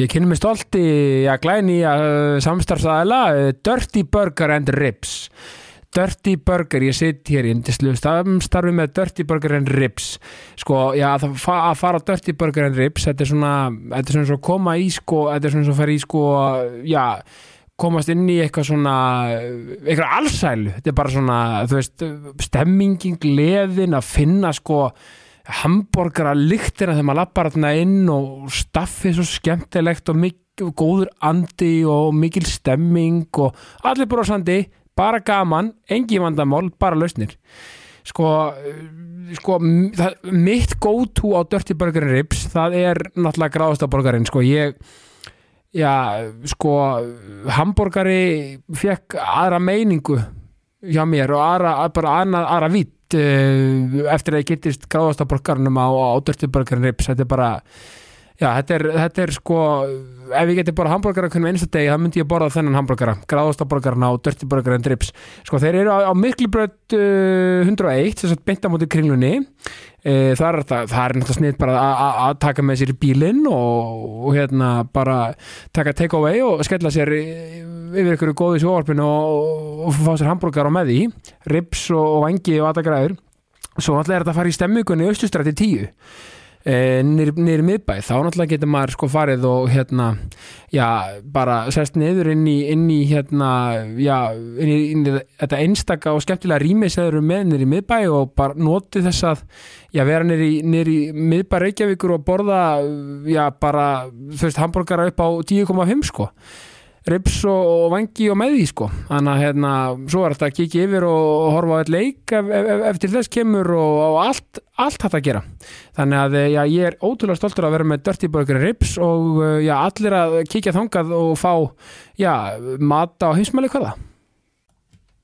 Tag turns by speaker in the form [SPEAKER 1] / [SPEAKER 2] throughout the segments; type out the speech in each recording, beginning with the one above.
[SPEAKER 1] Ég kynni mig stolt í að glæni að samstarfsaðala eh, Dirty Burger and Ribs Dirty Burger, ég sitt hér í indislu samstarfi með Dirty Burger and Ribs sko, já, að, fa að fara á Dirty Burger and Ribs, þetta er svona þetta er svona svo koma í sko þetta er svona svo fara í sko, já komast inn í eitthvað svona eitthvað allsælu, þetta er bara svona þú veist, stemmingin, gleðin að finna sko hambúrgara lyktina þegar maður lappar þarna inn og staffið svo skemmtilegt og mikil, góður andi og mikil stemming og allir brosandi, bara gaman engi vandamál, bara lausnir sko, eh, sko m- það, mitt go-to á Dirty Burger and Ribs, það er náttúrulega gráðasta borgarinn, sko, ég já, sko hambúrgari fekk aðra meiningu hjá mér og aðra, að- bara annað, aðra vitt uh, eftir að ég getist gráðasta borgarnum á, á dörtiborgarn rips, þetta er bara já, þetta er, þetta er sko ef ég geti bara hambúrgara hvernig einsta degi þá myndi ég borða þennan hambúrgara, gráðasta borgarna á dörtiborgarn rips, sko þeir eru á, á miklubröð uh, 101 þess að beinta móti kringlunni e, það, er, það, það er náttúrulega snitt bara að- að- að taka með sér í bílinn og, og hérna bara taka take away og skella sér í- yfir ykkur góðu sjóvarpinu og, og fá sér hambúrgar á með því rips og, og vangi og aðagræður svo náttúrulega er þetta að fara í stemmingunni austustrætti 10 e, nýri miðbæ þá náttúrulega getur maður sko farið og hérna já, bara sest niður inn í, inn í hérna, já, inn í, inn í þetta einstaka og skemmtilega rými sem þeir eru með niður í miðbæ og bara notið þess að, já, vera niður í, niður í miðbæ Reykjavíkur og borða, já, bara, þú veist, hambúrgara upp á 10,5 sko rips og, og vangi og með því sko þannig að hérna, svo er þetta að kikið yfir og, og horfa á eitt leik ef, ef, ef, ef til þess kemur og, og allt, allt hægt að gera þannig að eh, já, ég er ótrúlega stoltur að vera með Dirty Burger and Rips og eh, já, allir að kikið þangað og fá já, mat á heimsmæli hvaða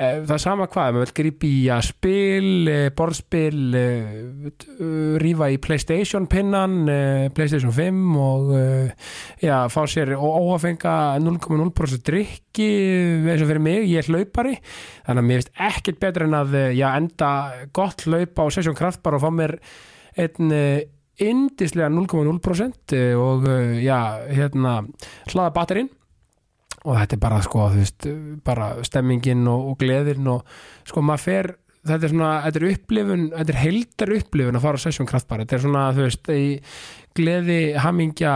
[SPEAKER 1] Það er sama hvað, maður vil grípa í að spil, eh, borðspil, eh, t- eh, rífa í Playstation pinnan, eh, Playstation 5 og eh, já, fá sér óhafenga 0,0% drikki eh, eins og fyrir mig, ég er hlaupari þannig að mér finnst ekkert betur en að eh, já, enda gott hlaup á Session Kraftbar og fá mér einn eh, yndislega 0,0% eh, og eh, já, hérna hlaða batterinn og þetta er bara sko, þú veist, eh, bara stemmingin og, og gleðin og sko maður fer Þetta er svona, þetta er upplifun, þetta er heildar upplifun að fara á Session Kraftbar, þetta er svona, þú veist, í gleði, hamingja,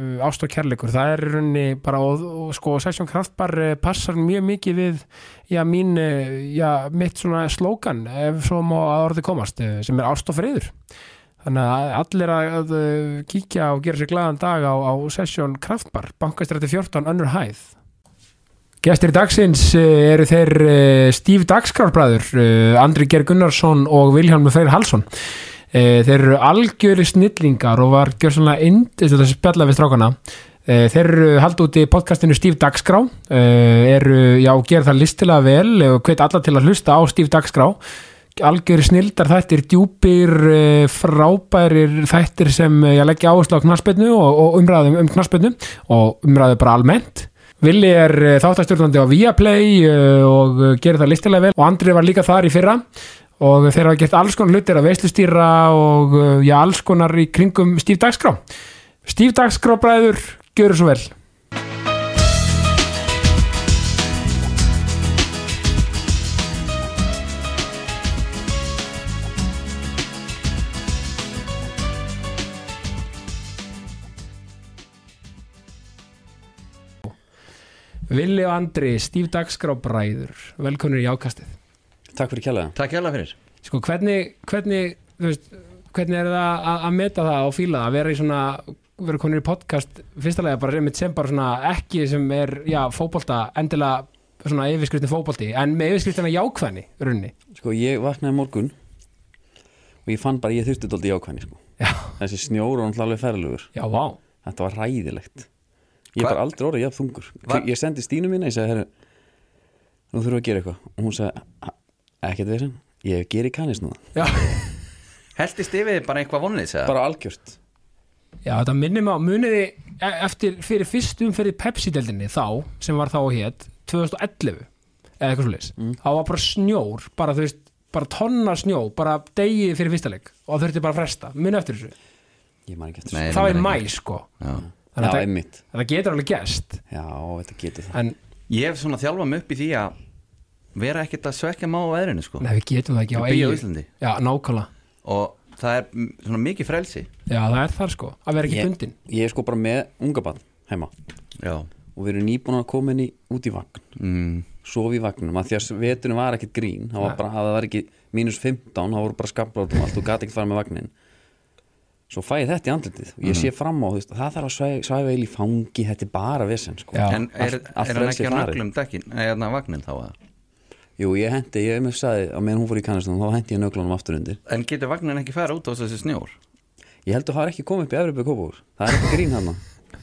[SPEAKER 1] uh, ást og kærleikur það er í rauninni bara og, og sko Session Kraftbar eh, passar mjög mikið við já, mín, eh, já, mitt svona slókan ef svo má að orði komast eh, sem er ást og friður þannig að allir að, að eh, kíkja og gera sér glaðan dag á, á Session Kraftbar bankastræti 14 önnur hæð Gestir dagsins eh, eru þeir eh, Steve Dagskrarbræður, Andri Ger Gunnarsson og Vilhjálmur Freyr Halsson. Eh, Þeir eru algjöri snillingar og var gjörsanlega indið að spjalla við strákana. Eh, Þeir eru haldið út í podcastinu Steve Dagskrá, eh, eru, já, gera það listilega vel og hvet alla til að hlusta á Steve Dagskrá. Algjöri snildar þættir, djúpir, eh, frábærir þættir sem eh, ég leggja áherslu á knarspennu og, og umræðum um knarspennu og umræðu bara almennt. Vili er eh, þáttastjórnandi á Viaplay eh, og eh, gerir það listilega vel og Andri var líka þar í fyrra og þeir hafa gert alls konar hlutir að veislustýra og eh, já, alls konar í kringum Stíf Dagskrá Stíf Dagskrá bræður, gjöru svo vel Vili og Andri, Stíf Dagskrá bræður velkomnir í ákastið
[SPEAKER 2] Takk fyrir kjallaða
[SPEAKER 3] Takk hérlega fyrir
[SPEAKER 1] Sko, hvernig, hvernig, þú veist, hvernig er það að, að meta það og fíla það að vera í svona vera konur í podcast, fyrsta lega bara einmitt sem bara svona ekki sem er já, fótbolta, endilega svona yfirskriftin fótbolti, en með yfirskriftina jákvæðni runni,
[SPEAKER 2] Sko ég vaknaði morgun og ég fann bara að ég þurfti dóldi jákvæðni sko.
[SPEAKER 1] Já.
[SPEAKER 2] Þessi snjór og alveg ferlugur
[SPEAKER 1] já, vá
[SPEAKER 2] Þetta var ræðilegt Ég
[SPEAKER 3] Hva-
[SPEAKER 2] var aldrei orðið jafn þungur
[SPEAKER 3] Hva-
[SPEAKER 2] Ég sendi Stínu mína, ég segi herru Nú þurfum við að gera eitthvað Og hún segi, ekkert veginn, ég geri kanis núna
[SPEAKER 1] já,
[SPEAKER 3] Heltist yfir bara eitthvað vonlið segja
[SPEAKER 2] bara algjört
[SPEAKER 1] já þetta minnir mig á muniði eftir fyrir fyrst umferði Pepsi-deldinni þá, sem var þá hétt 2011 eða eitthvað svoleiðis þá var bara snjór, bara þú veist bara tonna snjó, bara degi fyrir fyrsta leik og þurfti bara að fresta, minna eftir þessu
[SPEAKER 2] ég man ekki eftir
[SPEAKER 3] Nei,
[SPEAKER 2] þessu.
[SPEAKER 1] það var
[SPEAKER 3] ég
[SPEAKER 1] í
[SPEAKER 3] meina
[SPEAKER 1] mæ
[SPEAKER 3] ekki.
[SPEAKER 1] sko
[SPEAKER 3] Já.
[SPEAKER 1] þannig
[SPEAKER 2] já,
[SPEAKER 1] að það-
[SPEAKER 2] einmitt,
[SPEAKER 1] þetta getur alveg gest
[SPEAKER 2] já, þetta getur það
[SPEAKER 1] en
[SPEAKER 3] Ég hef svona þjálfað mig upp í því að vera ekkert að svekja má á veðrinu sko
[SPEAKER 1] nei, við getum það ekki á
[SPEAKER 3] Ég bý á
[SPEAKER 1] Eyju.
[SPEAKER 3] Íslandi.
[SPEAKER 1] já, nákvæmlega,
[SPEAKER 3] og það er mm, svona mikið frelsi
[SPEAKER 1] já það er þar sko að vera ekki
[SPEAKER 2] ég,
[SPEAKER 1] bundin
[SPEAKER 2] ég er sko bara með unga barn heima
[SPEAKER 3] Já
[SPEAKER 2] og við erum nýbúin að koma henni út í vagn
[SPEAKER 3] mm.
[SPEAKER 2] sofa í vagnum að því að veturinn var ekkert grín það var bara, að það var ekki mínus 15 þá voru bara skablar út um allt og gati ekkert fara með vagnin svo fæ ég þetta í andlitið og
[SPEAKER 3] Mhm.
[SPEAKER 2] ég sé fram á þú veist, það þarf að svæ- svæfa eil í fangi þetta er bara vesen sko.
[SPEAKER 1] Já.
[SPEAKER 3] En er,
[SPEAKER 2] Allt- allt
[SPEAKER 3] er hann
[SPEAKER 2] frelsi
[SPEAKER 3] ekki á
[SPEAKER 2] farið.
[SPEAKER 3] nöglum dekkin Nei, hérna vagnin þá að
[SPEAKER 2] jú ég hendi, ég með sagði að meðan hún fór í kannastunum þá hendi ég nöglunum aftur undir
[SPEAKER 3] En getur vagnin ekki fara út á þessu snjór?
[SPEAKER 2] ég held að það er ekki komið upp í Evropi Kópavúr það er ekki grín hann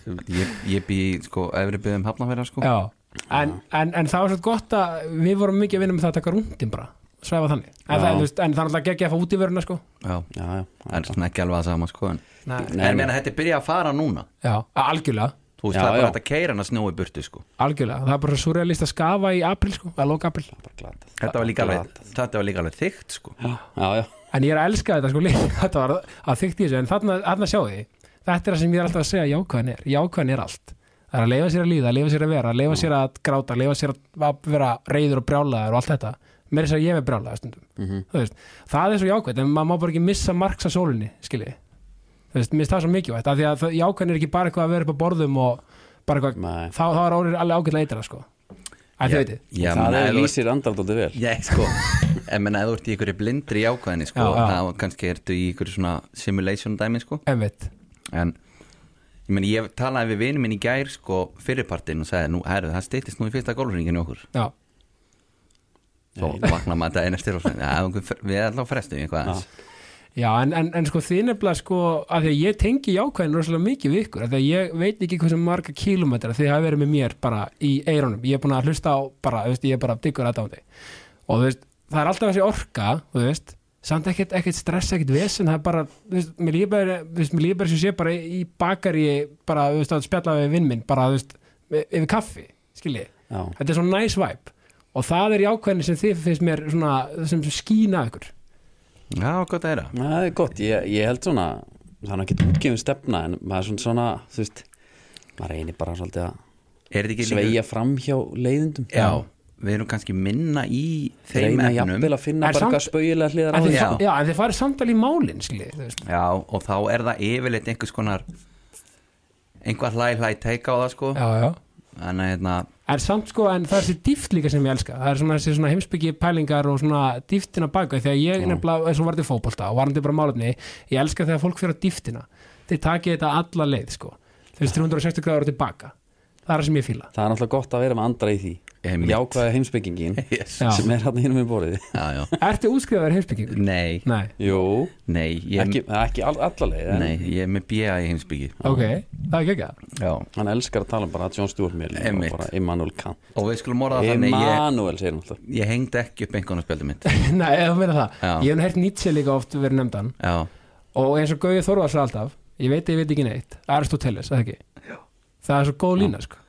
[SPEAKER 3] Ég, ég bý í, sko efri byggðum hafnafæra sko
[SPEAKER 1] já, en, en, en það var svolítið gott að við vorum mikið að vinna með það að taka rúndin bara svæfa þannig, en, það,
[SPEAKER 2] Já.
[SPEAKER 1] en, þú veist, en það er alltaf geggja að fá út í veruna sko
[SPEAKER 3] Já.
[SPEAKER 2] já, já, það
[SPEAKER 3] En
[SPEAKER 2] er
[SPEAKER 3] svona ekki alveg að sama sko En,
[SPEAKER 1] Nei.
[SPEAKER 2] Nei,
[SPEAKER 3] en meina þetta er byrjað að fara núna
[SPEAKER 1] já, algjörlega,
[SPEAKER 3] Þú veist
[SPEAKER 2] Já,
[SPEAKER 3] það er
[SPEAKER 2] já.
[SPEAKER 3] bara hægt að keira hann að snjói burtu sko
[SPEAKER 1] algjörlega það er bara surrealist að skafa í april sko að loka april,
[SPEAKER 2] bara glatað
[SPEAKER 3] Þetta var líka alveg,
[SPEAKER 2] Glatað.
[SPEAKER 3] þetta var líka alveg þykkt sko
[SPEAKER 2] já, já, já,
[SPEAKER 1] en ég er að elska þetta sko líka, þetta var að þykkt í þessu en þarna, þarna sjáu þið, þetta er það sem ég er alltaf að segja að jákvæðan er, jákvæðan er allt það er að leifa sér að líða, leifa sér að vera, leifa sér að gráta leifa sér að- að vera reyður og brjálaður og allt þetta, mér er sér að ég er brjálaður stundum, þú veist, það er svo jákvæð en maður má bara ekki missa marks að sólinni skiljiði, þú veist, mér er það svo mikilvægt af því að það- jákvæðan er ekki bara eitthvað að vera upp á borðum og bara
[SPEAKER 2] Nei.
[SPEAKER 1] eitthvað, þá, þá er orðið alveg ágætlega eitra sko, að þið veitir
[SPEAKER 3] Já,
[SPEAKER 2] það
[SPEAKER 3] menn, ef
[SPEAKER 2] er
[SPEAKER 3] þú ert-
[SPEAKER 2] lýsir andardóttir vel
[SPEAKER 3] Já, sko, en menn að þú ert í ykkur blindri jákvæðinni, sko,
[SPEAKER 1] Já, já.
[SPEAKER 3] þá kannski ertu í ykkur svona simulation dæmi, sko
[SPEAKER 1] Einmitt.
[SPEAKER 3] en, ég meni, ég talaði við vinum minn í gær, sko, fyrirpartin og sagði, nú, herru, það steytist nú í fyrsta golfringinu okkur
[SPEAKER 1] Já,
[SPEAKER 3] svo vakna maður þetta einar styrir og sagði, já, okkur- við erum alltaf frestum í eitthvað aðeins
[SPEAKER 1] já en, en, en sko þið nefnilega sko að því að ég tengi jákvæðin rosalega mikið við ykkur að því að ég veit ekki hversu marga kílómetra þið hafa verið með mér bara í eirunum ég er búin að hlusta á bara, þú veist, ég er bara diggur aðdándi og þú veist, það er alltaf þessi orka þú veist, samt ekkert, ekkert stress ekkert vesen, það er bara, þú veist, mér líður bara þú veist, mér líður bara sem sé bara í bakar ég bara, þú veist, að spjalla við vinn minn bara, þú veist, yfir kaffi, skiljið
[SPEAKER 2] já,
[SPEAKER 1] þetta er svona nice vibe og það er jákvæðin sem þið finnst mér svona, sem skína ykkur
[SPEAKER 3] Já, gott að heyra
[SPEAKER 2] Nei, það er gott, ég, ég held svona það er ekki útgefin stefna en maður er svona, svona þú veist maður reynir bara svolítið að
[SPEAKER 3] Er þetta ekki
[SPEAKER 2] sveigja fram hjá leiðindum
[SPEAKER 3] Já, við erum kannski minna í þeim
[SPEAKER 2] reyna
[SPEAKER 3] efnum
[SPEAKER 2] jafnvel að
[SPEAKER 1] En
[SPEAKER 2] finna bara
[SPEAKER 1] samt-
[SPEAKER 2] eitthvað spauðilega hliðar á
[SPEAKER 1] en
[SPEAKER 2] því
[SPEAKER 1] þið,
[SPEAKER 3] Já.
[SPEAKER 1] já. Já, en þið farið samtal í málin skilji, þú veist.
[SPEAKER 3] Já, og þá er það yfirleitt einhvers konar einhvað hlæ hlæ teika á það, sko
[SPEAKER 1] já, já.
[SPEAKER 3] Þannig að, hérna,
[SPEAKER 1] en samt sko, en það er þessi dýft líka sem ég elska það er svona þessi svona heimsbyggi pælingar og svona dýftina baka, þegar ég nefnilega eins og varði fótbolta og varði bara málefni ég elska þegar fólk fyrir á dýftina þið takið þetta alla leið sko þeir 360 gráður tilbaka það er það sem ég fíla
[SPEAKER 2] það er náttúrulega gott að vera með andra í því
[SPEAKER 3] Einmitt.
[SPEAKER 2] jákvæða heimsbyggingin
[SPEAKER 3] yes.
[SPEAKER 1] Já.
[SPEAKER 2] sem er hann hinn með borðið
[SPEAKER 3] já, já
[SPEAKER 1] Ertu útskrifaður heimsbyggingur?
[SPEAKER 3] Nei,
[SPEAKER 1] Nei,
[SPEAKER 2] Jú,
[SPEAKER 3] nei, ég,
[SPEAKER 2] ekki, ekki all, alla leið en
[SPEAKER 3] nei, ég er með B.A. í heimsbyggi
[SPEAKER 1] ok, það er ekki ekki
[SPEAKER 3] Já.
[SPEAKER 2] hann elskar að tala um bara að John Stuart Mill og
[SPEAKER 3] Einmitt.
[SPEAKER 2] bara Immanuel Kant
[SPEAKER 3] Og við skulum orða það þannig ég,
[SPEAKER 2] Immanuel segir hann alltaf
[SPEAKER 3] ég hengdi ekki upp einhvern spjaldi mitt
[SPEAKER 1] Nei, ef þú meina það,
[SPEAKER 3] Já.
[SPEAKER 1] ég hef nú heyrt Nietzsche líka oft verið nefndan
[SPEAKER 3] Já,
[SPEAKER 1] og eins og Gauði Þorvar sér alltaf ég veit, ég veit ekki neitt, Aristoteles, eða ekki það er svo góð lína sko.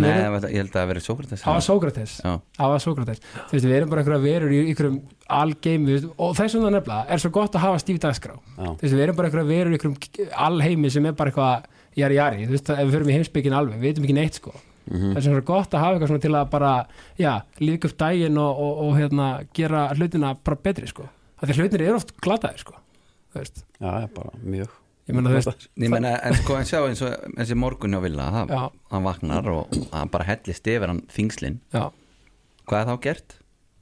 [SPEAKER 3] nei,
[SPEAKER 1] Við
[SPEAKER 3] ég
[SPEAKER 1] erum-
[SPEAKER 3] held að það verið Sókrates
[SPEAKER 1] það var Sókrates
[SPEAKER 3] Já.
[SPEAKER 1] það var Sókrates, þú veist, við erum bara einhverja verur í einhverjum algeim, þú veist, og þessum það nefnilega er svo gott að hafa stíf dagskrá
[SPEAKER 2] Já.
[SPEAKER 1] þú veist, við erum bara einhverja verur í einhverjum alheimi sem er bara eitthvað jari jari, þú veist, ef við förum í heimsbyggin alveg, við veitum ekki neitt sko
[SPEAKER 3] Mhm.
[SPEAKER 1] þess að það er gott að hafa eitthvað svona til að bara já, líka upp daginn og, og, og hérna, gera hlutina bara betri sko af því hlutinir eru oft glataðir sko þú veist,
[SPEAKER 2] já, já, bara mjög
[SPEAKER 1] ég meina þú veist
[SPEAKER 3] Ég meina, en sko, en sjá eins og þessi morgun á Villa, það,
[SPEAKER 1] Já.
[SPEAKER 3] hann vaknar og hann bara hellist yfir hann þingslinn
[SPEAKER 1] já,
[SPEAKER 3] Hvað er þá gert?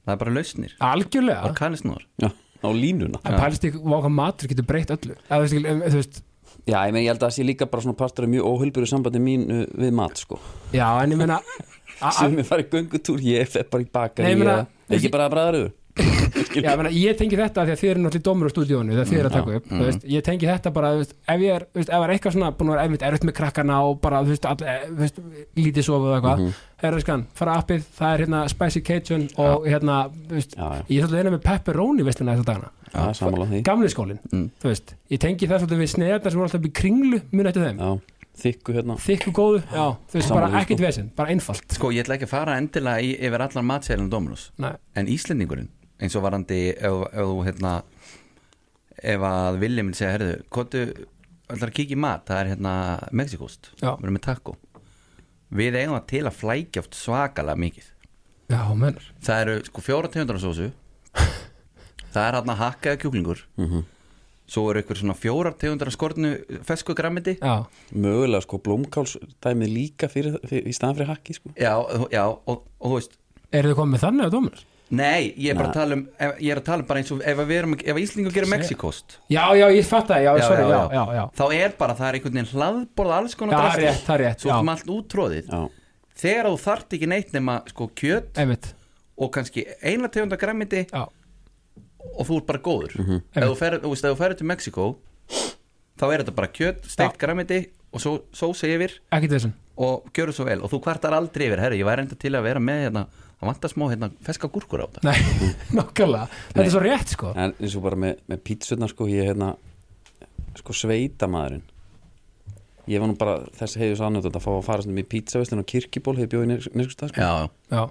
[SPEAKER 3] Það er bara lausnir,
[SPEAKER 1] algjörlega
[SPEAKER 3] bara kannisnúr
[SPEAKER 2] já, á línuna
[SPEAKER 1] en pælst ekki hvað matur getur breytt öllu eða, þú veist, ekki, um, þú veist,
[SPEAKER 2] já, ég, meni, ég held að það sé líka bara svona partur af mjög óhulburu sambandi mín uh, við mat sko
[SPEAKER 1] já, en ég meina a- a-
[SPEAKER 2] sem ég fari í göngutúr, ég fer bara í bakar
[SPEAKER 1] Nei, ég meina-
[SPEAKER 2] ekki bara að bræða rauður
[SPEAKER 1] Já, ég meina, ég tengi þetta af því að þið eru náttúrulega dómur á stúdíónu þegar þið eru að taka upp þú veist, ég tengi þetta bara, þú veist, ef ég er þú veist, ef það er eitthvað svona búin að vera erfitt erfitt með krakkana og bara, þú veist, all, eh, þú veist lítið sofið og eitthvað, mm -hmm. skan, fara appið það er hérna Spicy Cajun og hérna, þú veist,
[SPEAKER 2] Já, já.
[SPEAKER 1] ég er svolítið eina með pepperoni vestina þessa dagana,
[SPEAKER 2] Já, sammála því
[SPEAKER 1] gamli skólin þú veist, ég tengi það svolítið við sneiðarnar sem voru alltaf í kringlu, mun eftir þeim
[SPEAKER 2] Já, þykku hérna
[SPEAKER 1] þykku góðu, já, þú veist,
[SPEAKER 2] Sammála
[SPEAKER 1] bara
[SPEAKER 2] því,
[SPEAKER 1] ekkert vesinn, bara einfalt
[SPEAKER 3] Sko, ég ætla ekki að fara endilega í, yfir allan matsælum Dominus
[SPEAKER 1] Nei.
[SPEAKER 3] En Íslendingurinn, eins og varandi ef, ef þú, hérna ef að Willi minn segja, herðu Kvotu, ætlar að kíkja í mat það er hérna Mexikost,
[SPEAKER 1] Já.
[SPEAKER 3] við erum með taco Við eigum það til að flækja oft svakalega mikið
[SPEAKER 1] já, mennur,
[SPEAKER 3] Það eru sko fjóra tegundar af sósu Það er hérna hakkaða kjúklingur Svo eru ykkur svona fjóra tegundar af skortinu fesku grammiti
[SPEAKER 1] já,
[SPEAKER 2] Mögulega sko blómkálsdæmið líka fyrir, fyrir, í staðan fyrir hakki sko
[SPEAKER 3] Já, og- já og, og þú veist
[SPEAKER 1] eru þið komið með þannig á dómur?
[SPEAKER 3] Nei, ég er bara að tala um ef- Ég er að tala um bara eins og ef, að við erum, ef Íslingur gerir Mexikost
[SPEAKER 1] Já, já, ég fatt það, já, sorry, já, já, já.
[SPEAKER 3] Þá er bara það er einhvern veginn hlaðborð alls konar
[SPEAKER 1] Já,
[SPEAKER 3] drasl.
[SPEAKER 1] rétt, það er rétt,
[SPEAKER 3] Svo
[SPEAKER 1] já.
[SPEAKER 3] erum allt útróðið
[SPEAKER 2] Já,
[SPEAKER 3] Þegar þú þart ekki neitt nema sko kjöt
[SPEAKER 1] einmitt,
[SPEAKER 3] og kannski eina tegunda græmiti
[SPEAKER 1] já
[SPEAKER 3] og þú ert bara góður
[SPEAKER 1] Mhm.
[SPEAKER 3] Ef þú ferð- þú veist, ef þú ferður til Mexiko þá er þetta bara kjöt, steikt græmiti og svo, sósa yfir
[SPEAKER 1] ekkert þessum
[SPEAKER 3] og gjöru svo vel og þú kvartar aldrei yfir herri, ég væri enda til að vera með hérna það vantar smá hérna feska gúrkur á þetta
[SPEAKER 1] Nei, nokkulega, þetta er svo rétt sko
[SPEAKER 2] en eins og bara með, með pítsunar sko ég hérna sko sveitamaðurinn ég var nú bara þessi heiðu sannut að fá að fara stundum í pítsaveslun og kirkiból hefði bjóði nýrskustað sko.
[SPEAKER 3] Já, já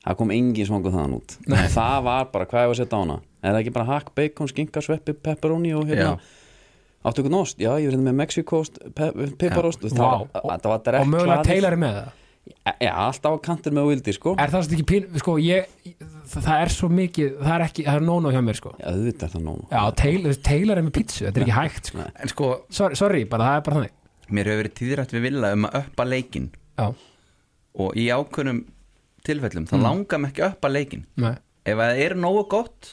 [SPEAKER 1] Já,
[SPEAKER 2] það kom engin svangu þaðan út Nei. það var bara hvað ég var að setja á hana er það ekki bara hakk, bacon, skinka, sveppi, pepperoni og hérna
[SPEAKER 3] Já.
[SPEAKER 2] áttu ykkur nost, já ég er hérna með mexikost pe piparost, það,
[SPEAKER 1] Vá.
[SPEAKER 2] var- það var
[SPEAKER 1] og
[SPEAKER 2] direkt
[SPEAKER 1] mögulega
[SPEAKER 2] hlaðið.
[SPEAKER 1] teilari með það
[SPEAKER 2] já, alltaf á kantur með vildi sko
[SPEAKER 1] Er það svo ekki pín, sko, ég það það er svo mikið, það er ekki, það er nóna hjá mér sko
[SPEAKER 2] já, auðvitað er það nóg
[SPEAKER 1] Já, teil, teilari með pítsu, þetta er ekki hægt sko
[SPEAKER 3] En sko,
[SPEAKER 1] Sorry, sorry bara, það er bara þannig
[SPEAKER 3] mér hefur verið tíðrætt við vilja um að uppa leikinn
[SPEAKER 1] Já,
[SPEAKER 3] og í ákveðnum tilfellum
[SPEAKER 2] Mm.
[SPEAKER 3] þá langar mér ekki að uppa leikinn
[SPEAKER 1] nei,
[SPEAKER 3] ef það er nógu gott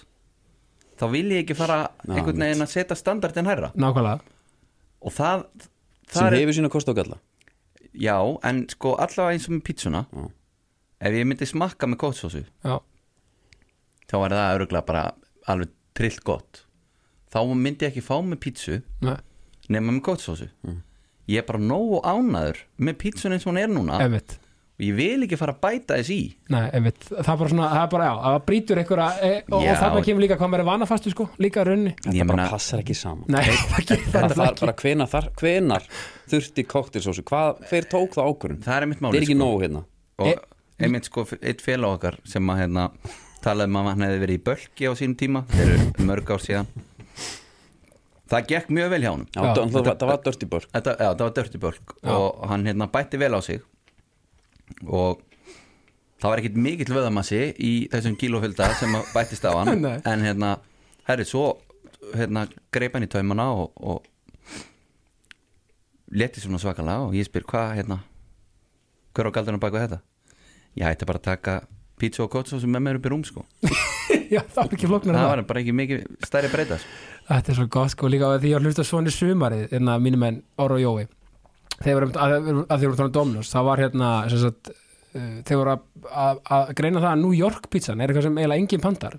[SPEAKER 3] þá vil ég ekki fara
[SPEAKER 2] Já,
[SPEAKER 3] einhvern veginn að setja standardin hærra
[SPEAKER 1] nákvæmlega
[SPEAKER 3] og það,
[SPEAKER 2] sem
[SPEAKER 3] það er,
[SPEAKER 2] hefur sína kost og galla
[SPEAKER 3] já, en sko allavega eins og með pítsuna
[SPEAKER 2] Já.
[SPEAKER 3] ef ég myndi smakka með kótsósu
[SPEAKER 1] Já,
[SPEAKER 3] þá er það öruglega bara alveg trillt gott þá myndi ég ekki fá með pítsu
[SPEAKER 1] nei,
[SPEAKER 3] nema með kótsósu
[SPEAKER 2] Mm.
[SPEAKER 3] ég er bara nógu ánaður með pítsun eins og hún er núna
[SPEAKER 1] einmitt
[SPEAKER 3] og ég vil ekki fara að bæta þess í
[SPEAKER 1] Nei, einmitt, það er bara svona, það er bara, já, það brýtur einhverja e, og,
[SPEAKER 3] Já,
[SPEAKER 1] og þarna
[SPEAKER 3] og-
[SPEAKER 1] kemur líka hvað maður er vanafastu sko, líka runni
[SPEAKER 3] Ég
[SPEAKER 2] þetta
[SPEAKER 3] meina-
[SPEAKER 2] bara passar ekki saman
[SPEAKER 1] Nei, það gerir það
[SPEAKER 2] þetta
[SPEAKER 1] náttúrulega
[SPEAKER 2] var bara hvenar, þar, hvenar þurfti koktilsósu, hvað, hver tók það ákvörðun
[SPEAKER 3] það er mitt máli
[SPEAKER 2] það er ekki
[SPEAKER 3] sko.
[SPEAKER 2] nóg hérna
[SPEAKER 3] og
[SPEAKER 1] E-
[SPEAKER 3] einmitt sko eitt félag okkar sem að hérna talaði um að hann hefði verið í bölki á sínum tíma þeir eru mörg ár síðan það gekk mjög vel hjá hann
[SPEAKER 2] já,
[SPEAKER 1] Já,
[SPEAKER 2] það, það, það var dörti börk
[SPEAKER 3] þetta, já, það var dörti bölk og hann hérna bætti vel á sig og það var ekkit mikill vöðamassi í þessum kílófjölda sem að bættist á hann
[SPEAKER 1] Nei.
[SPEAKER 3] en hérna, herri, svo hérna, greip hann í taumana og, og leti svona svakalega og ég spyr hvað hérna, hver á galdunum bak við þetta ég ætti bara að taka pizza og kótsósu með mér upp í rúm sko
[SPEAKER 1] Já, það var ekki flóknar
[SPEAKER 3] það var bara ekki mikið stærri breyta sko.
[SPEAKER 1] Þetta er svo gott sko líka að því ég var að hlusta svona sumarið hérna, en að mínum enn Óra og Jói þegar við erum að því vorum tónum Dominos það var hérna sem sagt, uh, þegar voru að- að- að greina það að New York pizzan er eitthvað sem eiginlega engin pantar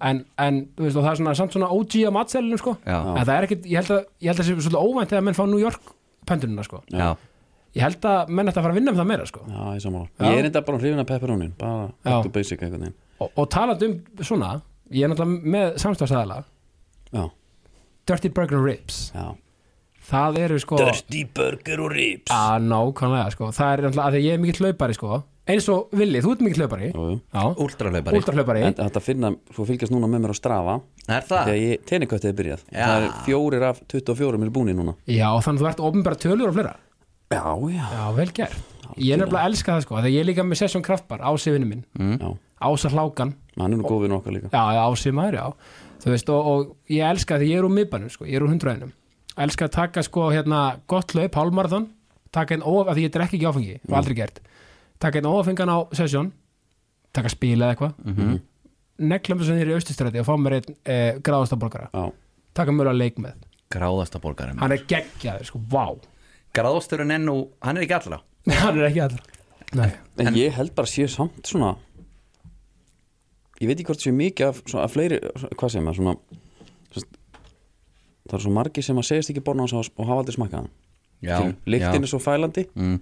[SPEAKER 1] en, en þú veist, og það er svona, samt svona OG á matselinu sko
[SPEAKER 3] Já.
[SPEAKER 1] en það er ekkit, ég held að ég held að það sé svolítið óvænt þegar menn fá New York pandurina sko
[SPEAKER 3] já,
[SPEAKER 1] ég held að menn ætti að fara að vinna um það meira sko
[SPEAKER 2] já, ég sammála
[SPEAKER 1] Já.
[SPEAKER 2] ég er þetta bara hrifin af pepperónin bara
[SPEAKER 1] Já.
[SPEAKER 2] back to basic einhvern veginn
[SPEAKER 1] og, og talandi um svona ég er náttúrulega með samstafsæðala
[SPEAKER 2] já,
[SPEAKER 1] Dirty Burger and Ribs
[SPEAKER 2] já
[SPEAKER 1] það eru sko
[SPEAKER 2] Dirty burger og ribs
[SPEAKER 1] Já, nákvæmlega, sko. Það er náttúrulega að því að ég er mikill hlaupari, sko. Eins og Villi, þú ert mikill hlaupari.
[SPEAKER 2] Jú, jú.
[SPEAKER 1] Já,
[SPEAKER 3] últralaupari
[SPEAKER 1] últrahlaupari.
[SPEAKER 2] en þetta finna, svo fylgjast núna með mér á strafa
[SPEAKER 3] er það?
[SPEAKER 2] þegar ég tenikötti hefði byrjað
[SPEAKER 3] Já.
[SPEAKER 2] það er fjórir af 24 mér búni núna
[SPEAKER 1] Já, þannig að þú ert ofnbæra tölur og fleira.
[SPEAKER 2] já, já,
[SPEAKER 1] Já, vel gert. Ég er nefnilega að elska það, sko. Þegar ég er líka með Session Kraftbar, ásifinu minn.
[SPEAKER 2] já.
[SPEAKER 1] Ása Hlákan.
[SPEAKER 2] hann er nú góð við nokkar líka
[SPEAKER 1] Já, já, ásimaður, já. Þú veist, og, og ég elska því ég er úr miðbænum, sko. Ég er úr hundraðinum. Elska að taka, sko, hérna, gott hlaup, hálmarðan. Taka einn of, af því ég drekk ekki áfengi, og aldrei gert. Taka einn ofafingan á Session. Taka spila eða eitthvað. negla mig svo niður í austustræti og fá mér einn e, gráðasta borgara
[SPEAKER 2] já,
[SPEAKER 1] taka mjög að leik með,
[SPEAKER 3] gráðasta borgarinn
[SPEAKER 1] hann er geggjaður sko, vá
[SPEAKER 3] Graðosturinn enn og hann er ekki allra
[SPEAKER 1] hann er ekki allra Nei.
[SPEAKER 2] en ég held bara að sé samt svona ég veit ekki hvort sé mikið af, svona, af fleiri, svona- hvað segir maður svona, svona, það eru svo margir sem að segjast ekki borna hans og hafa aldrei smakkað hann
[SPEAKER 3] Já,
[SPEAKER 2] Skilur, lyktin
[SPEAKER 3] já.
[SPEAKER 2] er svo fælandi
[SPEAKER 3] mm.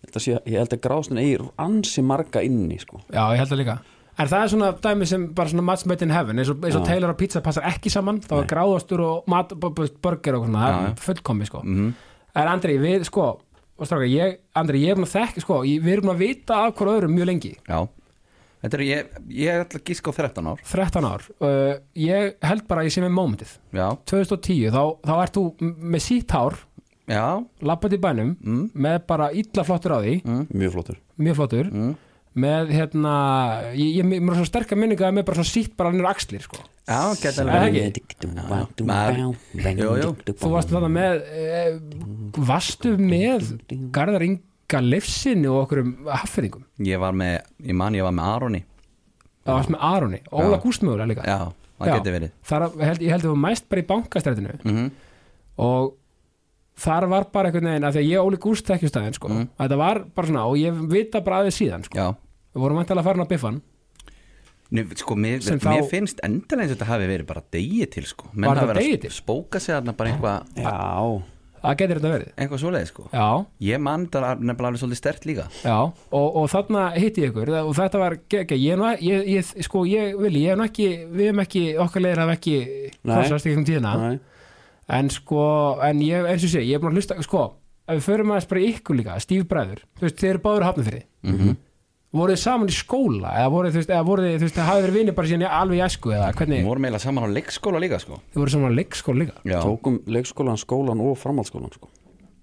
[SPEAKER 2] Ég held að sé- ég held að gráðstin eigi ansi marga inni sko.
[SPEAKER 1] Já, ég held það líka En það er svona dæmi sem bara svona match made in heaven eins og, eins og
[SPEAKER 2] Já.
[SPEAKER 1] Taylor og pizza passar ekki saman þá er gráðastur og mat, b- b- burger og svona, það
[SPEAKER 3] Já, já.
[SPEAKER 1] er fullkomi sko En Andri, við sko og stráka, ég, Andri, ég er búin að þekka sko ég, við erum búin að vita af hver öðrum mjög lengi
[SPEAKER 3] já Þetta er, ég, ég ætla að gíska á 13 ár
[SPEAKER 1] 13 ár, uh, ég held bara að ég sé með momentið,
[SPEAKER 3] Já,
[SPEAKER 1] 2010 þá, þá ert þú m- með sítt hár
[SPEAKER 3] já,
[SPEAKER 1] lappandi bænum, með bara illa flottur á því,
[SPEAKER 2] mjög flottur
[SPEAKER 1] mjög flottur með hérna ég, ég, ég mér er svo sterkar minninga með bara svona sítt bara niður axlir sko.
[SPEAKER 3] já, geta
[SPEAKER 1] Er það
[SPEAKER 3] alveg
[SPEAKER 1] ekki?
[SPEAKER 3] Maður- Jú, jú.
[SPEAKER 1] þú varst þarna með e, varstu með Garðar Inga Leifsinni og okkur um haffyrðingum
[SPEAKER 3] Ég var með, ég man ég var með Aroni
[SPEAKER 1] það varst með Aroni, Óla Gústmögulega líka
[SPEAKER 3] Já, það
[SPEAKER 1] Já.
[SPEAKER 3] geti verið
[SPEAKER 1] Þar, ég held, ég held að það var mæst bara í bankastrætinu
[SPEAKER 3] mm
[SPEAKER 1] og þar var bara einhvern veginn að því að ég og Óli Gúst ekki stæðin sko. mm. þetta var bara svona og ég vita bara aðeins síðan sko.
[SPEAKER 3] Já,
[SPEAKER 1] við vorum vantilega að fara hann á biffan
[SPEAKER 3] Nú, sko, mér,
[SPEAKER 1] Sem
[SPEAKER 3] mér
[SPEAKER 1] þá-
[SPEAKER 3] finnst endalega eins að þetta hafi verið bara degi til sko. Menn
[SPEAKER 1] Var
[SPEAKER 3] hafa
[SPEAKER 1] það
[SPEAKER 3] verið að
[SPEAKER 1] degi til?
[SPEAKER 3] Spóka sig þarna bara eitthvað
[SPEAKER 2] já,
[SPEAKER 1] það getur þetta verið
[SPEAKER 3] eitthvað svoleið sko.
[SPEAKER 1] já,
[SPEAKER 3] Ég man þetta nefnilega alveg svolítið stert líka
[SPEAKER 1] Já, og, og þarna hitti ég ykkur og þetta var geggja, ég, er nú- ég, ég, sko, ég vil, ég hef ekki, við hefum ekki, okkar leiðir hafa ekki
[SPEAKER 2] Nei.
[SPEAKER 1] krossast ekki um tíðina,
[SPEAKER 2] Nei.
[SPEAKER 1] en sko, en ég, eins og sé, ég er búin að hlusta, sko, ef við förum aðeins bara í ykkur líka, Steve Bræður, þú veist, þeir eru báður hafnum fyrir, mm
[SPEAKER 2] Mhm.
[SPEAKER 1] -hmm. voruð þið saman í skóla, eða voruð þið, þú veist, eða voruð þið, þú veist, hafið verið vinni bara síðan í- alveg í esku, eða
[SPEAKER 3] Við
[SPEAKER 1] hvernig,
[SPEAKER 3] vorum eiginlega saman á leikskóla líka sko.
[SPEAKER 1] þið voruð saman á leikskóla líka?
[SPEAKER 3] Já,
[SPEAKER 2] tókum leikskólan, skólan og framhaldsskólan sko.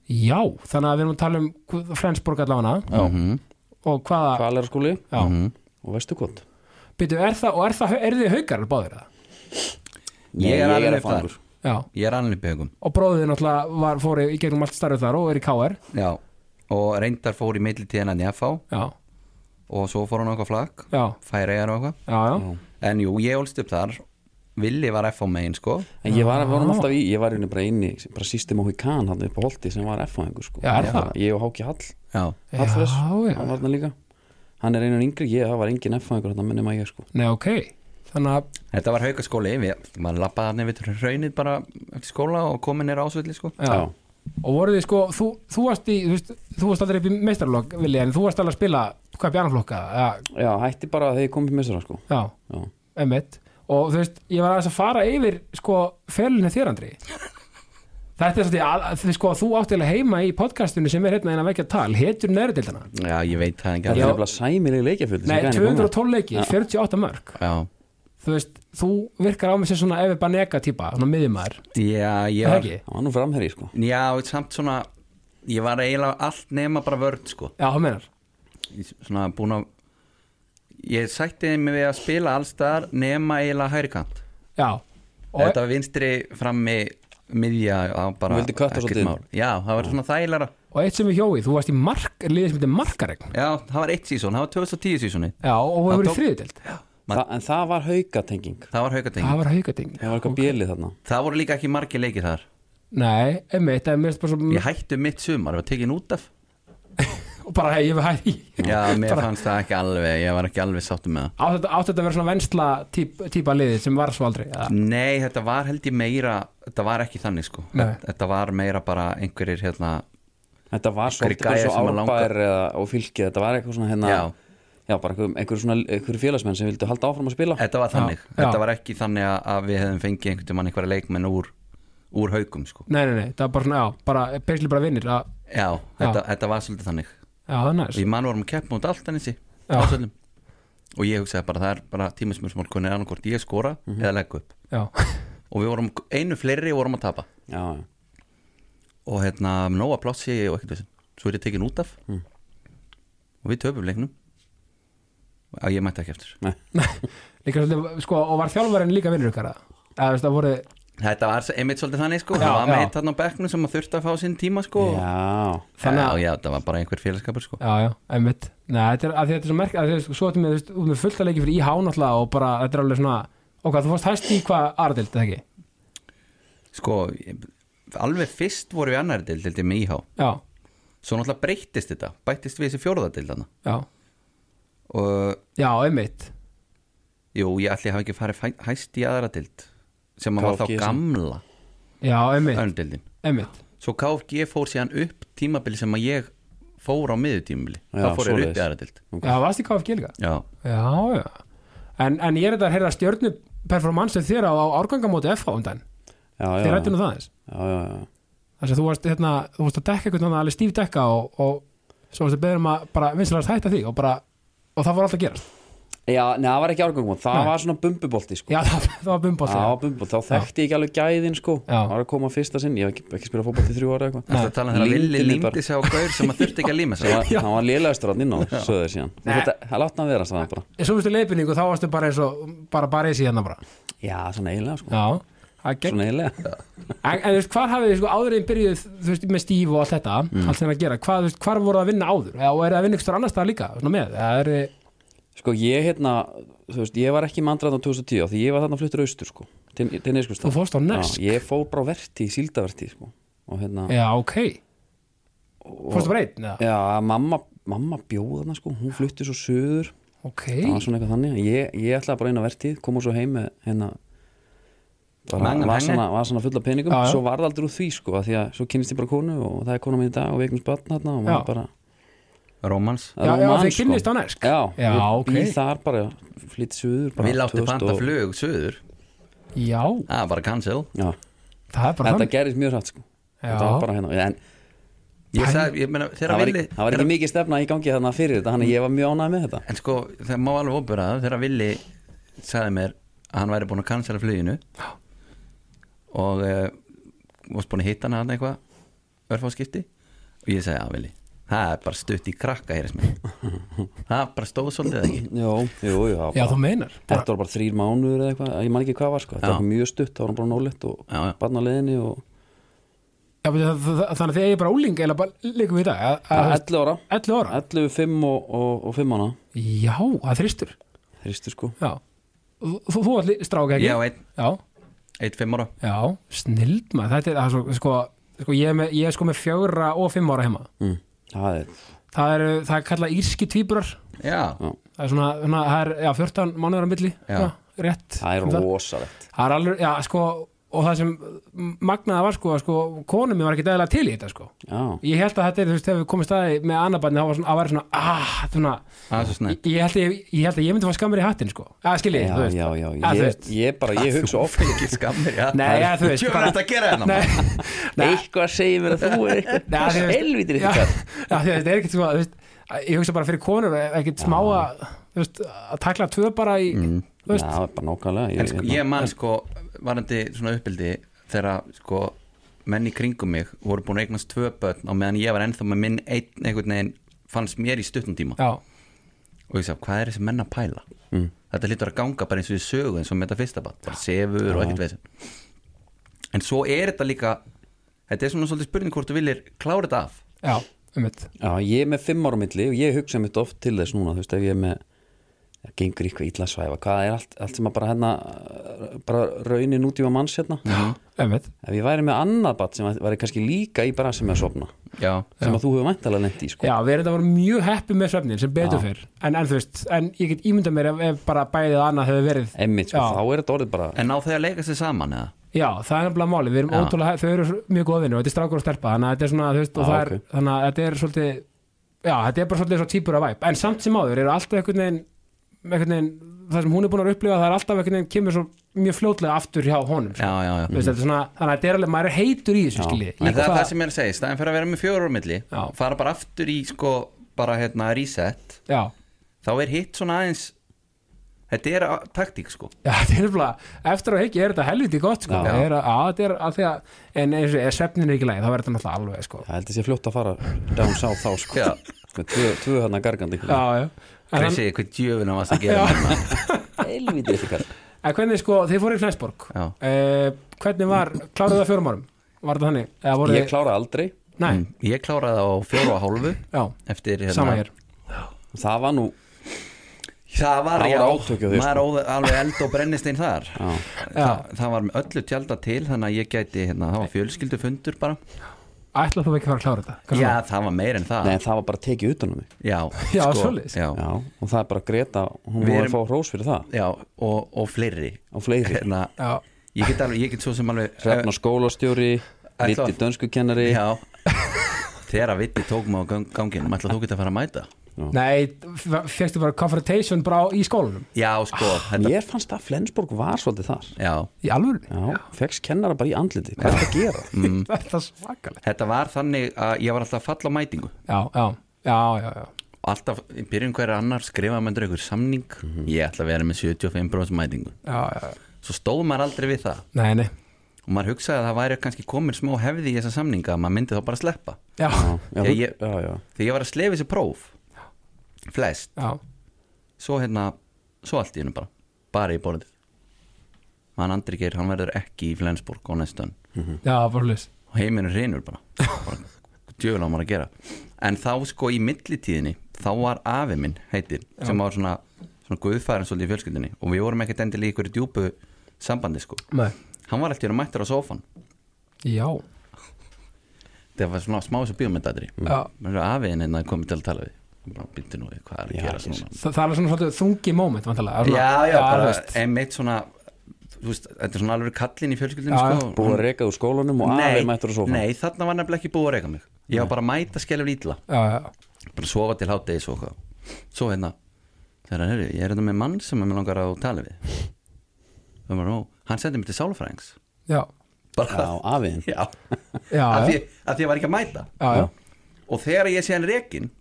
[SPEAKER 1] Já, þannig að við erum að tala um hvað- Flensborg allavega,
[SPEAKER 2] mm
[SPEAKER 1] og hvaða,
[SPEAKER 2] kvalerarskóli
[SPEAKER 1] já, mm -hmm.
[SPEAKER 2] og vestukot
[SPEAKER 1] er það, og er það, er þið haukar báður það?
[SPEAKER 3] Ég er alveg upp
[SPEAKER 2] fangur
[SPEAKER 3] þar
[SPEAKER 1] Já.
[SPEAKER 3] Ég er alveg upp hugum
[SPEAKER 1] og bróðið náttúrulega var, fór í í gegnum allt starfið þar og er í KR
[SPEAKER 3] Já, og reyndar fór í millitíðan að nefá
[SPEAKER 1] já,
[SPEAKER 3] og svo fór hann á eitthvað flakk
[SPEAKER 1] já,
[SPEAKER 3] færi eigar og eitthvað
[SPEAKER 1] já, já.
[SPEAKER 3] En jú, ég ólst upp þar Villi var F á megin sko
[SPEAKER 2] en ég var, var alltaf í, ég var einu bara inni bara sístum á Hvíkan hann upp á Holti sem var F-fangur sko.
[SPEAKER 1] Já, er
[SPEAKER 2] Ég
[SPEAKER 1] það?
[SPEAKER 2] var- ég og Háki Hall,
[SPEAKER 3] Já,
[SPEAKER 2] Hallfres,
[SPEAKER 1] Já, já.
[SPEAKER 2] hann var þarna líka hann er einan yngri, ég, það var engin F-fangur þannig minnum að ég sko
[SPEAKER 1] Nei, ok þannig að,
[SPEAKER 3] þetta var haukaskóli við, maður lappaði hann yfir hraunið bara eftir skóla og komið nýra ásvöldi sko
[SPEAKER 1] já. og voruð þið sko, þú, þú varst í þú, veist, þú varst aldrei upp í meistarlokk, Vili en þú varst alveg að spila, hvað bjarnaflokka já,
[SPEAKER 2] já, hætti bara þegar ég kom upp missara sko
[SPEAKER 1] já,
[SPEAKER 2] já.
[SPEAKER 1] emmitt og þú veist, ég var aðeins að fara yfir sko, felinu þér Andri þetta er svolítið, að- að- sko, þú áttilega heima í podcastinu sem er hérna eina vekja tal, hetur nöðrudildana
[SPEAKER 3] Já, ég veit það ekki
[SPEAKER 2] það er
[SPEAKER 3] alveg.
[SPEAKER 2] nefnilega sæmileg leikjafjöld
[SPEAKER 1] Nei, 212 leiki, 48 mörg
[SPEAKER 3] Já,
[SPEAKER 1] þú veist, þú virkar á mig sem svona ef er bara neka típa, svona miðjumæður
[SPEAKER 3] já, ég
[SPEAKER 1] það
[SPEAKER 3] var
[SPEAKER 1] ekki?
[SPEAKER 2] hann var nú framherri sko
[SPEAKER 3] Já, samt svona Ég var eiginlega allt nema bara vörn sko
[SPEAKER 1] Já, það meinar
[SPEAKER 3] Ég Svona búin að Ég sætti mig við að spila allstar nema eiginlega hægri kant
[SPEAKER 1] Já, og,
[SPEAKER 3] Þetta var vinstri frammi miðja á bara
[SPEAKER 2] Þú vildir kötta
[SPEAKER 3] ekkert
[SPEAKER 2] svolítið.
[SPEAKER 3] mál. Já, það var svona þægilega
[SPEAKER 1] og eitt sem er hjói, þú varst í mark, liðið sem heitir markaregn
[SPEAKER 3] Já, það var eitt sísón, það var 2010 sísóni
[SPEAKER 1] Já, og þú hefur
[SPEAKER 3] tók-
[SPEAKER 1] í þriðutild
[SPEAKER 3] Man-
[SPEAKER 2] Þa, en það var haukatenging
[SPEAKER 3] Það var haukatengi
[SPEAKER 1] Það var haugating
[SPEAKER 2] það var eitthvað bjölið þarna
[SPEAKER 3] Það voru líka ekki margi leikið þar
[SPEAKER 1] Nei, emmitt, það er mest bara svo
[SPEAKER 3] Ég hætti um mitt sumar, ég var tekin út af
[SPEAKER 1] og bara hei, ég hef hæði
[SPEAKER 3] Já, mér fannst það ekki alveg, ég var ekki alveg sáttum með það
[SPEAKER 1] Átt þetta átti þetta að vera svona vensla típ, típa liðið sem var svo aldrei eða?
[SPEAKER 3] Nei, þetta var held ég meira Þetta var ekki þannig sko
[SPEAKER 1] Nei.
[SPEAKER 3] Þetta var meira bara einhverjir hérna
[SPEAKER 2] þetta var
[SPEAKER 3] Einhverjir
[SPEAKER 2] svolítið bara
[SPEAKER 3] gæjar
[SPEAKER 2] svo
[SPEAKER 3] sem að langa-
[SPEAKER 2] árbæðir eða, og fylgið, þetta var eitthvað svona hérna
[SPEAKER 3] Já.
[SPEAKER 2] já, bara einhver, einhver svona einhver félagsmenn sem vildu halda áfram að spila
[SPEAKER 3] Þetta var þannig,
[SPEAKER 1] Já.
[SPEAKER 3] þetta
[SPEAKER 1] Já.
[SPEAKER 3] var ekki þannig að- að við hefðum fengið einhvern tímann einhverja leikmenn úr, úr haukum sko
[SPEAKER 1] Nei, nei, nei, það var bara svona, já, bara beisli bara vinnir að,
[SPEAKER 3] Já, þetta, þetta var svolítið þannig
[SPEAKER 1] Já, það er
[SPEAKER 3] Og
[SPEAKER 1] næst
[SPEAKER 3] ég mann vorum að keppa út allt ennissi
[SPEAKER 1] Já.
[SPEAKER 3] Og ég hugsaði bara, það er bara tímasmjörsmál Hvernig er annarkvort ég skora
[SPEAKER 1] Mhm.
[SPEAKER 3] eða legg upp
[SPEAKER 1] Já,
[SPEAKER 3] Og við vorum einu fleiri og vorum að tapa
[SPEAKER 2] já, já.
[SPEAKER 3] Og hérna, nóa plássi og ekkert þessin Svo er ég tekin út af
[SPEAKER 1] Mhm.
[SPEAKER 3] Og við töpum leiknum Já, ég mætti ekki eftir
[SPEAKER 2] Nei.
[SPEAKER 1] líka svolítið, sko, og var þjálfarinn líka vinnur ykkar eða? Eða, þú veist, það voru
[SPEAKER 3] Þetta var svo- einmitt svolítið þannig sko
[SPEAKER 1] Já,
[SPEAKER 3] Það var með
[SPEAKER 1] já.
[SPEAKER 3] eitt þarna á bekknum sem að þurfti að fá sinn tíma sko
[SPEAKER 2] já,
[SPEAKER 1] Þannig að-
[SPEAKER 3] Já, já, það var bara einhver félagskapur sko
[SPEAKER 1] Já, já, einmitt Nei, þetta er, að því þetta er svo merk að því, sko, Svo þetta með, þú veist, út með fullt að leiki fyrir IH náttúrulega og bara, þetta er alveg svona Ok, þú fórst hæst í hvað aðradild, eða ekki?
[SPEAKER 3] Sko, ég- alveg fyrst voru við annari dild, dildi með íhá
[SPEAKER 1] Já,
[SPEAKER 3] Svo náttúrulega breyttist þetta, bættist við þessi fjórðadild hana
[SPEAKER 1] já,
[SPEAKER 3] Og
[SPEAKER 1] já, einmitt
[SPEAKER 3] Jú, ég ætli að hafa ekki farið fæ- hæst í aðra dild sem að var þá
[SPEAKER 2] KFG sem-
[SPEAKER 3] gamla
[SPEAKER 1] já, einmitt,
[SPEAKER 3] öndeldin
[SPEAKER 1] einmitt
[SPEAKER 3] Svo KFG fór síðan upp tímabili sem að ég fór á miðutímabili
[SPEAKER 2] Já,
[SPEAKER 3] þá fór ég upp
[SPEAKER 2] svoleiðis.
[SPEAKER 3] í aðra dild
[SPEAKER 1] já, varst í KFG líka
[SPEAKER 3] Já,
[SPEAKER 1] já, já en, en ég er þetta að heyra stjörnu performansu þér á, á árgangamóti um FH undan
[SPEAKER 2] já, já,
[SPEAKER 1] þér rættu nú það þess
[SPEAKER 2] já, já, já.
[SPEAKER 1] þess að þú varst, hérna, þú varst að dekka einhvern veginn alveg stíf dekka og, og svo varst að beða um að bara vinsalast hætta því og bara og það fór alltaf að gerast
[SPEAKER 2] já neða, það var ekki árgangum það
[SPEAKER 1] Nei.
[SPEAKER 2] var svona bumbubolti sko.
[SPEAKER 1] já, það, það var bumbolt
[SPEAKER 2] Já, bumbu, þá þekkti ég ekki alveg gæðin sko
[SPEAKER 1] Já.
[SPEAKER 2] Það var að koma fyrsta sinn, ég hef ekki, ekki spilað fótbolt í þrjú ára eitthvað
[SPEAKER 3] þetta að tala um þegar
[SPEAKER 2] Límdi
[SPEAKER 3] Lilli
[SPEAKER 2] mig bara.
[SPEAKER 3] límdi sig á gaur sem að þurfti ekki að líma sig
[SPEAKER 2] Það var- hann var lélegastur hann inn á, sögðu þeir síðan Þú veit að- Það látt hann að vera það bara
[SPEAKER 1] en svo fyrstu leifinningu þá varstu bara eins og bara bara í síðan bara
[SPEAKER 2] Já, svona eiginlega sko
[SPEAKER 1] já, það gegn
[SPEAKER 2] Svona eiginlega
[SPEAKER 1] En, en þú veist, hvar hafið þið sko áður en byrjuð þú veist, með Steve og allt þetta, allt sem er að gera hvað, þú veist, hvar voru það að vinna áður, eða og er það að vinna ykkur annars staðar líka, svona með, eða er
[SPEAKER 2] Sko ég hérna, þú veist, ég var ekki mandræðan á 2010 Því ég var þarna fluttur austur sko Til, til neskust
[SPEAKER 1] Þú fórst á Nesk?
[SPEAKER 2] Já, ég fór bara á verti, síldaverti sko Og hérna
[SPEAKER 1] já, ok fórstu bara einn, eða,
[SPEAKER 2] Já, mamma, mamma bjóð þarna sko Hún flutti svo söður
[SPEAKER 1] ok
[SPEAKER 2] Það var svona eitthvað þannig Ég, ég ætlaði bara inn á vertíð, koma svo heim með hérna bara
[SPEAKER 3] Mangan
[SPEAKER 2] var
[SPEAKER 3] henni.
[SPEAKER 2] svona, var svona fulla peningum
[SPEAKER 1] Já, já.
[SPEAKER 2] svo varð aldrei úr því sko af því að svo kynist ég bara konu og það er kona mín í dag og við eignumst barn hérna og
[SPEAKER 1] Já.
[SPEAKER 2] maður bara
[SPEAKER 3] Rómans
[SPEAKER 2] það er
[SPEAKER 1] Já, já,
[SPEAKER 2] róman,
[SPEAKER 1] þið kynnist á Nesk.
[SPEAKER 2] Já,
[SPEAKER 1] Já,
[SPEAKER 2] ég
[SPEAKER 1] ok.
[SPEAKER 2] býð þar bara, flytt suður bara
[SPEAKER 3] Við látti
[SPEAKER 2] 2000
[SPEAKER 3] panta
[SPEAKER 2] og-
[SPEAKER 3] flug söður
[SPEAKER 1] já,
[SPEAKER 3] Það var bara cancel
[SPEAKER 1] það
[SPEAKER 2] Já,
[SPEAKER 1] er bara
[SPEAKER 2] þetta
[SPEAKER 1] þannig
[SPEAKER 2] gerist mjög hrætt sko
[SPEAKER 1] Já.
[SPEAKER 2] Þetta var bara hérna En
[SPEAKER 3] Ég sagði, ég meina, þegar
[SPEAKER 2] það var,
[SPEAKER 3] Villi
[SPEAKER 2] ekki, það var ekki mikið stefna í gangi þarna fyrir þetta Þannig að ég var mjög ánægð með þetta
[SPEAKER 3] En sko, það má alveg opera það þegar Willi sagði mér að hann væri búin að cancela fluginu og uh, varst búin að hitta hann hann eitthvað örfáskipti og ég sagði að Willi, það er bara stutt í krakka hér sem það er bara stóð svolítið ekki
[SPEAKER 2] Jó, jú, jú, það var
[SPEAKER 1] já,
[SPEAKER 2] bara-
[SPEAKER 1] þú meinar, bara,
[SPEAKER 2] Þetta var bara þrýr mánuður eða eitthvað, ég man ekki hvað var sko Þetta
[SPEAKER 3] Já.
[SPEAKER 2] var mjög stutt, það var bara nólegt og
[SPEAKER 3] Já, já.
[SPEAKER 2] barn á leiðinni og
[SPEAKER 1] já, beti, það, það, það, þannig að þið eigi bara úling eða bara líkum við í dag, að- að,
[SPEAKER 2] Já,
[SPEAKER 1] þú veist,
[SPEAKER 2] 11 ára
[SPEAKER 1] 11 ára
[SPEAKER 2] 11, 5 og, og, og 5 ára
[SPEAKER 1] já, það er þristur,
[SPEAKER 2] Hristu sko
[SPEAKER 1] já þú, þú, þú allir stráka ekki
[SPEAKER 3] Ég á einn,
[SPEAKER 1] já,
[SPEAKER 3] einn fimm ára
[SPEAKER 1] Já, snild maður Þetta er, það er svo, sko, sko ég, er með, ég er sko með fjögra og fimm ára heima
[SPEAKER 2] mm. Það er,
[SPEAKER 1] Það er, það er kallað írski tvíburar
[SPEAKER 3] Já,
[SPEAKER 2] Já.
[SPEAKER 1] Það er svona, svona það er, já, 14 mánuður á milli
[SPEAKER 3] Já.
[SPEAKER 1] svona, Rétt
[SPEAKER 2] það er
[SPEAKER 1] um
[SPEAKER 2] rosalegt
[SPEAKER 1] Það er alveg, já, sko Og það sem magnaða var, sko, að, sko Konum mér var ekki dæðilega til í þetta, sko
[SPEAKER 2] Já,
[SPEAKER 1] Ég held að þetta er, þú veist, þegar við komum staði með annabarni þá var svona, að vera svona, ah, svona
[SPEAKER 3] það er svo snett
[SPEAKER 1] ég, ég, held að, ég, ég held að ég myndi fá skammir í hattinn, sko Að skilji,
[SPEAKER 2] já,
[SPEAKER 1] þú veist
[SPEAKER 2] já, já
[SPEAKER 1] að, þú
[SPEAKER 2] Ég,
[SPEAKER 1] veist.
[SPEAKER 2] ég bara, ég hugsa
[SPEAKER 3] Þú
[SPEAKER 2] oft
[SPEAKER 3] fengið skammir, já
[SPEAKER 1] Nei, ja, þú veist,
[SPEAKER 3] Ég
[SPEAKER 1] bara-
[SPEAKER 3] var þetta að gera hérna maður.
[SPEAKER 1] Nei, nei,
[SPEAKER 2] Eitthvað segir mér að þú er eitthvað Helvítir
[SPEAKER 1] Já,
[SPEAKER 2] eitthvað
[SPEAKER 1] já, því að þetta er ekkert sko, þú veist, að- ég hugsa bara fyrir konur ekkert smá að, þú veist, að takla tvö bara í, þú
[SPEAKER 2] Já,
[SPEAKER 1] veist
[SPEAKER 2] það er bara nákvæmlega
[SPEAKER 3] En sko, ég man sko varandi svona uppbildi þegar sko menn í kringum mig voru búin að eignast tvö börn og meðan ég var ennþá með minn einn einhvern veginn fannst mér í stuttum tíma
[SPEAKER 1] já,
[SPEAKER 3] og ég sagði, hvað er þessi menn að pæla?
[SPEAKER 2] Mm.
[SPEAKER 3] Þetta lítur að ganga bara eins og í sögu eins og með þetta fyrsta bann, bara sefur og ekkert veðsinn En svo er þetta líka þetta er svona svolítið spurning hvort þú viljir klára þetta af
[SPEAKER 1] já, um mitt
[SPEAKER 2] Já, ég er með 5 ára á milli og ég hugsa mitt oft til þess núna Þú veist, ef ég er með það gengur eitthvað illa að svæfa hvað er allt, allt sem að bara hérna uh, bara raunin út í að manns hérna
[SPEAKER 1] um mitt,
[SPEAKER 2] ef ég væri með annað bat sem að- væri kannski líka í bara sem að sofna
[SPEAKER 3] Já,
[SPEAKER 2] sem að þú hefur mæntalega lent í sko.
[SPEAKER 1] já, við erum þetta voru mjög heppi með svefnin sem betur
[SPEAKER 2] Já.
[SPEAKER 1] fyrr, en, en þú veist en ég get ímyndað mér ef, ef bara bæðið annað hefur verið,
[SPEAKER 2] Emmitt, sko,
[SPEAKER 1] Já.
[SPEAKER 2] þá er þetta orðið bara
[SPEAKER 3] en á þau að leika sér saman eða?
[SPEAKER 1] já, það er nefnilega máli við erum
[SPEAKER 3] Já.
[SPEAKER 1] ótrúlega, þau eru mjög góðvinni og þetta er strákur og stelpa, þannig að þetta er svona, þú veist og
[SPEAKER 2] Já,
[SPEAKER 1] það er,
[SPEAKER 2] ok.
[SPEAKER 1] þannig að þetta er svolítið já, þetta er bara svolítið svo típur af væp en samt sem áður eru alltaf einhvern veginn, einhvern veginn það sem hún er búin að upplifa, það er alltaf einhvern veginn kemur svo mjög fljótlega aftur hjá honum sko.
[SPEAKER 3] Já, já, já
[SPEAKER 1] Þú veist, þetta er svona, þannig að þetta er alveg, maður er heitur í þessu
[SPEAKER 2] Já.
[SPEAKER 1] skilji
[SPEAKER 3] En það er það sem ég er að segja, í staðin fyrir að vera með fjóru á milli
[SPEAKER 1] Já.
[SPEAKER 3] fara bara aftur í sko bara hérna reset
[SPEAKER 1] já,
[SPEAKER 3] þá er hitt svona aðeins þetta er a- taktík sko
[SPEAKER 1] já, þetta er bara, eftir að higgja er þetta helviti gott sko.
[SPEAKER 2] Já.
[SPEAKER 1] það er að, að, þetta er að því að en eins og ef svefnin er ekki læg, þá verður þetta náttúrulega alveg sko.
[SPEAKER 2] Já, held ég sé fljótt að fara down south þá sko
[SPEAKER 3] Já.
[SPEAKER 2] með tvö, tvö hérna gargandi
[SPEAKER 1] já, já en, hann,
[SPEAKER 3] Krissi, hvað djöfuna varst að gera þarna?
[SPEAKER 2] Helvítið ekki kall
[SPEAKER 1] en hvernig sko, þið fóru í Flensborg
[SPEAKER 3] Já.
[SPEAKER 1] eh, hvernig var, kláruðu það fjórum árum var þetta þannig? Eða voruð
[SPEAKER 2] Ég
[SPEAKER 1] þið-
[SPEAKER 2] klára aldrei
[SPEAKER 1] Nei,
[SPEAKER 3] Ég kláraði það á fjóru og hálfu
[SPEAKER 1] já,
[SPEAKER 3] eftir Mm, hérna
[SPEAKER 1] sama hér
[SPEAKER 2] Það var nú
[SPEAKER 3] Það var,
[SPEAKER 2] Það
[SPEAKER 3] já,
[SPEAKER 2] voru átök hjá þér,
[SPEAKER 3] maður
[SPEAKER 1] sko.
[SPEAKER 3] óð alveg eld og brennistein þar
[SPEAKER 2] Já,
[SPEAKER 3] Þa, Það var með öllu tjálta til þannig að ég gæti, hérna, það var fjölskyldufundur bara
[SPEAKER 1] ætla þú ekki að fara að klára þetta Hvað
[SPEAKER 3] já,
[SPEAKER 1] svona?
[SPEAKER 3] það var meir en það
[SPEAKER 2] Nei, það var bara tekið utan um mig
[SPEAKER 3] já,
[SPEAKER 1] Já,
[SPEAKER 3] sko,
[SPEAKER 1] svoleiðis.
[SPEAKER 3] já,
[SPEAKER 2] Já, og það er bara Greta, hún
[SPEAKER 3] Við
[SPEAKER 2] voru að
[SPEAKER 3] erum-
[SPEAKER 2] fá hrós fyrir það
[SPEAKER 3] já, og, og fleiri
[SPEAKER 2] og fleiri,
[SPEAKER 3] hérna,
[SPEAKER 1] já,
[SPEAKER 3] ég get alveg, ég get svo sem alveg
[SPEAKER 2] hrefna skólastjóri
[SPEAKER 3] Eh, Ætla-
[SPEAKER 2] Ritti dönskukennari
[SPEAKER 3] já þegar að viti tók mig á gang- ganginum ætla þú get að fara að mæta
[SPEAKER 1] nei, fyrstu bara confrontation bara á- í skólanum
[SPEAKER 3] já, sko, þetta
[SPEAKER 2] Mér fannst að Flensborg var svolítið þar
[SPEAKER 3] já, Mm.
[SPEAKER 1] í alvöru,
[SPEAKER 2] Já, fegst kennara bara í andliti Hvað er það að gera?
[SPEAKER 1] þetta er svakalegt
[SPEAKER 3] þetta var þannig að ég var alltaf að falla á mætingu
[SPEAKER 1] já, já, já, já, já.
[SPEAKER 3] og alltaf, í byrjun hverja annar skrifaði maður einhver samning ég ætla að vera með 75% mætingu
[SPEAKER 1] Já, já, já.
[SPEAKER 3] svo stóð maður aldrei við það
[SPEAKER 1] nei, nei
[SPEAKER 3] og maður hugsaði að það væri kannski komin smá hefði í þessa samninga að maður myndi þá bara sleppa
[SPEAKER 1] já,
[SPEAKER 2] Já, já,
[SPEAKER 3] Ég-
[SPEAKER 2] þú-
[SPEAKER 3] ég-
[SPEAKER 2] já, já.
[SPEAKER 3] þegar ég var að slefa þessi próf flest,
[SPEAKER 1] já,
[SPEAKER 3] svo hérna svo allt í hennu bara, bara í borðið hann Andri Geir, hann verður ekki í Flensborg á næstan
[SPEAKER 1] já, bara hlust
[SPEAKER 3] og heiminn er reynur bara, bara djöfulega á maður að gera en þá sko í millitíðinni þá var afi minn heitir sem var svona, svona guðfærin svolítið í fjölskyldinni og við vorum ekkert endilega í ykkur djúpu sambandi sko,
[SPEAKER 1] nei,
[SPEAKER 3] hann var alltaf hérna mættur á sófan
[SPEAKER 1] já,
[SPEAKER 3] það var svona smá þessu bíómyndatri
[SPEAKER 1] já
[SPEAKER 3] afiðin hérna komið til að tala við Hann bara býtti nú við hvað er að
[SPEAKER 2] Já,
[SPEAKER 3] gera
[SPEAKER 2] ekki
[SPEAKER 3] svona
[SPEAKER 1] Þa, það er svona svolítið þungi moment vantarlega
[SPEAKER 3] já, já, bara
[SPEAKER 1] veist.
[SPEAKER 3] einmitt svona þú veist, þetta er svona alveg kallinn í fjölskyldinu
[SPEAKER 1] Já, já.
[SPEAKER 3] sko.
[SPEAKER 2] Búið að rekað úr skólanum og afi mættur á
[SPEAKER 3] nei,
[SPEAKER 2] sofann
[SPEAKER 3] nei, þarna var nefnilega ekki búið að reyka mig ég var bara að mæta skelur ítla
[SPEAKER 1] já, já,
[SPEAKER 3] bara sofa til háttegis og hvað svo hérna, þegar hann er ég er hérna með mann sem ég langar að tala við og bara, ó, hann sendi mig til sálfræðings
[SPEAKER 1] já,
[SPEAKER 2] Já,
[SPEAKER 3] bara,
[SPEAKER 2] afiðin
[SPEAKER 3] já,
[SPEAKER 1] já,
[SPEAKER 3] Af,
[SPEAKER 1] já,
[SPEAKER 3] því, af því ég var ekki að mæta
[SPEAKER 1] já, já,
[SPEAKER 3] og þegar ég sé hann rekin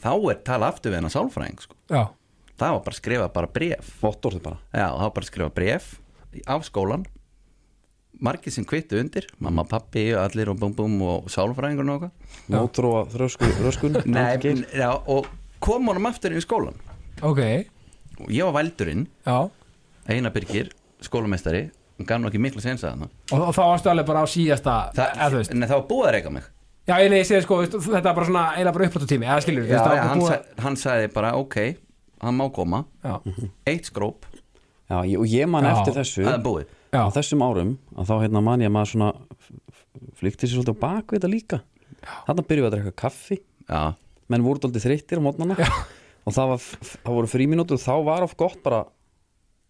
[SPEAKER 3] þá er tala aftur við hann að sálfræðing sko.
[SPEAKER 1] já.
[SPEAKER 3] það var bara að skrifa bara bref
[SPEAKER 2] Vottorðu bara
[SPEAKER 3] Já, það var bara að skrifa bref af skólan margir sem kvittu undir mamma, pappi, allir og búm búm og sálfræðingur og eitthvað
[SPEAKER 2] Mótróa þröskun, röskun
[SPEAKER 3] Nei,
[SPEAKER 2] Andri Geir.
[SPEAKER 3] n- já, og kom honum aftur inn í skólan
[SPEAKER 1] ok
[SPEAKER 3] og ég var vældurinn,
[SPEAKER 1] já.
[SPEAKER 3] Einar Birgir skólameistari, hann gaf nú ekki miklu sensa þarna
[SPEAKER 1] Og, og þá varstu alveg bara á síðasta eða þú
[SPEAKER 3] Þa,
[SPEAKER 1] veist.
[SPEAKER 3] Nei, það var búið að reyka mig
[SPEAKER 1] já, ég, nei, ég segi sko, veist, þetta er bara svona eiginlega bara uppáttu tími, eða skilur
[SPEAKER 3] já, já, hann, sa, hann sagði bara, ok, hann má koma
[SPEAKER 1] já,
[SPEAKER 3] eitt skróp,
[SPEAKER 2] Já, ég- og ég man
[SPEAKER 1] Já.
[SPEAKER 2] eftir þessu
[SPEAKER 3] það er búið
[SPEAKER 1] já,
[SPEAKER 2] á þessum árum að þá hérna man ég að maður svona f- flykti sér svolítið á bak við þetta líka þarna byrjuðu að drekka kaffi
[SPEAKER 3] Já,
[SPEAKER 2] menn voru daldið þreyttir á mótnana og það, var, f- það voru fríminútur og þá var of gott bara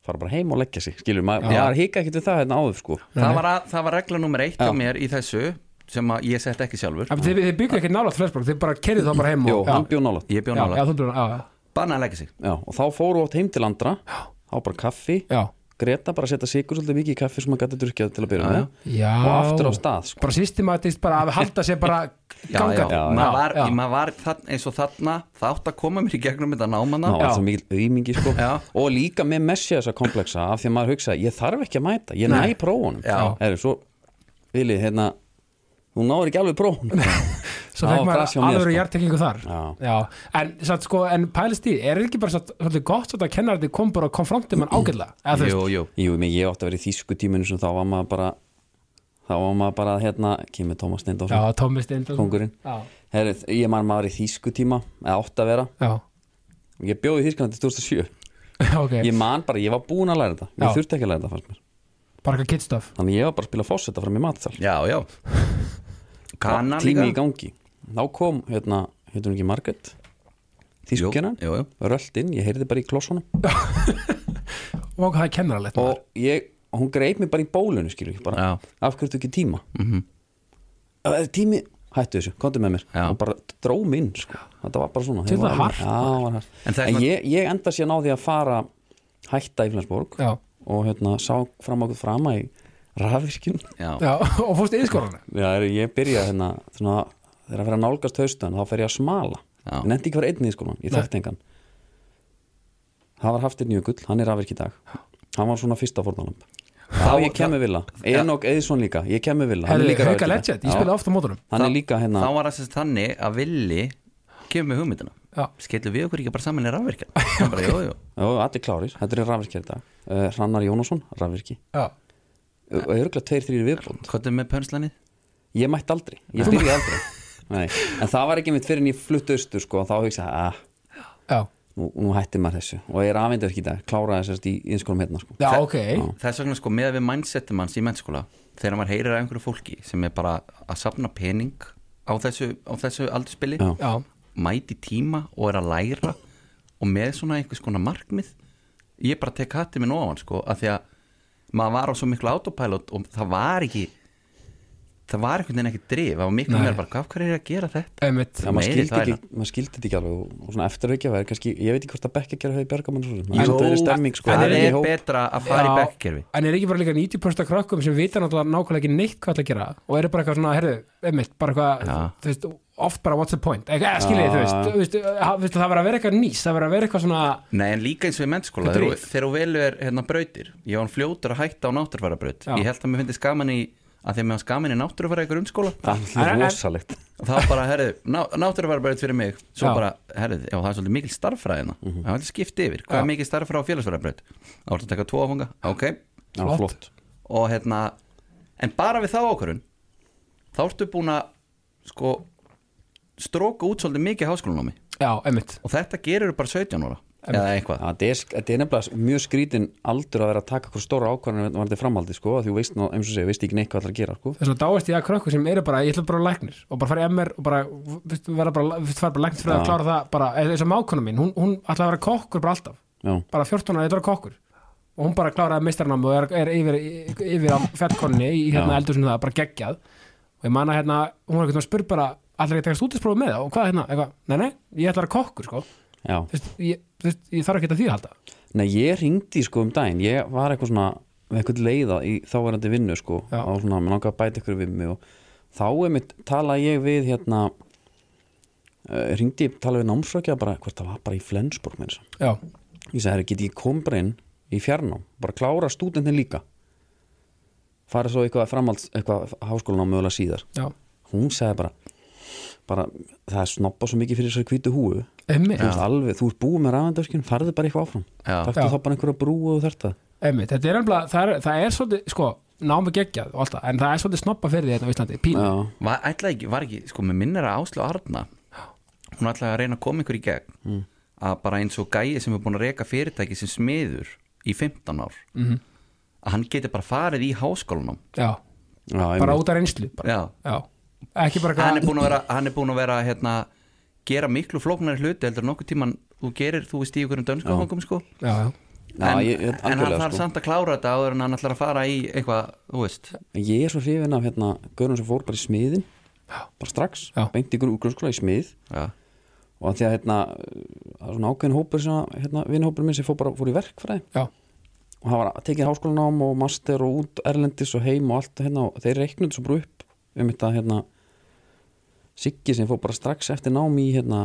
[SPEAKER 2] fara bara heim og leggja sig skilur, maður,
[SPEAKER 3] Já.
[SPEAKER 2] maður hika ekkert við það hérna áður sko
[SPEAKER 3] það var, að, það var regla nummer eitt hjá mér í þessu sem að ég sett ekki sjálfur
[SPEAKER 1] En Þið, þið byggur ekki nálaðt Flensborg, þið bara kerðið þá bara heim og,
[SPEAKER 2] Jó,
[SPEAKER 1] já,
[SPEAKER 2] hann bjóð nála
[SPEAKER 3] Ég bjó
[SPEAKER 1] já, já,
[SPEAKER 3] nála,
[SPEAKER 1] þú bjóð nála,
[SPEAKER 3] bannaði að leggja sig
[SPEAKER 2] Já, og þá fóru átt heim til andra þá bara kaffi,
[SPEAKER 1] já, já,
[SPEAKER 2] Greta bara að setja sigur svolítið mikið í kaffi sem maður gæti drukkjað til að byrja með
[SPEAKER 1] já
[SPEAKER 2] og aftur á stað sko.
[SPEAKER 1] Bara systematist, bara að halda sér bara
[SPEAKER 3] já,
[SPEAKER 1] ganga
[SPEAKER 3] já, maður var,
[SPEAKER 1] já,
[SPEAKER 3] maður var þarna, eins og þarna þátt að koma mér í gegnum þetta námanna
[SPEAKER 2] Ná,
[SPEAKER 1] Já.
[SPEAKER 2] var það mikil auðmingi sko
[SPEAKER 3] Já.
[SPEAKER 2] og líka með messi þessa kompleksa af því að maður hugsa, ég þarf ekki að mæta, ég
[SPEAKER 1] Nei.
[SPEAKER 2] næ prófunum
[SPEAKER 3] Já.
[SPEAKER 2] Heru, svo, Vili, hérna þú náður ekki alveg prófunum
[SPEAKER 1] Svo
[SPEAKER 2] Já,
[SPEAKER 1] fekk
[SPEAKER 2] það sé
[SPEAKER 1] maður
[SPEAKER 2] á mér,
[SPEAKER 1] alveg
[SPEAKER 2] sko.
[SPEAKER 1] hjartekingu þar
[SPEAKER 2] Já.
[SPEAKER 1] En, satt, sko, en pælist í, er ekki bara satt, svolítið gott satt að kennarði kom bara og konfrontið mann ágætlega eða þú veist,
[SPEAKER 3] jú, jú,
[SPEAKER 2] Jú, mér, ég átti að vera í þýsku tíminu sem þá var maður bara þá var maður bara, hérna, kemur Tómas
[SPEAKER 1] já,
[SPEAKER 2] Steindórsson,
[SPEAKER 1] Tómi Steindal
[SPEAKER 2] kongurinn
[SPEAKER 1] Já,
[SPEAKER 2] Heru, ég man maður í þýsku tíma eða átti að vera,
[SPEAKER 1] já,
[SPEAKER 2] ég bjóði í Þýskalandi 2007
[SPEAKER 1] ok,
[SPEAKER 2] Ég man bara, ég var búin að læra þetta Ég
[SPEAKER 1] Já.
[SPEAKER 2] þurfti ekki að læra þetta fannst mér
[SPEAKER 1] bara eitthvað kidstuff
[SPEAKER 2] Þannig ég var bara að spila fósetta fram í matsal
[SPEAKER 3] já, já Kana
[SPEAKER 2] Tími í gangi Þá kom, hérna, hérna ekki Margaret
[SPEAKER 3] Jú,
[SPEAKER 2] Þýskjana,
[SPEAKER 3] jú, jú.
[SPEAKER 2] rölt inn Ég heyrði bara í klossunum
[SPEAKER 1] Og hvað er kennaralegt
[SPEAKER 2] Og ég, hún greip mig bara í bólunu skilur ekki bara
[SPEAKER 3] Já. Mhm.
[SPEAKER 2] Af hverju ertu ekki í tíma mm -hmm. Tími, hættu þessu, komdu með mér
[SPEAKER 3] Já.
[SPEAKER 2] Og bara dró mig inn, sko Þetta var bara svona
[SPEAKER 1] Þetta
[SPEAKER 2] Ég
[SPEAKER 1] var
[SPEAKER 2] var-
[SPEAKER 1] hart,
[SPEAKER 2] Já, það var hart
[SPEAKER 3] En
[SPEAKER 2] En,
[SPEAKER 3] það er svona-
[SPEAKER 2] ég, ég enda sér náði að fara Hætta í Flensborg
[SPEAKER 1] Já,
[SPEAKER 2] Og hérna, sá fram okkur frama í rafvirkjunum
[SPEAKER 3] já,
[SPEAKER 1] já, og fórstu yðskorana
[SPEAKER 2] Já, er- ég byrja hérna svona, þegar að vera að nálgast haustan þá fer ég að smala
[SPEAKER 3] Já.
[SPEAKER 2] ég nefndi ekki að vera einn í skólan, ég
[SPEAKER 1] Nei.
[SPEAKER 2] þekkti engan það var Haftir Njökull, hann er afirk í dag hann var svona fyrsta fórnalamb þá ég kemur vilja, Enok Eðsson líka ég kemur vilja, hann er
[SPEAKER 1] Herri,
[SPEAKER 2] líka
[SPEAKER 1] hauka
[SPEAKER 2] rafvirkjadagr.
[SPEAKER 1] legend, ég
[SPEAKER 2] Já.
[SPEAKER 1] spila ofta á mótunum
[SPEAKER 2] hann er líka hérna,
[SPEAKER 3] þá var það sem sagt þannig að villi kemur með hugmyndina
[SPEAKER 1] Já.
[SPEAKER 3] skellum við okkur ekki bara saman í rafverkjan Hann bara, jú, jú,
[SPEAKER 2] já, allir klárir þetta er rafirkja í dag, uh, Hrannar Jónasson rafirki,
[SPEAKER 1] Já,
[SPEAKER 2] og örgulega tveir, þrýri viðbúnd
[SPEAKER 3] hvað er með pönslanið
[SPEAKER 2] ég mætti aldrei, ég byrja aldrei Nei. en það var ekki mitt fyrir en ég flutt austur sko, og þá hugsa, að
[SPEAKER 1] já,
[SPEAKER 2] nú nú, nú hætti maður þessu og ég er afindverk í dag, kláraði þessast í innskólum hérna sko.
[SPEAKER 1] Já, ok
[SPEAKER 3] Þess vegna sko með við mindsetum hans í mennskóla þegar maður heyrir af einhverju fólki sem er bara að safna pening á þessu, á þessu aldurspili
[SPEAKER 2] Já.
[SPEAKER 1] Já,
[SPEAKER 3] mæti tíma og er að læra og með svona einhvers konar markmið ég bara tek hattið minn ofan sko að því að maður var á svo miklu autopilot og það var ekki það var einhvern veginn ekki drif það var miklu
[SPEAKER 1] Nei.
[SPEAKER 3] meira bara hvað hvað er ég að gera þetta
[SPEAKER 1] einmitt
[SPEAKER 2] Já, maður
[SPEAKER 3] Meiri
[SPEAKER 2] skildi,
[SPEAKER 3] þvæla.
[SPEAKER 2] ekki, maður skildi þetta ekki alveg og, og svona eftirveikja væri kannski, ég veit ekki hvort að bekka gera hefði bjarga mann svo sem.
[SPEAKER 3] Jú,
[SPEAKER 2] það er stemming sko,
[SPEAKER 3] það
[SPEAKER 2] það er ekki
[SPEAKER 3] er
[SPEAKER 2] hóp
[SPEAKER 3] betra að fara í
[SPEAKER 1] Já,
[SPEAKER 3] bekkerfi
[SPEAKER 1] En er ekki bara líka 90% af krökkum sem vita náttúrulega nákvæmlega ekki neitt hvað það gera og eru bara eitthvað svona, herðu, einmitt, bara eitthvað
[SPEAKER 3] Já.
[SPEAKER 1] þú veist, oft bara what's the point eitthvað, eh, skiljið, þú veist, þú veist, ha- þú veist, það verður að vera eitthvað nýs, það verður að vera eitthvað svona
[SPEAKER 3] Nei, en líka eins og í mennskóla
[SPEAKER 1] Hvað
[SPEAKER 3] þegar,
[SPEAKER 1] drif?
[SPEAKER 3] þegar þú velur er hérna brautir Ég var hann fljótur að hætta á náttúrfærabraut
[SPEAKER 1] Já.
[SPEAKER 3] Ég held að mér finnist gaman í að því að mér var gaman í náttúrfæra í grunnskóla
[SPEAKER 2] það
[SPEAKER 1] En- en-
[SPEAKER 2] er rosalegt
[SPEAKER 3] og það var bara, herðu, ná, náttúrfærabraut fyrir mig Svo
[SPEAKER 1] Já. Mhm.
[SPEAKER 3] bara, herðu, já það er svolítið mikil starffræðina Það var alltaf skipt yfir, hvað
[SPEAKER 1] Já.
[SPEAKER 3] er mikil starffræð á félagsfærabraut Það var að taka tvo áfunga, ok
[SPEAKER 2] Já,
[SPEAKER 1] Flott.
[SPEAKER 2] flott
[SPEAKER 3] Og hérna, en bara við þá ákvörun Þá ertu búin að, sko, stróka út svolítið mikið háskólanámi
[SPEAKER 1] Já, einmitt,
[SPEAKER 3] Og þetta gerir bara 17 ára Eða eitthvað
[SPEAKER 2] Það er, sk- þetta er nefnilega mjög skrítin aldur að vera að taka eitthvað stóra ákvarðan var þetta framhaldi sko, að því þú veist, ná, eins og segja, veist ekki neitt hvað það er að gera sko.
[SPEAKER 1] þess að dáist ég að krökkum sem eru bara, ég ætla bara að vera læknir og bara fara í MR og bara, þú veist, vera bara, þú veist, fara bara læknir fyrir
[SPEAKER 2] Já.
[SPEAKER 1] að klára það bara, eins og mákona mín, hún, hún ætla að vera kokkur bara alltaf,
[SPEAKER 2] Já,
[SPEAKER 1] bara 14 ára, ég ætla að vera kokkur og hún bara kláraði mistarnám og er, er yfir, yfir á fjallkonni í hérna
[SPEAKER 2] Já.
[SPEAKER 1] eldursunum það, bara geggjað og ég manna hérna, hún var eitthvað spurt bara allir ekki að tekast útisprófi með það og hvað hérna, eitthvað, nei nei, ég ætla að vera kokkur sko þú
[SPEAKER 2] já.
[SPEAKER 1] veist, ég, þú veist, ég þarf ekki að því að halda
[SPEAKER 2] Nei, ég ringdi sko um daginn, ég var eitthvað svona með eitthvað leiða í þáverandi vinnu sko,
[SPEAKER 1] Já.
[SPEAKER 2] og svona, mér langaði að bæta ykkur við mig og þá er mitt, talaði ég við hérna uh, ringdi, talaði við námsrökja bara, hvort það var bara í Flensborg meins.
[SPEAKER 1] já,
[SPEAKER 2] ég sagði, herri, get ég kom bara inn í fjarnám, bara klára stúdentin líka farið svo eitthvað framhalds, eitthvað háskólanám mögulega síðar
[SPEAKER 1] já,
[SPEAKER 2] hún sagði bara, bara það er snoppa svo mikið fyrir þessari hvítu húu
[SPEAKER 1] einmitt,
[SPEAKER 2] þú veist alveg, þú ert búið með rafendörskinn farðu bara eitthvað áfram,
[SPEAKER 3] Já.
[SPEAKER 2] taktu
[SPEAKER 1] Já.
[SPEAKER 2] þá bara einhverja brú og þarft það,
[SPEAKER 1] einmitt þetta er ennbla, það er, það er svolítið, sko námi geggjað og alltaf, en það er svolítið snoppa fyrir því hérna á Íslandi, pínu,
[SPEAKER 2] já,
[SPEAKER 3] var, ætlaði ekki, var ekki, sko, með minnir að Áslu Arna hún ætlaði að reyna að koma ykkur í gegn
[SPEAKER 2] Mm.
[SPEAKER 3] að bara eins og gæi sem er búin að reka fyrirtæki sem smiður í 15 ár
[SPEAKER 2] Mhm.
[SPEAKER 3] -hmm. að hann geti bara farið í háskólanum
[SPEAKER 1] já,
[SPEAKER 2] já,
[SPEAKER 1] bara
[SPEAKER 2] einmitt.
[SPEAKER 1] út af reynslu bara,
[SPEAKER 3] Já.
[SPEAKER 1] já, ekki bara
[SPEAKER 3] hann er búin að vera, hann er búin að vera hérna, gera miklu flóknari hluti heldur en nokkuð tíman þú gerir, þú veist í ykkur um dönskofangum sko.
[SPEAKER 1] já, já,
[SPEAKER 2] Já,
[SPEAKER 3] en,
[SPEAKER 2] ég- ég-
[SPEAKER 3] en hann
[SPEAKER 2] algjörlega,
[SPEAKER 3] þarf
[SPEAKER 2] sko.
[SPEAKER 3] samt að klára þetta áður en hann ætlar að fara í eitthvað, þú veist
[SPEAKER 2] ég er svo hrifin af hérna, gaurun sem fór bara í smiðin bara strax,
[SPEAKER 1] Já.
[SPEAKER 2] beint í grun- grunnskóla í smið
[SPEAKER 3] já,
[SPEAKER 2] og af því að hérna, það er svona ákveðin hópur sem, að, hérna, vinnhópur minn sem fór bara fór í verkfræði
[SPEAKER 1] já,
[SPEAKER 2] og það var að tekið háskólanám og master og út erlendis og heim og allt hérna og þeir reiknud svo bara upp um þetta hérna Siggi sem fór bara strax eftir nám í hérna,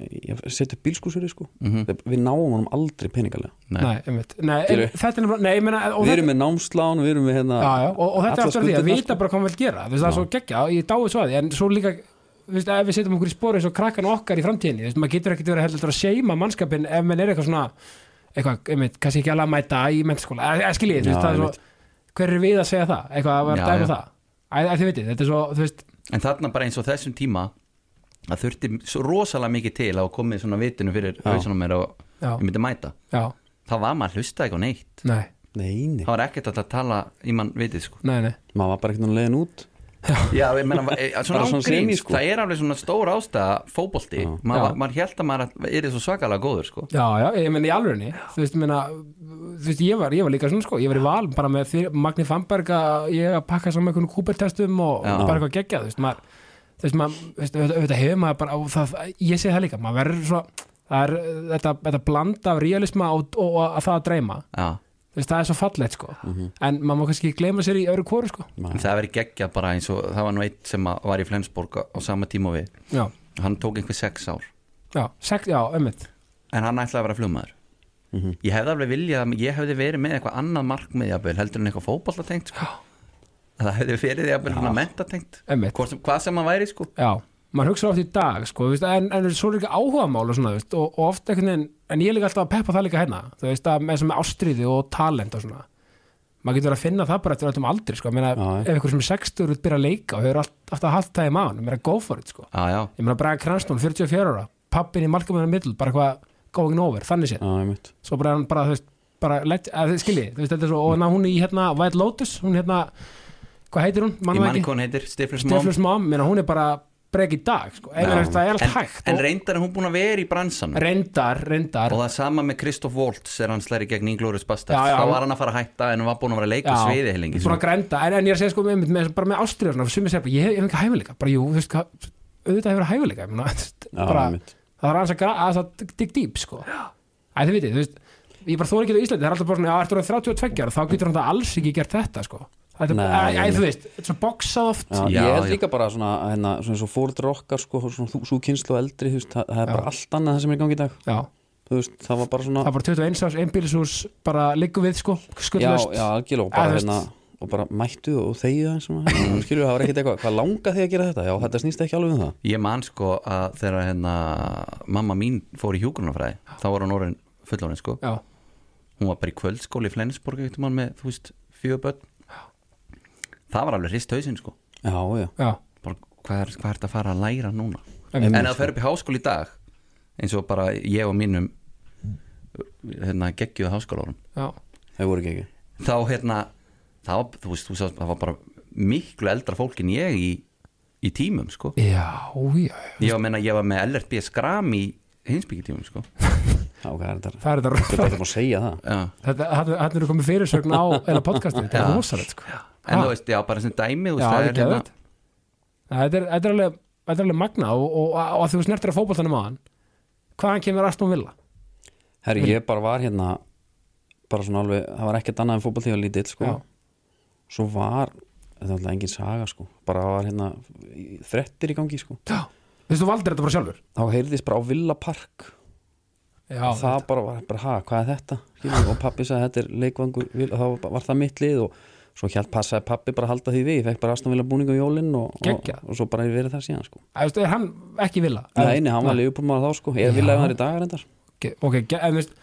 [SPEAKER 2] ég seti upp bílskúsur sko. við náum honum aldrei peningalega
[SPEAKER 3] Mhm. Nei.
[SPEAKER 1] nei, einmitt nei, en,
[SPEAKER 2] Skilju.
[SPEAKER 1] þetta er nefnilega, nei, ég meina, og
[SPEAKER 2] við
[SPEAKER 1] þetta-
[SPEAKER 2] erum með námslán, við erum með hérna,
[SPEAKER 1] já, já, og, og þetta er aftur
[SPEAKER 2] allar
[SPEAKER 1] af því að
[SPEAKER 2] skuldirnar,
[SPEAKER 1] vita
[SPEAKER 2] sko.
[SPEAKER 1] bara hvað maður vil gera þú veist, það er svo geggja, ég dái svo að því en svo líka, þú veist, ef við setjum okkur í spóri eins og krakkan okkar í framtíðinni, þú veist, maður getur ekkert verið heldur að seima mannskapin ef menn er eitthvað svona eitthvað, einmitt, kannski ekki alveg að mæta í mennskóla, eða skiljið, þú veist,
[SPEAKER 2] Já,
[SPEAKER 1] það er
[SPEAKER 2] einmitt.
[SPEAKER 1] svo hver er við að segja það, eitthvað að vera
[SPEAKER 3] Já,
[SPEAKER 1] að dæma
[SPEAKER 3] já.
[SPEAKER 1] það Æ, æ, þið vitið, þetta er svo, þú veist,
[SPEAKER 3] En þarna bara eins og þessum tíma að þurfti svo rosalega mikið til að komið svona vitinu fyrir hausunum mér og
[SPEAKER 1] Já.
[SPEAKER 3] ég myndi mæta
[SPEAKER 1] já,
[SPEAKER 3] þá var maður að hlusta ekki á neitt
[SPEAKER 1] nei,
[SPEAKER 2] nei, nei,
[SPEAKER 3] þá var ekkert hægt að tala í mann vitið sko
[SPEAKER 1] nei, nei
[SPEAKER 2] maður var bara ekkert núna leiðin út
[SPEAKER 3] Já, ég meina, e, að svona
[SPEAKER 2] Bara svona
[SPEAKER 3] ángríns,
[SPEAKER 2] semi, sko.
[SPEAKER 3] það er alveg svona stór ástæða fótbolti, maður,
[SPEAKER 1] Já.
[SPEAKER 3] maður held að maður er svo svakalega góður sko
[SPEAKER 1] Já, já, ég meina í alvörunni þú veist, meina, þú veist, ég var, ég var líka svona sko, ég var í val bara með þyr, Magni Fannberg að ég að pakka saman einhvern kúpertestum og
[SPEAKER 3] Já.
[SPEAKER 1] bara eitthvað geggjað, þú veist, maður þú veist, maður, þú veist, auðvitað- auðvitað hefur maður bara og það, ég segi það líka, maður verður svo það er uh, þetta, þetta bland af realisma og, og, og að það að dreyma
[SPEAKER 3] Já,
[SPEAKER 1] þú veist, það er svo fallegt sko en maður má kannski gleyma sér í öðru kóru sko
[SPEAKER 3] en það verið geggjað bara eins og það var nú eitt sem að var í Flensborg á sama tíma og við
[SPEAKER 1] Já,
[SPEAKER 3] hann tók einhver sex ár
[SPEAKER 1] já, sex, já, ömmit
[SPEAKER 3] en hann ætlaði að vera flugmaður
[SPEAKER 1] Mhm.
[SPEAKER 3] ég hefði alveg viljað að ég hefði verið með eitthvað annað markmið jafnvel, heldur en eitthvað fótballatengt sko. það hefði verið jafnvel svona mentatengt
[SPEAKER 1] Einmitt.
[SPEAKER 3] Hvort sem, hvað sem hann væri sko
[SPEAKER 1] Já, maður hugsa oft í dag sko, þú veist, en, en svo er ekki áhuga mál og, svona, þú veist, og, og oft einhvern veginn, en ég er líka alltaf að peppa það líka hérna, þú veist að með, með ástriði og talent og svona maður getur verið að finna það bara eftir öllum aldri sko, Ég meina,
[SPEAKER 2] Já, já.
[SPEAKER 1] ef einhver sem er 60 út byrja að leika og hefur allt, alltaf haft það í maður, mér er að go for it sko.
[SPEAKER 3] Já, já,
[SPEAKER 1] ég meina Braga Kranstón, 44 ára pappin í Malcolm in the Middle, bara eitthvað going over, þannig séð
[SPEAKER 2] Já, einmitt.
[SPEAKER 1] svo bara er hann bara, þú veist, bara let, að, skilji, þú veist, þetta er svo, og hann, hún í hérna White Lotus, hún hérna hvað heitir hún,
[SPEAKER 3] Ég
[SPEAKER 1] mannum
[SPEAKER 3] manni
[SPEAKER 1] ekki
[SPEAKER 3] hvað hún heitir, Stiflers Mom
[SPEAKER 1] Stiflus Mom, menna hún er bara breg í dag, sko, en
[SPEAKER 2] Já.
[SPEAKER 1] þú veist, það er allt
[SPEAKER 3] en,
[SPEAKER 1] hægt
[SPEAKER 3] en
[SPEAKER 1] og-
[SPEAKER 3] reyndar er hún búin að vera í bransanum
[SPEAKER 1] reyndar, reyndar
[SPEAKER 3] og það er sama með Kristoff Waltz er hann slæri gegn Inglourious
[SPEAKER 1] Já, já.
[SPEAKER 3] Bastards þá var hann að fara að hætta en hann var búin að vera að leika sko.
[SPEAKER 1] Já,
[SPEAKER 3] sviði helengi
[SPEAKER 1] svona grenda, en, en ég er að segja sko með, með, bara með ástriða, svona, sumir segja bara, ég hef- ég hef ekki hæfileika bara, jú, þú veist, hvað, auðvitað hefur hæfileika ég meina,
[SPEAKER 2] Já,
[SPEAKER 1] bara,
[SPEAKER 2] einmitt.
[SPEAKER 1] það er aðeins að, gra- að það digg dýp, sko Æ, þið vitið, þú veist, ég bara þóra ekki á Íslandi það er alltaf bara svona, já, ertu orðin 32 ára, þá getur hann það alls ekki gert þetta, sko Þetta,
[SPEAKER 2] Nei,
[SPEAKER 1] Nei, æ,
[SPEAKER 2] einmitt.
[SPEAKER 1] þú veist, þetta er svo boxað oft
[SPEAKER 2] Já,
[SPEAKER 3] Já,
[SPEAKER 2] ég held
[SPEAKER 3] já.
[SPEAKER 2] líka bara svona, hérna, svona svo fóruður okkar sko, svona þú- sú kynslu og eldri, þú veist, það, það er bara allt annað það sem er í gangi í dag,
[SPEAKER 1] Já,
[SPEAKER 2] þú veist, það var bara svona
[SPEAKER 1] það er bara 21 árs, einbýlisús bara liggum við, sko,
[SPEAKER 2] já,
[SPEAKER 1] skuldlöst
[SPEAKER 2] já, algjörlega,
[SPEAKER 1] Já,
[SPEAKER 2] og
[SPEAKER 1] þú
[SPEAKER 2] bara
[SPEAKER 1] veist.
[SPEAKER 2] hérna og bara mættu og þegju eins og
[SPEAKER 3] Mm.
[SPEAKER 2] maður skilur, það var ekkert eitthvað, hvað langa þig að gera þetta já, þetta snýst ekki alveg um það
[SPEAKER 3] ég man sko að þegar hérna mamma mín fór í hjúgrunafræði þá var hann orðin fullorinn sko
[SPEAKER 1] já, hún
[SPEAKER 3] hún var bara í kvöldskóli í Flensborg eitt mann með, þú veist, fjögur börn það var alveg hrist hausinn sko
[SPEAKER 2] já, já,
[SPEAKER 1] já,
[SPEAKER 3] bara, hvað er, hvað er þetta að fara að læra núna
[SPEAKER 1] Einmitt. sko.
[SPEAKER 3] en að fer upp í háskóla í dag eins og bara ég og mínum hérna geggjuðu háskólarum
[SPEAKER 1] já,
[SPEAKER 2] það voru ekki ekki
[SPEAKER 3] þá hérna þá, þú veist, þú sást, það var bara miklu eldra fólk en ég í, í tímum sko
[SPEAKER 1] já, já.
[SPEAKER 3] ég var, að meina, ég var með LRB skram í hinsbyggjartímum sko
[SPEAKER 2] já, hvað er þetta,
[SPEAKER 1] það er
[SPEAKER 2] þetta
[SPEAKER 1] þetta
[SPEAKER 2] er þetta búin að segja það
[SPEAKER 3] já.
[SPEAKER 1] Þetta, þetta þetta eru komið fyrirsögn á eða podcastið, þetta er
[SPEAKER 3] Já.
[SPEAKER 1] rosalegt sko.
[SPEAKER 3] en
[SPEAKER 1] Ha?
[SPEAKER 3] þú veist, já, bara sem dæmi þú
[SPEAKER 1] Já,
[SPEAKER 3] veist, það
[SPEAKER 1] það er
[SPEAKER 3] er hérna-
[SPEAKER 1] geðvægt Þetta er þetta er alveg þetta er alveg magna og, og, og, og að þú snertir að fótboltanum á hann hvaðan kemur Aston Villa?
[SPEAKER 2] herri, ég bara var hérna bara svona alveg, það var ekkert annað en fótboll þegar ég var lítill sko,
[SPEAKER 1] Já.
[SPEAKER 2] svo var þetta er alltaf engin saga sko, bara var hérna í- þrettir í gangi sko,
[SPEAKER 1] Já, þú veist þú valdir þetta bara sjálfur
[SPEAKER 2] þá heyrðist bara á Villa Park
[SPEAKER 1] Já,
[SPEAKER 2] og það bara var bara, ha, hvað er þetta Skilur, og pappi sagði þetta er leikvangur vil- og þá var- var það mitt lið og svo hjælt passaði pappi bara að halda því við, ég fekk bara aðstofnvila búning um jólinn og, og,
[SPEAKER 1] Geggjað.
[SPEAKER 2] og svo bara er verið það síðan sko.
[SPEAKER 1] Þú veist, er hann ekki Villa?
[SPEAKER 2] Nei, nei, hann var leifupúlmaður þá sko, ég vil að hann er í dag reyndar
[SPEAKER 1] Ok, ok, ge- en, þú veist,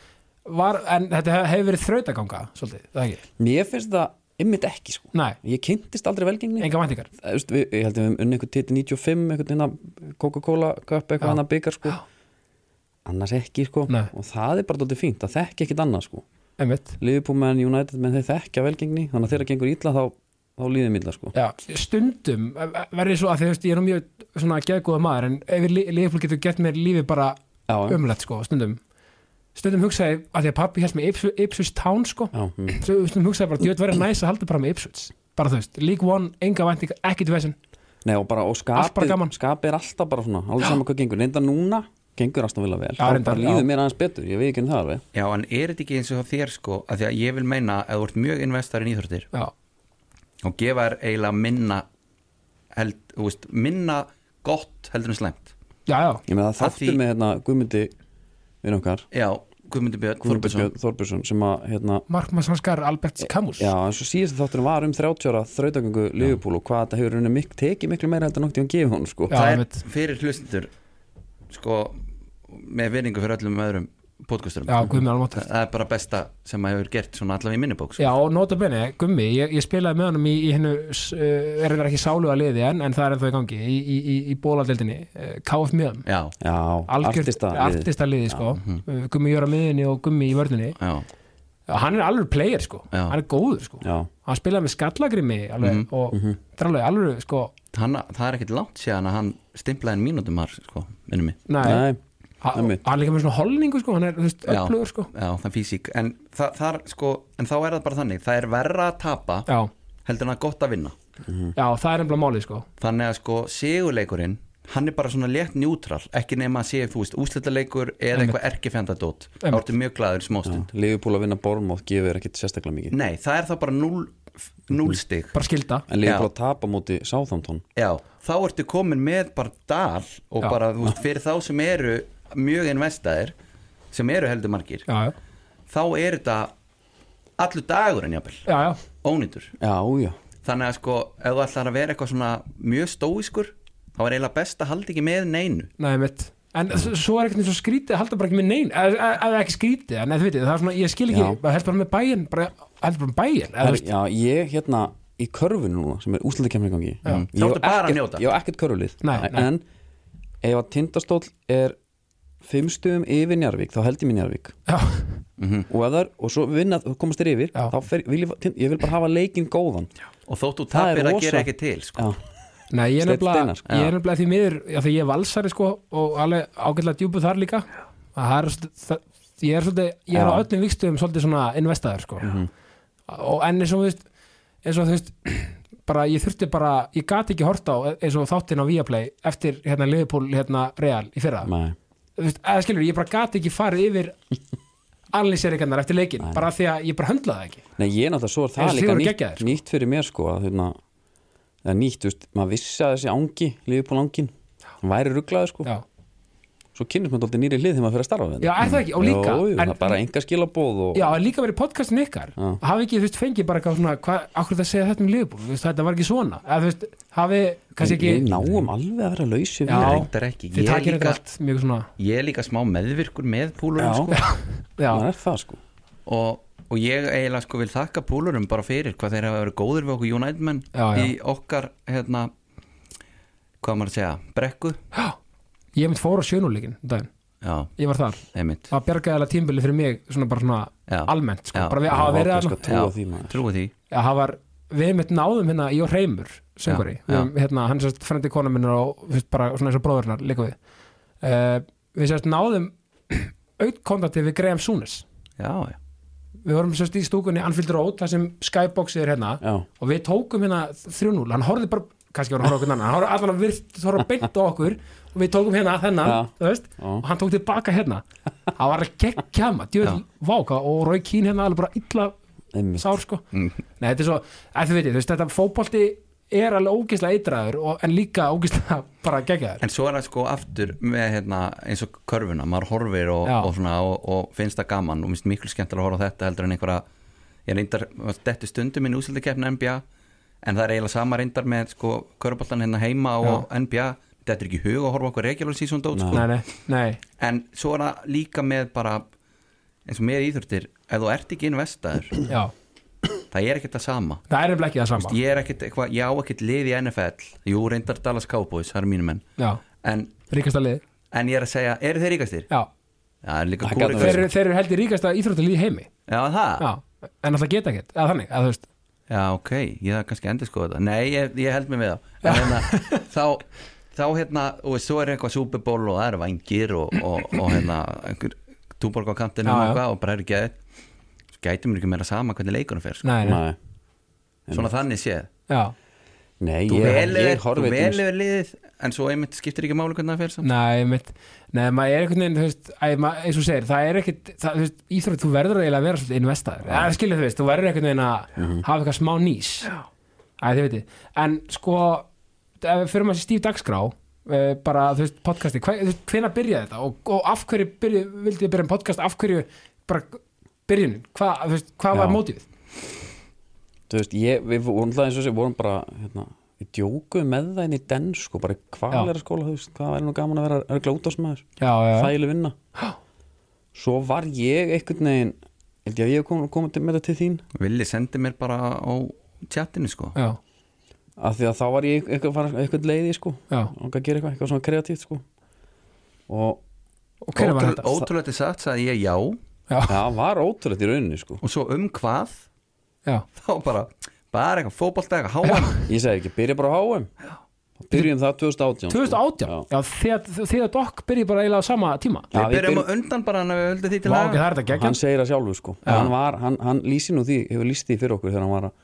[SPEAKER 1] var, en þetta hef- hefur verið þrautaganga svolítið, það ekki?
[SPEAKER 2] Mér finnst það ymmit ekki sko
[SPEAKER 1] Nei,
[SPEAKER 2] Ég kynntist aldrei velgengni
[SPEAKER 1] enga væntingar
[SPEAKER 2] Þú veist, við, Ég held að við höfum unni eitthvað titi 95 eitthvað hérna Coca-Cola Cup eitthvað
[SPEAKER 1] Já.
[SPEAKER 2] hann að byggar sko Annars ekki sko
[SPEAKER 1] Nei.
[SPEAKER 2] Og það er bara dóttir fínt, það þekki ekkit annað sko
[SPEAKER 1] Einmitt.
[SPEAKER 2] Leifupúl menn United menn þeir þekkja velgengni Þannig að þeirra gengur illa þá, þá líðum illa sko
[SPEAKER 1] Já, stundum e- verður svo að því, þú veist, ég er nú mjög svona geðgóða maður en ef Leifbúl getur gett mér lífi bara
[SPEAKER 2] Já, um.
[SPEAKER 1] umlegt sko, stundum stundum hugsaði, að því að pappi hérst með Ipswich, Ipswich Town sko,
[SPEAKER 2] já, mm.
[SPEAKER 1] stundum hugsaði bara djöð verið næs að halda bara með Ipswich bara þú veist, League One, enga vænting, ekkit vesinn
[SPEAKER 2] Nei og bara, og
[SPEAKER 1] Allt bara
[SPEAKER 2] skapið,
[SPEAKER 1] gaman.
[SPEAKER 2] skapið er alltaf bara svona Alveg saman hvað gengur, reynda núna gengur alltaf vilja vel
[SPEAKER 1] Já,
[SPEAKER 2] Þá
[SPEAKER 1] reyndar, já.
[SPEAKER 2] bara líður mér aðeins betur, ég veit ekki um það alveg
[SPEAKER 3] já, en er þetta ekki eins og það þér sko að því að ég vil meina að þú ert mjög investar í nýþortir
[SPEAKER 1] já,
[SPEAKER 3] og gefa þér eiginlega minna held, þú veist, minna gott heldur en slæmt
[SPEAKER 1] já, já,
[SPEAKER 2] Ég með það
[SPEAKER 3] Að
[SPEAKER 2] þáttur
[SPEAKER 3] því-
[SPEAKER 2] með hérna Guðmundi Vinn okkar,
[SPEAKER 3] já, Guðmundur Björn Þorbjörnsson
[SPEAKER 2] Guðmundi Þorbjörnsson sem að hérna,
[SPEAKER 1] Markmann Sanskar Albert Camus
[SPEAKER 2] já, eins og síðast þátturinn var um 30 ára þrautagöngu Liverpool og hvað þetta hefur rauninni mik tekið miklu meira heldur en noktið hann gefið honum
[SPEAKER 1] Já,
[SPEAKER 2] sko
[SPEAKER 3] það er
[SPEAKER 1] einmitt.
[SPEAKER 3] fyrir hlustendur sko með veringu fyrir öllum öðrum podcasturum
[SPEAKER 1] já Guðmi Almóttur
[SPEAKER 3] það er bara besta sem maður hefur gert svona allavega í minnibók sko.
[SPEAKER 1] Já, og nota bene, Gummi, ég, ég spilaði með honum í, í hennu, s- uh, er það ekki sáluga liði en, en það er ennþá í gangi, í, í, í, í bóladeldinni, uh, KF miðum,
[SPEAKER 3] já,
[SPEAKER 2] Já,
[SPEAKER 1] algjört
[SPEAKER 2] artista liðið.
[SPEAKER 1] artista liði, sko, uh, Gummi Jóra miðinni og Gummi í vörninni,
[SPEAKER 3] já,
[SPEAKER 1] hann er alveg player, sko,
[SPEAKER 3] Já.
[SPEAKER 1] hann er góður, sko,
[SPEAKER 2] Já,
[SPEAKER 1] hann spilaði með skallagrimi alveg, og
[SPEAKER 2] Mhm.
[SPEAKER 1] það er alveg alveg sko,
[SPEAKER 3] hann, það er ekkit langt síðan að hann stimplaði en mínútum mar sko, minnum mig
[SPEAKER 1] nei,
[SPEAKER 2] nei,
[SPEAKER 1] ha- hann
[SPEAKER 2] einmitt.
[SPEAKER 1] er líka með svona holningu sko, hann er þú veist,
[SPEAKER 3] Já.
[SPEAKER 1] öflugur sko
[SPEAKER 3] já, það er físík en, það, það er, sko, en þá er það bara þannig það er verra að tapa
[SPEAKER 1] já,
[SPEAKER 3] heldur en að gott að vinna
[SPEAKER 2] Mhm.
[SPEAKER 1] já, það er nefnilega málið sko
[SPEAKER 3] þannig að sko sigurleikurinn hann er bara svona létt njútral ekki nema að sé, þú veist, úslitaleikur eða eitthvað erkefjandadót, þá
[SPEAKER 1] Einmitt.
[SPEAKER 3] ertu mjög glæður í smástund
[SPEAKER 2] Liverpool að vinna Bormóð gefur ekkit sérstaklega mikið
[SPEAKER 3] nei, það er það bara 0 stig
[SPEAKER 1] bara skilda,
[SPEAKER 2] En Liverpool að tapa móti Southampton
[SPEAKER 3] já, þá ertu komin með bara dal og
[SPEAKER 1] Já.
[SPEAKER 3] bara, þú veist, fyrir þá sem eru mjög investaðir, sem eru heldur margir,
[SPEAKER 1] já, já,
[SPEAKER 3] þá er þetta allur dagurinn jafnvel,
[SPEAKER 1] já, já.
[SPEAKER 3] ónýtur
[SPEAKER 2] Já, já,
[SPEAKER 3] þannig að sko, ef þú ætlar að vera eitthvað svona mjög stóískur, þá er eiginlega best að halda ekki með neinu
[SPEAKER 1] Nei, mitt En
[SPEAKER 2] Mhm.
[SPEAKER 1] s- svo er ekkert eins og skrítið, halda bara ekki með nein eða ekki skrítið, en eða veitir, það er svona ég skil ekki,
[SPEAKER 2] Já.
[SPEAKER 1] bara held bara með bæinn bara held bara með bæinn, eða þú
[SPEAKER 2] Herri,
[SPEAKER 1] veist
[SPEAKER 2] já Ég hérna í körfun núna sem er úslandakemni gangi Ég
[SPEAKER 3] Þá
[SPEAKER 2] á
[SPEAKER 3] ertu bara að
[SPEAKER 2] ekkert-
[SPEAKER 3] njóta.
[SPEAKER 2] ég á ekkert körfulið
[SPEAKER 1] Nei, nei.
[SPEAKER 2] En ef að tindastóll er fimm stöðum yfir Njarvík, þá held ég mér Njarvík
[SPEAKER 1] já,
[SPEAKER 2] og, ef það er, og svo vinna, komast þér yfir
[SPEAKER 1] Já.
[SPEAKER 2] þá fer, vil ég, ég vil bara hafa leikinn góðan já,
[SPEAKER 3] og þótt þú
[SPEAKER 2] Það er
[SPEAKER 3] tapir að
[SPEAKER 2] rosa.
[SPEAKER 3] gera ekki til sko.
[SPEAKER 1] nei, ég er
[SPEAKER 2] Steinn
[SPEAKER 1] nefnilega
[SPEAKER 2] Steinars,
[SPEAKER 1] ég er nefnilega því miður, af því ég er valsari sko og alveg ágætlega djúpu þar líka að það er svolítið- það- ég er svolítið, ég er á
[SPEAKER 2] Já. Mhm.
[SPEAKER 1] öllum vikstöðum svolítið svona investaður sko og enn eins og þú veist eins og þú veist bara ég þurfti bara, ég gat ekki hort á eins og þáttinn á Viaplay eftir hérna Liverpool, hérna Real í fyrra
[SPEAKER 2] Nei.
[SPEAKER 1] þú veist, eða skilur, ég bara gat ekki farið yfir allir sérikannar eftir leikin bara því að ég bara höndlaði það ekki
[SPEAKER 2] Nei, ég náttúrulega svo er það
[SPEAKER 1] Þessi
[SPEAKER 2] líka
[SPEAKER 1] voru
[SPEAKER 2] nýtt,
[SPEAKER 1] geggjaðir, sko.
[SPEAKER 2] nýtt fyrir mér sko að, hérna, eða nýtt, þú veist, maður vissi að þessi ángi lífið på langin, hann væri rugglaði sko
[SPEAKER 1] já,
[SPEAKER 2] svo kynnist maður alltaf nýri hlið þegar maður fyrir að starfa við
[SPEAKER 1] já er það ekki, og líka
[SPEAKER 2] Jó, jú,
[SPEAKER 1] en,
[SPEAKER 2] það er bara enga skilabóð og
[SPEAKER 1] já, en líka verið podcastin ykkar
[SPEAKER 2] Já.
[SPEAKER 1] hafi ekki, þú veist, fengið bara eitthvað svona hvað, akkur það segja þetta um Liverpool, þú veist, þetta var ekki svona eða þú veist, hafi, kannski ekki
[SPEAKER 2] við náum alveg að vera lausi við
[SPEAKER 1] Já.
[SPEAKER 3] reyndar ekki.
[SPEAKER 1] þið
[SPEAKER 3] Ég
[SPEAKER 1] takir
[SPEAKER 3] líka-
[SPEAKER 1] þetta allt mjög svona
[SPEAKER 3] ég er líka smá meðvirkur með
[SPEAKER 2] Já.
[SPEAKER 3] púlurum sko.
[SPEAKER 2] það
[SPEAKER 1] já,
[SPEAKER 2] er það sko
[SPEAKER 3] og, og ég eiginlega sko vil þakka púlurum bara fyrir hvað þeir hafa verið góðir við okkur United menn
[SPEAKER 1] Já, já.
[SPEAKER 3] í okkar hérna hvað á maður að segja, brekku
[SPEAKER 1] ég mynd fór á sjönuleikin daginn,
[SPEAKER 3] já,
[SPEAKER 1] ég var þar
[SPEAKER 3] einmitt
[SPEAKER 1] það bjargaði alveg tímbili fyrir mig svona bara svona
[SPEAKER 3] Já.
[SPEAKER 1] almennt sko.
[SPEAKER 3] Já.
[SPEAKER 1] bara við hafa verið
[SPEAKER 2] ákveð,
[SPEAKER 1] að
[SPEAKER 2] sko, trúa því maður
[SPEAKER 3] trúa því
[SPEAKER 1] að það var við hefum eitt náðum hérna í og reymur söngvari,
[SPEAKER 3] Já,
[SPEAKER 1] við
[SPEAKER 3] já.
[SPEAKER 1] hefum hérna hann sérst frendi kona minnar og fyrst bara svona eins og bróðurnar líka við uh, við sérst náðum auðkontakti við Graham Súnes
[SPEAKER 3] já, já,
[SPEAKER 1] við vorum sérst í stúkunni Anfield Road þar sem Skyboxið er hérna
[SPEAKER 2] Já.
[SPEAKER 1] og við tókum hérna 3-0 hann horfði bara, kannski var hann að horfa okkur annan hann horfði allan að virkt, horfði beint á okkur og við tókum hérna þennan,
[SPEAKER 2] Já.
[SPEAKER 1] þú veist
[SPEAKER 2] Já.
[SPEAKER 1] og hann tók tilbaka hérna það var að gekkja maður, djöðl, váka og Rói Kín hérna alveg bara illa
[SPEAKER 2] Einmitt. Mm.
[SPEAKER 1] sár sko Nei, þetta er svo, að þið veitir, þú veist, þetta fótbolti er alveg ógislega eitraður og, en líka ógislega bara geggjaður
[SPEAKER 3] en svo er það sko aftur með hérna eins og körfuna, maður horfir og,
[SPEAKER 1] Já.
[SPEAKER 3] og, svona, og, og finnst það gaman og minnst miklu skemmtilega að horfa á þetta heldur en einhverja ég reyndar, þetta stundum minn úsildikeppn NBA en það er eiginlega sama reyndar með sko körfballan hérna heima og NBA þetta er ekki í hug að horfa okkur regular season dót sko.
[SPEAKER 1] Nei, nei, nei,
[SPEAKER 3] en svo er það líka með bara eins og með íþurftir, ef þú ert ekki investaður
[SPEAKER 1] já
[SPEAKER 3] það er ekkert það sama
[SPEAKER 1] Það er nefnilega ekki það sama
[SPEAKER 3] ég er ekkert eitthvað, ég á ekkert lið í NFL jú, reyndar Dallas Cowboys, það eru mínu menn
[SPEAKER 1] Já,
[SPEAKER 3] en,
[SPEAKER 1] ríkasta lið
[SPEAKER 3] en ég er að segja, eru þeir ríkastir?
[SPEAKER 1] Já,
[SPEAKER 3] Já, það er líka
[SPEAKER 2] Það
[SPEAKER 3] kúri
[SPEAKER 2] gæti
[SPEAKER 1] þeir,
[SPEAKER 2] verið.
[SPEAKER 1] eru- þeir eru heldur ríkasta íþróttalið í heimi
[SPEAKER 3] Já, það?
[SPEAKER 1] Já, en alltaf geta ekkert, eða þannig, eða þú veist
[SPEAKER 3] Já, ok, ég það kannski endur sko þetta Nei, ég, ég held mig við þá En hérna, þá, þá hérna, og svo er eitthvað Super Bowl og það eru vangir og, og, og hérna, einhver túborg á kantinu
[SPEAKER 1] Já,
[SPEAKER 3] og
[SPEAKER 1] já.
[SPEAKER 3] eitthvað og bara eru geðið Svo gætum við ekki meira sama hvernig leikunum fer sko.
[SPEAKER 1] Nei, nei,
[SPEAKER 2] Nei,
[SPEAKER 3] Svona þannig séð
[SPEAKER 1] já,
[SPEAKER 2] Nei
[SPEAKER 3] Þú
[SPEAKER 2] ég,
[SPEAKER 3] velur
[SPEAKER 2] ég
[SPEAKER 3] þú
[SPEAKER 2] horfið eins-
[SPEAKER 3] velur liðið en svo einmitt skiptir ekki máli hvernig það fer samt
[SPEAKER 1] nei, mitt Nei, maður er einhvern veginn, þú veist, æ, maður, eins og þú segir, það er ekkert, það, þú veist, íþrótt, þú verður eiginlega að vera svolítið investaður. Það skilur þú veist, þú verður einhvern veginn að hafa eitthvað smá nýs. Æ, þið veitir. En sko, ef við fyrir maður sér stíf dagskrá, uh, bara, þú veist, podcasti, hva, þú veist, hvenær byrjaði þetta og, og af hverju byrja, vildið þið byrja um podcast, af hverju bara byrjunin, hvað, þú veist, hvað var
[SPEAKER 2] Já.
[SPEAKER 1] mótið?
[SPEAKER 2] Þú veist, ég, við vorum það eins og þessi vorum bara hérna, við djókuðum með það inn í den sko, bara
[SPEAKER 1] Já.
[SPEAKER 2] hvað er að skóla, þú veist, hvað er nú gaman að vera örgla útásmaður,
[SPEAKER 1] Já, já, já.
[SPEAKER 2] þægileg vinna Svo var ég einhvern veginn held ég að ég kom, kom með þetta til þín
[SPEAKER 3] Vili sendi mér bara á chatinu sko
[SPEAKER 1] Já,
[SPEAKER 2] af því að þá var ég eitthvað, var eitthvað leiði sko,
[SPEAKER 1] já.
[SPEAKER 2] og að gera eitthvað, eitthvað svona kreatíft sko og
[SPEAKER 1] Og hvernig var
[SPEAKER 3] Ótrú-
[SPEAKER 1] þetta?
[SPEAKER 3] Ótrúlegt er sagt sagði ég já og
[SPEAKER 1] Já,
[SPEAKER 2] það var ótrúlegt í rauninni sko
[SPEAKER 3] svo um hvað
[SPEAKER 1] já,
[SPEAKER 3] þá bara, bara eitthvað fótbolta eitthvað háan
[SPEAKER 2] ég segi ekki, byrja bara á HM og byrjum það 2018
[SPEAKER 1] 2018, já, þegar, þegar Dokk byrjið bara eiginlega á sama tíma.
[SPEAKER 2] Já,
[SPEAKER 3] Við
[SPEAKER 2] við
[SPEAKER 3] byrjum
[SPEAKER 2] byrjum-
[SPEAKER 3] á undan bara hann að við höldum því til
[SPEAKER 1] Vá,
[SPEAKER 3] að
[SPEAKER 1] ok, það er þetta geggjum.
[SPEAKER 2] hann segir það sjálfur sko hann, var, hann, hann lýsi nú því, hefur lýst því fyrir okkur þegar hann var að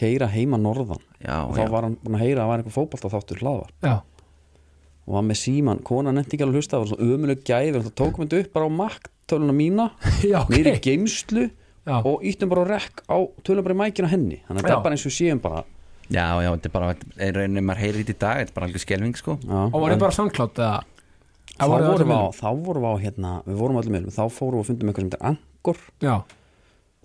[SPEAKER 2] keira heima norðan
[SPEAKER 3] Já,
[SPEAKER 2] og þá
[SPEAKER 3] já,
[SPEAKER 2] var hann búin að heyra að það var einhver fótbalta þáttur hlaðvar
[SPEAKER 1] Já,
[SPEAKER 2] og var með síman, konan nefndi ekki alveg að hlusta það var svona ömuleg gæfi, þannig að tókum þetta upp bara á makktöluna mína,
[SPEAKER 1] Já, ok.
[SPEAKER 2] niður í geimslu
[SPEAKER 1] Já.
[SPEAKER 2] og íttum bara á rekk á tölum bara í mækina henni, þannig að þetta
[SPEAKER 1] Já.
[SPEAKER 2] er bara eins og við séum bara
[SPEAKER 3] já, já, þetta er bara er rauninni maður heyrir þetta í dag, þetta er bara alveg skelving sko
[SPEAKER 2] já,
[SPEAKER 1] og var þið bara samklátt eða
[SPEAKER 2] þá,
[SPEAKER 1] Eða voruð þið
[SPEAKER 2] vorum
[SPEAKER 1] öllum
[SPEAKER 2] á,
[SPEAKER 1] öðrum?
[SPEAKER 2] þá vorum við á hérna, við vorum allir meðlum, þá fórum við að fundum eitthvað sem þetta er angor,
[SPEAKER 1] já,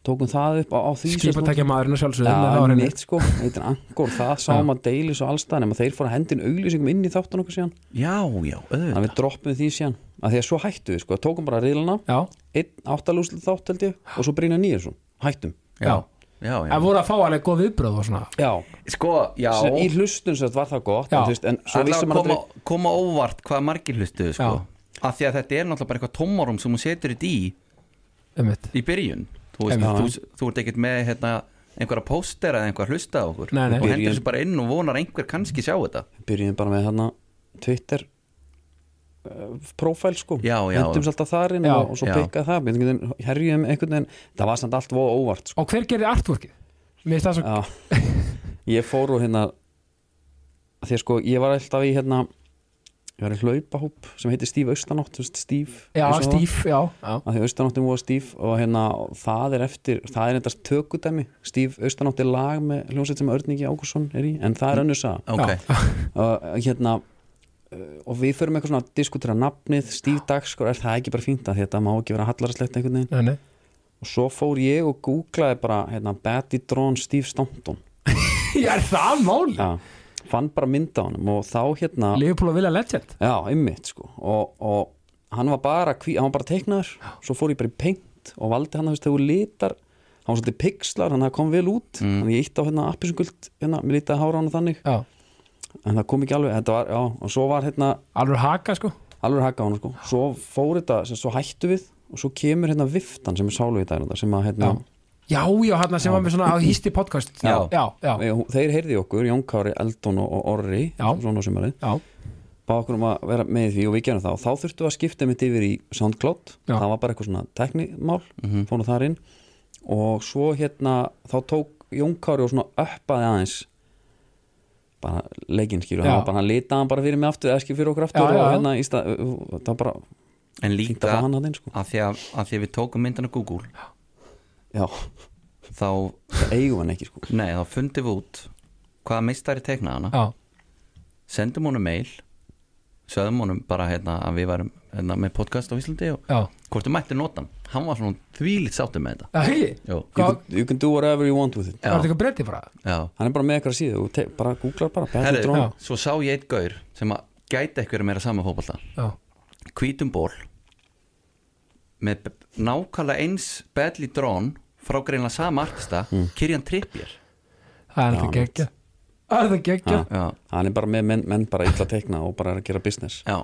[SPEAKER 2] tókum það upp á, á því sem-
[SPEAKER 1] skipatækja maðurinn að sjálfsögðu en það
[SPEAKER 2] Já,
[SPEAKER 1] var henni.
[SPEAKER 2] mitt sko, þetta er angor það sáum að deilis og allstæðan nema þeir fóru að hendin auglýsingum inn í þáttan okkur síðan
[SPEAKER 3] Já, já,
[SPEAKER 2] þannig
[SPEAKER 3] auðvitað
[SPEAKER 2] að við droppum því síðan að því að svo hættu við sko, tókum bara riðlana
[SPEAKER 1] já,
[SPEAKER 2] einn áttalúslu þátt held ég og svo Brynja Nýjesson, hættum
[SPEAKER 3] Já, já, já
[SPEAKER 1] en voru að fá alveg góð viðbröð og svona
[SPEAKER 2] já,
[SPEAKER 3] Sko, já
[SPEAKER 2] Sem, í hlustun sem þetta var það gott
[SPEAKER 1] Já.
[SPEAKER 2] en, þú veist, en svo
[SPEAKER 3] Alla
[SPEAKER 2] vissum maður
[SPEAKER 3] koma,
[SPEAKER 2] aldrei
[SPEAKER 3] koma óvart hvað margir hlustuðu sko
[SPEAKER 1] Já.
[SPEAKER 3] af því að þetta er náttúrulega bara eitthvað tómarum sem hún setur þetta í
[SPEAKER 1] einmitt.
[SPEAKER 3] í byrjun þú, veist,
[SPEAKER 2] Einmitt.
[SPEAKER 3] þú, þú ert ekkert með hérna, einhverja póstera eða einhverja hlusta á okkur
[SPEAKER 1] Nei, nei.
[SPEAKER 3] og hendur
[SPEAKER 2] Byrjun.
[SPEAKER 3] þessu bara inn og vonar að einhver kannski sjá þetta
[SPEAKER 2] byrjum bara með hérna Twitter uh, profile sko
[SPEAKER 3] Já, já.
[SPEAKER 2] hendum sér alltaf þar inn
[SPEAKER 1] Já.
[SPEAKER 2] og, og svo
[SPEAKER 3] Já.
[SPEAKER 2] pikkað það við einhvern veginn- herjum einhvern veginn það var samt allt voða óvart sko.
[SPEAKER 1] og hver gerir artworkið? Mér finnst það svo
[SPEAKER 2] já. ég fór og hérna því að sko ég var alltaf í hérna ég var í hlaupahóp sem heitir Stíf Austanótt Stíf
[SPEAKER 1] já, stíf, já, já.
[SPEAKER 2] að því austanáttin voru stíf og hérna það er eftir, það er endast tökudæmi stíf austanátt er lag með hljómsveit sem Örningi Ágúrsson er í, en
[SPEAKER 1] Mm.
[SPEAKER 2] það er önnur saga
[SPEAKER 3] okay.
[SPEAKER 2] og hérna uh, og við förum eitthvað svona að diskutera nafnið stíf dagskor, er það ekki bara fínt að þetta má ekki vera hallarslegt einhvern veginn
[SPEAKER 1] Nei, nei.
[SPEAKER 2] og svo fór ég og googlaði bara hérna, Batty Drón Stíf Stanton
[SPEAKER 1] já, er það máli?
[SPEAKER 2] ja, fann bara mynd á honum og þá hérna
[SPEAKER 1] Liverpool og Villa Legend
[SPEAKER 2] já, ymmit sko og, og hann var bara, hví, hann var bara teiknaður svo fór ég bara í paint og valdi hann þú veist, þegar þú litar hann var svolítið pixlar, hann kom vel út mm. hann ég ítt á hérna appisungult hérna, mér lítaði hára hann þannig
[SPEAKER 1] já.
[SPEAKER 2] en það kom ekki alveg, þetta var, já, og svo var hérna
[SPEAKER 1] alveg haka sko
[SPEAKER 2] alveg haka á hana sko svo fór þetta, sem, svo hættu við og svo kemur hérna viftan sem er sálu í daginn sem að hérna,
[SPEAKER 1] já, já, hann sem var með svona að hýsti podcast
[SPEAKER 3] Já.
[SPEAKER 1] já, já,
[SPEAKER 2] eh, hún- þeir heyrði í okkur Jón Kári, Eldon og, og Orri
[SPEAKER 1] Já.
[SPEAKER 2] svona á sumarið,
[SPEAKER 1] já.
[SPEAKER 2] bá okkur um að vera með í því og við gerum það og þá þurftum við að skipta mitt yfir í SoundCloud,
[SPEAKER 1] Já. Mhm.
[SPEAKER 2] það var bara eitthvað svona teknimál, mm -hmm. fórum þar inn og svo hérna, þá tók Jón Kári og svona uppaði aðeins bara leikinn skýru
[SPEAKER 1] Já.
[SPEAKER 2] hann var bara, hann litaði hann bara fyrir mig aftur eða skýr fyrir okkur aftur
[SPEAKER 1] Já, já,
[SPEAKER 2] og
[SPEAKER 1] já.
[SPEAKER 2] hérna í stað, það var bara
[SPEAKER 3] en
[SPEAKER 2] fínt að
[SPEAKER 3] líka
[SPEAKER 2] fá
[SPEAKER 3] að
[SPEAKER 2] hann að þinn sko
[SPEAKER 3] því að, að því að við tókum myndina Google
[SPEAKER 2] já,
[SPEAKER 3] þá,
[SPEAKER 2] það eigum hann ekki sko
[SPEAKER 3] nei, þá fundum við út hvaða meistari teiknaði hana
[SPEAKER 1] já.
[SPEAKER 3] sendum honum mail sögðum honum bara hérna að við varum hérna, með podcast á Íslandi og
[SPEAKER 1] já.
[SPEAKER 3] hvort þú mættir nota hann hann var svona þvílít sáttum með þetta
[SPEAKER 1] Það hegi,
[SPEAKER 3] Jú.
[SPEAKER 2] you
[SPEAKER 1] hvað
[SPEAKER 2] can, you can do whatever you want with it
[SPEAKER 1] Það var eitthvað breyti bara
[SPEAKER 3] já,
[SPEAKER 2] hann er bara með eitthvað síðu, þú te- bara googlar bara Battle
[SPEAKER 3] Herri,
[SPEAKER 2] Drone,
[SPEAKER 1] já.
[SPEAKER 3] svo sá ég eitt gaur sem að gæti ekkur meira saman fótbolta
[SPEAKER 1] Já,
[SPEAKER 3] hvítum ból með b- nákvæmlega eins badly drawn frá greinlega sama artista mm. Kirjan Trippier
[SPEAKER 1] það er það
[SPEAKER 2] Já,
[SPEAKER 1] geggja Það er það geggja
[SPEAKER 2] Ha.
[SPEAKER 3] já,
[SPEAKER 2] hann er bara með menn, menn bara illa tekna og bara er að gera business
[SPEAKER 3] já,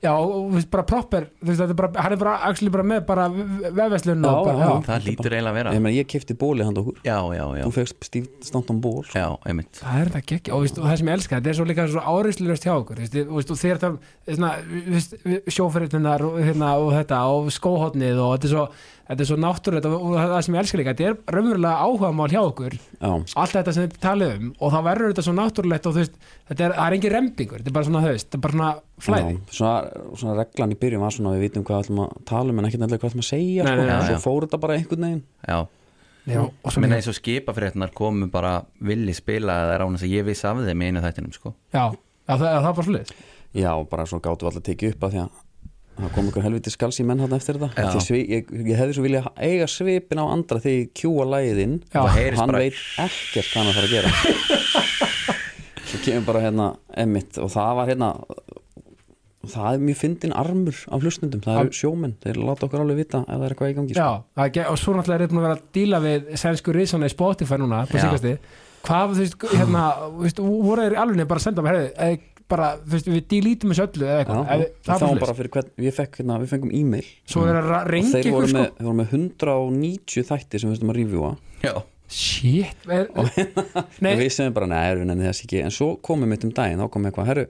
[SPEAKER 1] Já, og þú veist bara proper þú veist, þetta er bara, Hann er bara, actually bara með bara vefveslun
[SPEAKER 2] Já,
[SPEAKER 1] og bara,
[SPEAKER 2] já.
[SPEAKER 1] já.
[SPEAKER 3] það lítur eiginlega að vera
[SPEAKER 2] ég, meni, ég kefti bóli hann okkur,
[SPEAKER 3] já, já, já,
[SPEAKER 2] þú fegst stíft snart um ból
[SPEAKER 3] já, einmitt
[SPEAKER 1] Það er það geggja og, veist, og það sem ég elska, þetta er svo líka svo áreyslulegast hjá okkur þú veist, þú veist, og þegar það sjóferðinnar og, hérna, og þetta og skóhotnið og þetta er svo, þetta er svo náttúrulegt og, og það sem ég elska líka, þetta er raunverulega áhugamál hjá okkur
[SPEAKER 2] já,
[SPEAKER 1] allt þetta sem við talið um og þá verður þetta svo náttúrulegt og þú veist, þetta er, það er engin rembingur þetta er bara svona, þú veist, þetta er bara svona flæði
[SPEAKER 2] Já, svona, svona reglan í byrjun var svona við vitum hvað ætlum að tala um en ekki nefnilega hvað ætlum að
[SPEAKER 1] Nei,
[SPEAKER 2] segja sko.
[SPEAKER 1] nei, nei,
[SPEAKER 2] svo
[SPEAKER 3] já.
[SPEAKER 2] fór þetta bara einhvern veginn
[SPEAKER 3] já,
[SPEAKER 1] Já, og svo
[SPEAKER 3] minna
[SPEAKER 1] mikið,
[SPEAKER 3] eins og skipafrétnar komu bara villi spila eða rána þess að ég vissi af þeim í einu þættinum sko.
[SPEAKER 1] já, já, það, það er bara svolítið
[SPEAKER 2] já, bara svo gátum við alltaf að tekið upp að því að það kom einhver helviti skals í menn hann eftir þetta
[SPEAKER 3] Já.
[SPEAKER 2] Því svi, ég, ég hefði svo vilja eiga svipin á andra þegar ég kjúa læðin
[SPEAKER 1] Já.
[SPEAKER 2] og
[SPEAKER 1] Það
[SPEAKER 3] heyrist
[SPEAKER 2] hann
[SPEAKER 3] bara-
[SPEAKER 2] veit ekkert hvað hann þarf að gera svo kemur bara hérna emmitt og það var hérna það er mjög fyndin armur af hlustnundum, það eru sjómenn þeir láta okkur alveg vita ef það er eitthvað í gangi sko.
[SPEAKER 1] Já, það er ge- og svo náttúrulega er þetta búin að vera að díla við sænsku risana í Spotify núna på
[SPEAKER 3] Já.
[SPEAKER 1] síkasti hvað, þú veist, hérna þú veist, voru þeir alveg bara að senda mér heyrðu, eh, bara, þú veist, við dílítum þessu öllu eða
[SPEAKER 2] Já,
[SPEAKER 1] eitthvað, Ef-
[SPEAKER 2] og það
[SPEAKER 1] það er
[SPEAKER 2] var
[SPEAKER 1] bara
[SPEAKER 2] bara
[SPEAKER 1] svolítið
[SPEAKER 2] fyrir hvern, við, fekk, hérna, við fengum e-mail
[SPEAKER 1] svo er að
[SPEAKER 2] og
[SPEAKER 1] ringi
[SPEAKER 2] þeir
[SPEAKER 1] ykkur
[SPEAKER 2] voru
[SPEAKER 1] sko
[SPEAKER 2] með, þeir voru með 190 þætti sem við stum að revjúa
[SPEAKER 3] já,
[SPEAKER 1] shit, er, nei,
[SPEAKER 2] og við segjum bara, nei, erum við nefnir þess ekki en svo komum við um daginn, þá komum eitthvað, herru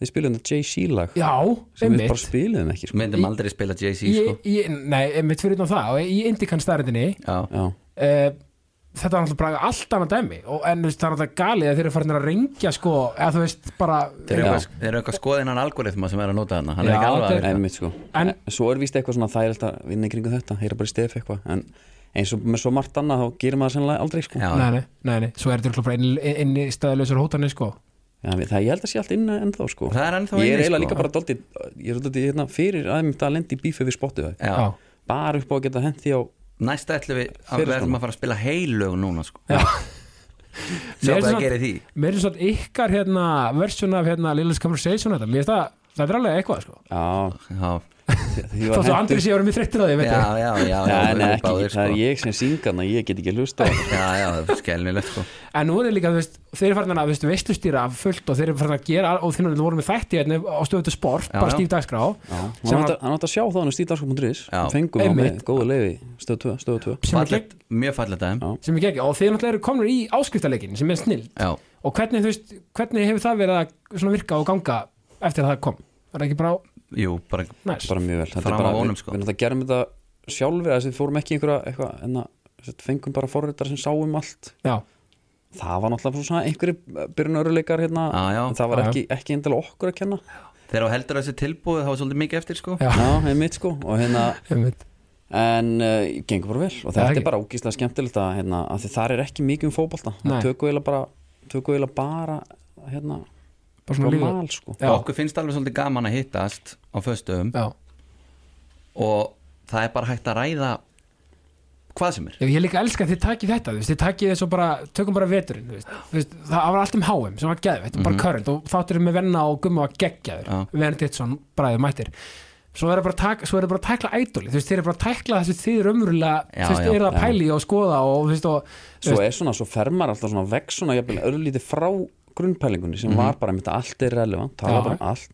[SPEAKER 2] þeir spilum þetta Jay-Z lag
[SPEAKER 1] já,
[SPEAKER 2] sem við bara
[SPEAKER 1] einmitt
[SPEAKER 2] spilum ekki sko.
[SPEAKER 3] myndum aldrei spila Jay-Z sko.
[SPEAKER 1] Ég- ég- nei, einmitt fyrir utan það og í Indikan starrendinni
[SPEAKER 3] já,
[SPEAKER 2] Já,
[SPEAKER 1] Eh, þetta er náttúrulega bara allt annað dæmi og en þú veist, það er náttúrulega galið að þeir eru farinir að ringja sko, eða þú veist, bara
[SPEAKER 3] Þeir eru eitthvað- þeir eru eitthvað skoðinan algoritma sem er að nota hana Hann er
[SPEAKER 1] Já,
[SPEAKER 3] ekki alveg
[SPEAKER 1] þetta
[SPEAKER 3] að
[SPEAKER 1] er-
[SPEAKER 2] einmitt sko
[SPEAKER 1] En-
[SPEAKER 2] en, svo er víst eitthvað svona þægilegt að vinna í kringu þetta heyra bara í stef eitthvað, en eins og með svo margt annað þá gerir maður það sennilega aldrei sko
[SPEAKER 3] Já.
[SPEAKER 1] nei, nei, nei, nei, svo er þetta bara inn, inn í staðlausar hótanir sko
[SPEAKER 2] Já, við- það ég held að sé allt inn ennþá sko
[SPEAKER 3] Það er ennþá
[SPEAKER 2] Ég er
[SPEAKER 3] inni,
[SPEAKER 2] eiginlega
[SPEAKER 3] sko.
[SPEAKER 2] líka bara dóltið, ég er dóltið hérna fyrir að ég myndi að lendi í bífi við spottuð
[SPEAKER 3] Já.
[SPEAKER 1] já,
[SPEAKER 2] bara upp á að geta hent því á
[SPEAKER 3] Næsta ætlum við að
[SPEAKER 2] Fyrir
[SPEAKER 3] við ætlum
[SPEAKER 2] svona.
[SPEAKER 3] að fara að spila heilög núna sko.
[SPEAKER 1] já.
[SPEAKER 3] Sjá
[SPEAKER 1] Mér
[SPEAKER 3] hvað
[SPEAKER 1] er
[SPEAKER 3] það
[SPEAKER 1] svona-
[SPEAKER 3] gerir því
[SPEAKER 1] mér er svona ykkar hérna versjun af hérna Lilla's Conversation þetta, mér er það, þetta er alveg eitthvað sko
[SPEAKER 2] Já,
[SPEAKER 3] Já,
[SPEAKER 2] Því
[SPEAKER 1] Þó
[SPEAKER 2] var
[SPEAKER 1] svo Andri
[SPEAKER 2] hentur-
[SPEAKER 1] sé orðum í þreyttir að því, veit ég.
[SPEAKER 3] já, já, já, já,
[SPEAKER 2] Nei,
[SPEAKER 3] við
[SPEAKER 2] nei,
[SPEAKER 3] erum
[SPEAKER 2] ekki,
[SPEAKER 3] báðir,
[SPEAKER 2] það er
[SPEAKER 3] sko.
[SPEAKER 2] ég sem syngan ég get ekki hlusta á
[SPEAKER 3] já, já, það er skelmilegt sko.
[SPEAKER 1] En nú er líka, þú veist, þeir eru farin að veistlustýra fullt og þeir eru farin að gera og þeir eru voru með þætti hérna á stöðutu sport,
[SPEAKER 3] Já,
[SPEAKER 1] bara
[SPEAKER 3] já.
[SPEAKER 1] stíf dagskrá.
[SPEAKER 2] hann
[SPEAKER 1] Sem
[SPEAKER 2] átti-
[SPEAKER 1] var-
[SPEAKER 2] hann átt að sjá það hann stíðarskap.is
[SPEAKER 3] Já.
[SPEAKER 2] fengum hann með
[SPEAKER 1] Einmitt.
[SPEAKER 2] góðu leiði stöð 2, stöð 2
[SPEAKER 1] Sem er
[SPEAKER 3] Fallet, mjög fallet aðeim
[SPEAKER 2] Já.
[SPEAKER 1] sem er geggjað og þeir náttúrulega eru komnir í áskriftarleikin sem er snill
[SPEAKER 3] já,
[SPEAKER 1] og hvernig, þú veist, hvernig hefur það verið að svona virka og ganga eftir að það kom var það ekki bara
[SPEAKER 3] jú, bara
[SPEAKER 1] næst
[SPEAKER 2] bara mjög vel Þetta er
[SPEAKER 3] Fram
[SPEAKER 2] bara-
[SPEAKER 3] af vonum,
[SPEAKER 2] við-
[SPEAKER 3] sko.
[SPEAKER 2] við náttúrulega gerum þetta sjálfi þess að við fórum ekki í einhverja eitthvað en að sem sagt, fengum bara forritar sem sáum allt
[SPEAKER 1] já,
[SPEAKER 2] það var náttúrulega svona einhverju byrjunaruleikar eh, hérna
[SPEAKER 3] Já, já.
[SPEAKER 2] en það var
[SPEAKER 1] Já, já.
[SPEAKER 2] ekki, ekki endilega okkur að kenna
[SPEAKER 3] þegar á heldur þessi tilbúið þá er svolítið mikið eftir sko.
[SPEAKER 1] Já.
[SPEAKER 2] já, einmitt sko og hérna
[SPEAKER 1] einmitt
[SPEAKER 2] en uh, gengur bara vel og
[SPEAKER 1] Það er
[SPEAKER 2] þetta
[SPEAKER 1] ekki-
[SPEAKER 2] er bara ógíslega skemmtilegt að, hérna, að því þar er ekki mikið um fótbolta
[SPEAKER 1] Nei.
[SPEAKER 2] það tökum eiginlega bara, tökum eiginlega bara hérna,
[SPEAKER 1] bara svona lífa
[SPEAKER 2] normal sko
[SPEAKER 1] já,
[SPEAKER 3] okkur finnst alveg svolítið gaman að hittast á föstum
[SPEAKER 1] já.
[SPEAKER 3] og það er bara hægt að ræða hvað sem er
[SPEAKER 1] Ég, ég líka elska að þið takið þetta, þú veist, þið takið þessu bara tökum bara veturinn, þú veist, þú veist það var allt um háum sem var geðveitt og
[SPEAKER 2] Mhm.
[SPEAKER 1] bara körrend og þátturinn með venna og gumma var geggjaður
[SPEAKER 3] Já.
[SPEAKER 1] verðan þitt svona bræðið mættir svo er það bara, að taka- svo er það bara að tækla ædoli þú veist, þið eru bara að tækla þessu þið eru umrúlega
[SPEAKER 3] Já,
[SPEAKER 1] þú veist,
[SPEAKER 3] já,
[SPEAKER 1] eru það
[SPEAKER 2] já.
[SPEAKER 1] að pæli og skoða og þú veist, og
[SPEAKER 2] svo er svona, svo fermar alltaf svona vekk svona jafnvel örlítið frá grunnpælingunni sem var bara mitt að allt er relevant tala
[SPEAKER 1] Mhm. Já.
[SPEAKER 2] bara um allt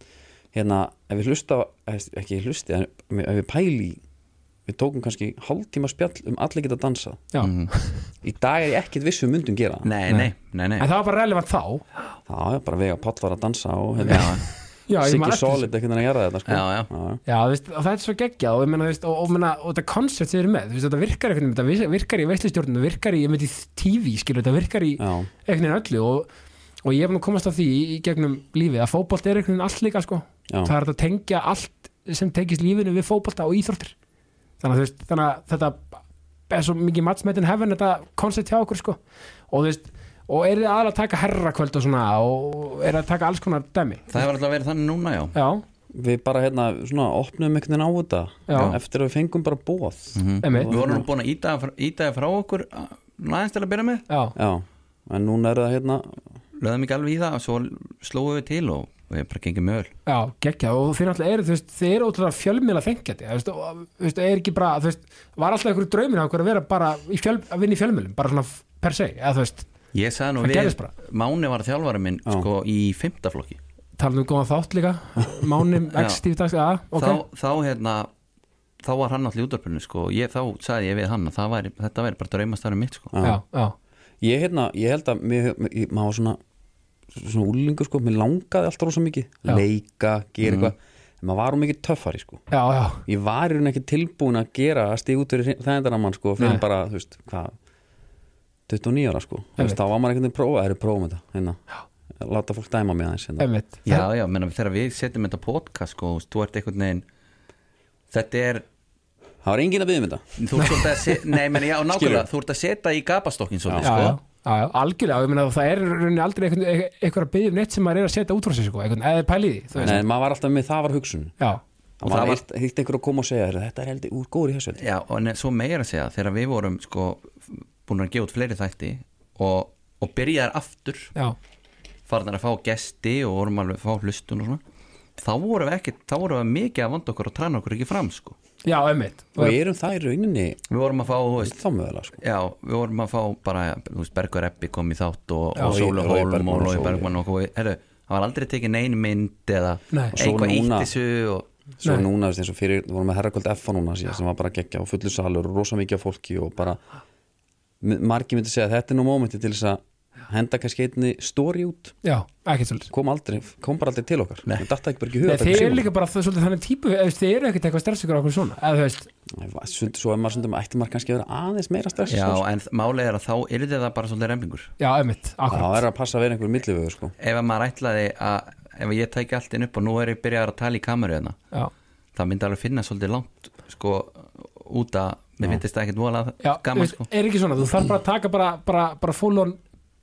[SPEAKER 2] hérna, ef við hlusta, eh, ekki hlusti en ef við pæli í- við tókum kannski hálftíma spjall um allir geta dansað
[SPEAKER 1] já,
[SPEAKER 2] Mhm. í dag er ég ekkit viss um myndum gera það.
[SPEAKER 3] nei, nei, nei, nei.
[SPEAKER 1] en það var bara relevant þá
[SPEAKER 2] já, já, bara vega Páll var að dansa og
[SPEAKER 3] Já,
[SPEAKER 2] hérna,
[SPEAKER 1] Já, ég man
[SPEAKER 2] Siggi
[SPEAKER 1] eftir
[SPEAKER 2] Solid ekkert að gera þetta sko.
[SPEAKER 3] Já, já.
[SPEAKER 2] Já,
[SPEAKER 1] Já, þú veist, og það er svo geggjað og, ég meina, þú veist, og, og, meina, og þetta koncept sem við erum með þú veist, þetta virkar einhvern veginn, þetta virkar í veistlustjórnum þetta virkar í, ég myndi, TV, skilur þetta virkar í
[SPEAKER 2] já,
[SPEAKER 1] einhvern veginn öllu og, og ég hef nú komast að því í gegnum lífið að fótbolt er einhvern veginn allt líka sko.
[SPEAKER 2] já.
[SPEAKER 1] það er hægt að tengja allt sem tengist lífinu við fótbolta og íþróttir þannig að, þú veist, þannig að þetta er svo mikið matsmetin hefðin þetta koncept hjá okkur sko. og þú veist og er þið aðra að taka herrakvöld og svona og er að taka alls konar dæmi
[SPEAKER 3] það hefur alltaf verið þannig núna, já
[SPEAKER 1] já,
[SPEAKER 2] við bara hérna, svona, opnum einhvern veginn á þetta
[SPEAKER 1] Já.
[SPEAKER 2] eftir að við fengum bara bóð
[SPEAKER 1] emitt
[SPEAKER 3] Við vorum nú búin að íta ítaði frá okkur næðins til að byrja með,
[SPEAKER 1] já,
[SPEAKER 2] já, en núna er það hérna
[SPEAKER 3] löðum ekki alveg í það og svo slóðum við til og við bara gengum mjög vel
[SPEAKER 1] Já, geggja og þeir náttúrulega eru, þú veist, þeir eru ótrúlega fjölmiðla þengjandi, þú veist, og, þú veist, er ekki bara, þú veist, var alltaf einhverju draumin á okkur að vera bara í fjöl, að vinna í fjölmiðlum, bara svona f- per se, eða þú veist,
[SPEAKER 3] Ég sagði nú
[SPEAKER 1] Það gerðist bara.
[SPEAKER 3] við, Máni var þjálfari minn
[SPEAKER 2] Já.
[SPEAKER 3] sko í fimmta flokki
[SPEAKER 1] talaðu um góðan þátt líka, mánum,
[SPEAKER 3] Já.
[SPEAKER 1] x, tíf, dags, aða, ok,
[SPEAKER 3] þá, þá hérna þá var hann allir útvarpinu sko og ég, þá sagði ég við hann að það væri, þetta væri bara draumastarfið mitt sko
[SPEAKER 1] já, já,
[SPEAKER 2] Ég, hérna, ég held að mér, ég, maður var svona svona úlingur sko, mér langaði alltaf rosa mikið,
[SPEAKER 1] Já.
[SPEAKER 2] leika, gera eitthvað en maður var um mikið töffari sko
[SPEAKER 1] já, já,
[SPEAKER 2] ég var í raun ekki tilbúin að gera að stíða út fyrir þægindaramann sko fyrir
[SPEAKER 1] Nei.
[SPEAKER 2] bara, þú veist, hvað 29 ára sko, þú
[SPEAKER 1] Einmitt.
[SPEAKER 2] veist, þá var maður einhvern veginn prófa, það eru prófum þetta, hérna láta fólk dæma mig aðeins, hérna
[SPEAKER 1] emitt,
[SPEAKER 3] Já, já, menna, þegar við setjum þetta á podcast sko, þú veist, þú ert einhvern veginn þetta er,
[SPEAKER 2] það var enginn að byggja um þetta
[SPEAKER 3] þú ert svolítið að setja nei, meni, já, nákvæmlega,
[SPEAKER 2] Skilur.
[SPEAKER 3] þú ert að setja í gapastokkin
[SPEAKER 1] já,
[SPEAKER 3] svolítið,
[SPEAKER 1] já,
[SPEAKER 3] sko
[SPEAKER 1] já, já, algjörlega, og ég meina það er í rauninni aldrei einhvern- einhver einhver að byggja um neitt sem maður er að setja út frá sig, sko, einhvern, eða pæliði, þú veist,
[SPEAKER 2] Nei, en maður var alltaf með, það var hugsun
[SPEAKER 1] já,
[SPEAKER 2] og það var hitt einhver að koma og segja "Heyrðu, þetta er heldur úr góður í þessu
[SPEAKER 3] Já, og en svo meira að segja þegar við vorum sko búin að gefa út fleiri þætti og, og byrjaðar aftur
[SPEAKER 1] já,
[SPEAKER 3] farnar að fá gesti og vorum alveg að fá hlustun og svona þá vorum við ekki, þá vorum við mikið að vanda okkur og træna okkur ekki fram sko
[SPEAKER 1] já, emitt,
[SPEAKER 2] og við erum það í rauninni
[SPEAKER 3] við vorum að fá, þú veist,
[SPEAKER 2] þá mögulega sko
[SPEAKER 3] já, við vorum að fá bara, þú veist, Bergur Eppi kom í þátt og,
[SPEAKER 2] Já,
[SPEAKER 3] og
[SPEAKER 2] Logi-
[SPEAKER 3] Sólu
[SPEAKER 2] Logi
[SPEAKER 3] Hólm
[SPEAKER 2] Bergmann
[SPEAKER 3] og
[SPEAKER 2] og
[SPEAKER 3] Lói
[SPEAKER 2] Sólu.
[SPEAKER 3] Bergmann og okkur, herru, það var aldrei tekin ein mynd eða
[SPEAKER 1] Nei.
[SPEAKER 2] Sólu
[SPEAKER 3] eitthvað ítt
[SPEAKER 2] núna.
[SPEAKER 3] þessu og
[SPEAKER 2] svo
[SPEAKER 1] Nei.
[SPEAKER 2] núna, þú veist, eins og fyrir, við vorum með herrakvöld F núna síðan sem var bara geggja og fullu salur og rosa mikið af fólki og bara m- margir myndi segja að þetta er nú mómenti til þess að henda kannski einni stóri út
[SPEAKER 1] já, ekkert svolítið.
[SPEAKER 2] kom aldrei, kom bara aldrei til okkar
[SPEAKER 3] Nei.
[SPEAKER 2] þetta ekki bara ekki
[SPEAKER 1] Nei,
[SPEAKER 2] huga
[SPEAKER 1] þeir eru líka bara það- svolítið þannig típu eða þú veist, þeir eru ekkert eitthvað stressur á okkur svona eða þú veist,
[SPEAKER 2] Sund, svo er maður stundum, ætti maður kannski að vera aðeins meira stress
[SPEAKER 3] já,
[SPEAKER 2] sko.
[SPEAKER 3] en málið er að þá yrði það bara svolítið remlingur
[SPEAKER 1] já, ömmit,
[SPEAKER 2] það
[SPEAKER 1] akkurat
[SPEAKER 2] er að passa að vera einhver millivögu sko.
[SPEAKER 3] ef að maður ætlaði að ef ég tæki allt inn upp og nú er ég byrjaðar að tala í kameru hérna
[SPEAKER 1] já,
[SPEAKER 3] það myndi alveg finna svolítið langt sko út að mér finnst það ekkert
[SPEAKER 1] já,
[SPEAKER 3] volað
[SPEAKER 1] þú
[SPEAKER 3] gaman
[SPEAKER 1] veist,
[SPEAKER 3] sko
[SPEAKER 1] er ekki svona, þú þarf bara að taka bara, bara, bara full on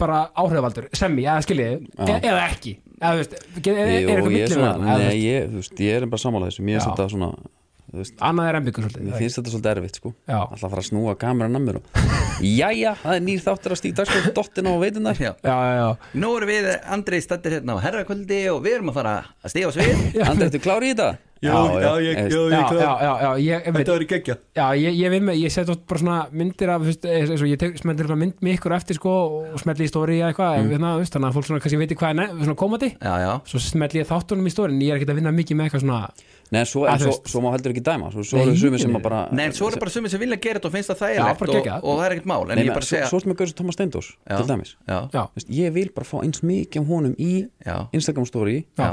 [SPEAKER 1] bara áhrifaldur, semmi, eða skiljiði e eða ekki, eða þú veist er, er, er
[SPEAKER 2] Jú,
[SPEAKER 1] eitthvað
[SPEAKER 2] ég, er
[SPEAKER 1] miklu
[SPEAKER 2] svona,
[SPEAKER 1] verðan, eða þú
[SPEAKER 2] nei,
[SPEAKER 1] veist,
[SPEAKER 2] ég, þú veist, ég er bara sammála þessu mér
[SPEAKER 1] Já.
[SPEAKER 2] finnst þetta svona þú veist,
[SPEAKER 1] annað er embyggur svolítið
[SPEAKER 2] mér
[SPEAKER 1] það er
[SPEAKER 2] finnst þetta svolítið erfitt sko
[SPEAKER 1] Já.
[SPEAKER 2] alltaf að fara að snúa kameran að mér og jæja, það er nýr þáttur að stíð dagskóð dottin á veitunar
[SPEAKER 3] Já.
[SPEAKER 1] ekki- já, já, já,
[SPEAKER 3] Nú erum við Andrei stættir hérna á herrakvöldi og við erum að fara að stíða á svið
[SPEAKER 2] Andri, ertu klár í þetta?
[SPEAKER 4] já, já, ég, já,
[SPEAKER 1] já,
[SPEAKER 4] ég,
[SPEAKER 1] já,
[SPEAKER 4] já,
[SPEAKER 1] já, já, ég, einmitt.
[SPEAKER 4] þetta verið geggja
[SPEAKER 1] já, ég, ég vinn með, ég set oft bara svona myndir af, þú veist, eins eins og ég tek- smellir svona mynd með ykkur eftir sko og smelli í stóri eða eitthvað, mm. þannig að þannig að fólk svona kannski veit hvað er ne- svona komandi,
[SPEAKER 3] já, já,
[SPEAKER 1] svo smelli ég þáttunum í stórin, ég er ekkert að vinna mikið með eitthvað svona
[SPEAKER 2] Nei, svo,
[SPEAKER 1] Að
[SPEAKER 2] en
[SPEAKER 1] þú
[SPEAKER 2] svo,
[SPEAKER 1] veist.
[SPEAKER 2] svo má heldur ekki dæma Svo, svo
[SPEAKER 1] Nei,
[SPEAKER 2] eru sumir sem
[SPEAKER 1] nei,
[SPEAKER 2] að bara
[SPEAKER 3] Nei, en svo eru bara sumir sem vilja gera þetta og finnst það
[SPEAKER 1] Já,
[SPEAKER 3] þægilegt
[SPEAKER 1] bara
[SPEAKER 3] og,
[SPEAKER 1] geggjað.
[SPEAKER 3] og það er ekkert mál en
[SPEAKER 2] Nei,
[SPEAKER 3] ég
[SPEAKER 2] menn,
[SPEAKER 3] bara
[SPEAKER 2] svo,
[SPEAKER 3] segja
[SPEAKER 2] svo ertu með Gauðs Thomas Steindós
[SPEAKER 3] Já.
[SPEAKER 2] til dæmis
[SPEAKER 3] já,
[SPEAKER 1] já,
[SPEAKER 2] Þú veist, Ég vil bara fá eins mikið af honum í
[SPEAKER 3] já,
[SPEAKER 2] Instagram story
[SPEAKER 3] já.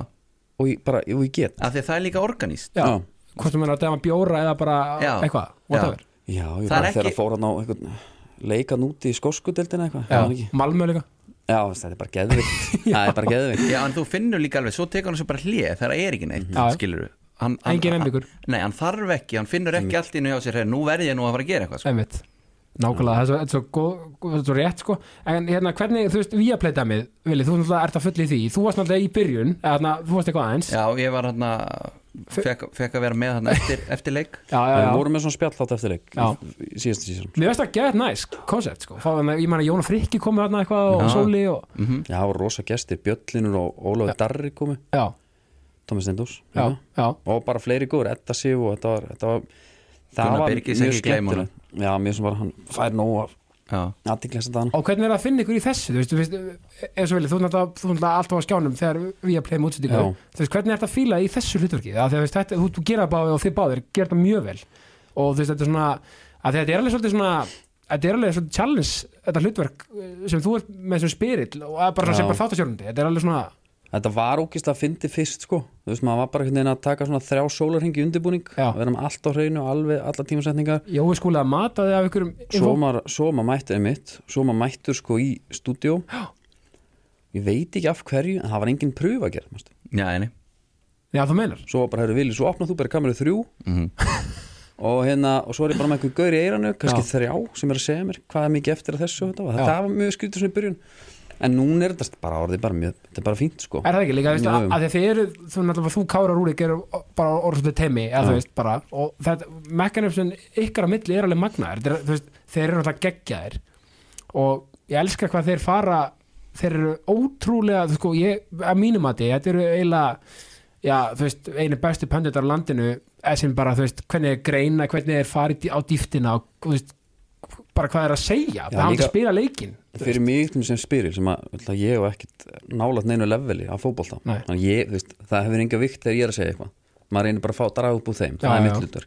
[SPEAKER 2] og ég, bara, og ég get
[SPEAKER 3] Af því að það er líka organíst
[SPEAKER 1] já,
[SPEAKER 2] Já.
[SPEAKER 1] hvort sem er að dæma bjóra eða bara
[SPEAKER 3] Já.
[SPEAKER 1] eitthvað,
[SPEAKER 3] Já.
[SPEAKER 1] whatever
[SPEAKER 2] Já, ég
[SPEAKER 3] Það er
[SPEAKER 2] bara þegar
[SPEAKER 3] ekki-
[SPEAKER 2] að fóra hann á einhvern leikan úti í skoskudeldina eitthvað var það
[SPEAKER 1] já,
[SPEAKER 2] ekki?
[SPEAKER 1] Malmö líka
[SPEAKER 2] Já, þetta er bara geðvikt Það er bara geðvikt
[SPEAKER 3] Já, en þú finnur líka alveg, svo tekur hann svo bara hlið þegar það er ekki neitt,
[SPEAKER 1] Mhm. Já.
[SPEAKER 3] skilur við hann,
[SPEAKER 1] Engin einbyggur.
[SPEAKER 3] Nei, hann þarf ekki, hann finnur ekki allt innu hjá sér "Heyrðu, Nú verð ég nú að fara að gera eitthvað sko.
[SPEAKER 1] einmitt nákvæmlega, það er svo, þetta er svo, góð, góð- þetta er svo rétt sko en hérna, hvernig, þú veist, við að pleita mig Vili, þú náttúrulega ert að fulli því, þú varst náttúrulega í byrjun eða þarna, þú varst eitthvað aðeins
[SPEAKER 3] Já, ég var hann að fekk, fekk að vera með hann eftir, eftir leik
[SPEAKER 1] já, já,
[SPEAKER 2] Við
[SPEAKER 1] já.
[SPEAKER 2] vorum með svona spjall þátt eftir leik
[SPEAKER 1] Já.
[SPEAKER 2] í- í síðasta sísón
[SPEAKER 1] Mér veist að gett næst koncept sko, Fá, þarna- ég man að Jón og Frikki komið þarna eitthvað og
[SPEAKER 3] Já. Mm.
[SPEAKER 1] Sóli og,
[SPEAKER 3] Mhm.
[SPEAKER 2] Já, það voru rosa gestir, Bjöllinur og Ólafi Darri komi,
[SPEAKER 1] já,
[SPEAKER 2] Tómi Steindós
[SPEAKER 1] já,
[SPEAKER 2] líka.
[SPEAKER 1] já
[SPEAKER 2] og bara fleiri góður, Edda Sif og þetta var, þetta var
[SPEAKER 3] Gunnar
[SPEAKER 2] það var
[SPEAKER 3] Birgis
[SPEAKER 2] mjög
[SPEAKER 3] ekki gleyma honum.
[SPEAKER 2] skemmtilegt. Já, mér sem bara hann fær nóg af
[SPEAKER 3] Já,
[SPEAKER 2] aðtiklega sem þann
[SPEAKER 1] og hvernig er að finna ykkur í þessu, þú veist, þú veist eins og Vili, þú náttúrulega, þú náttúrulega alltaf á skjánum þegar við að pleita með útsendingu,
[SPEAKER 2] Já.
[SPEAKER 1] þú veist, hvernig er þetta að fíla í þessu hlutverki, það þegar þú veist, þetta, þú, þú gera það báði og þið báðir, gera það mjög vel og þú veist, þetta er svona, að þetta er alveg svolítið svona þetta er alveg svona challenge þetta hlutverk eh, sem þú ert með sem spyrill og að bara
[SPEAKER 2] Já.
[SPEAKER 1] sem bara þáttasjörnundi, þetta er alveg svona
[SPEAKER 2] Þetta var ókist að fyndi fyrst sko Þú veist, maður var bara einhvern veginn að taka svona þrjá sólarhengi undirbúning,
[SPEAKER 1] Já.
[SPEAKER 2] að vera með allt á hreinu og alveg alla tímasetningar
[SPEAKER 1] Jói skúlega mataði af ykkur
[SPEAKER 2] Svo maður, svo maður mættur einmitt, svo maður mættur sko í stúdíó Ég veit ekki af hverju, en það var engin pröfu að gera manstu.
[SPEAKER 3] já, enni
[SPEAKER 1] Já, þú meinar
[SPEAKER 2] Svo var bara, heyrðu Vili, svo opnað þú bara kameru þrjú
[SPEAKER 1] Mhm.
[SPEAKER 2] og hérna, og svo er ég bara með einhver gaur í eiranu, kannski þrjá sem er að segja mér hvað er mikið eftir að þessu og þetta, var. þetta var mjög skrítið svona í byrjun en núna er þetta bara orðið bara mjög, þetta er bara fínt sko
[SPEAKER 1] Er það ekki líka, þú veist,
[SPEAKER 2] Jú,
[SPEAKER 1] að,
[SPEAKER 2] jú.
[SPEAKER 1] að því að þið eru, þú náttúrulega, þú Kára Rúrik eru bara orðsvöldu teimi, eða þú veist, bara og þetta, mekanismin ykkar á milli er alveg magnaðir, Þetta er, þú veist, þeir eru náttúrulega geggjaðir og ég elska hvað þeir fara þeir eru ótrúlega, þú sko, ég, að mínum að því, þetta eru eiginlega já, þú veist, einu bestu pöndutar á landinu, eða sem bara, þú veist, hvernig er greina, hvernig er farið dí- á dýftina og, þú veist, bara hvað er að segja,
[SPEAKER 2] Já,
[SPEAKER 1] það hann
[SPEAKER 2] líka-
[SPEAKER 1] að spila leikinn
[SPEAKER 2] fyrir mig sem spyrir sem að ætla, ég hef ekkit nálat neinu leveli á fótbolta
[SPEAKER 1] Nei.
[SPEAKER 2] Þannig ég, þú veist, það hefur enga vikt þegar ég er að segja eitthvað maður reynir bara að fá draga upp úr þeim
[SPEAKER 1] Já,
[SPEAKER 2] það er
[SPEAKER 1] já.
[SPEAKER 2] mitt hlutur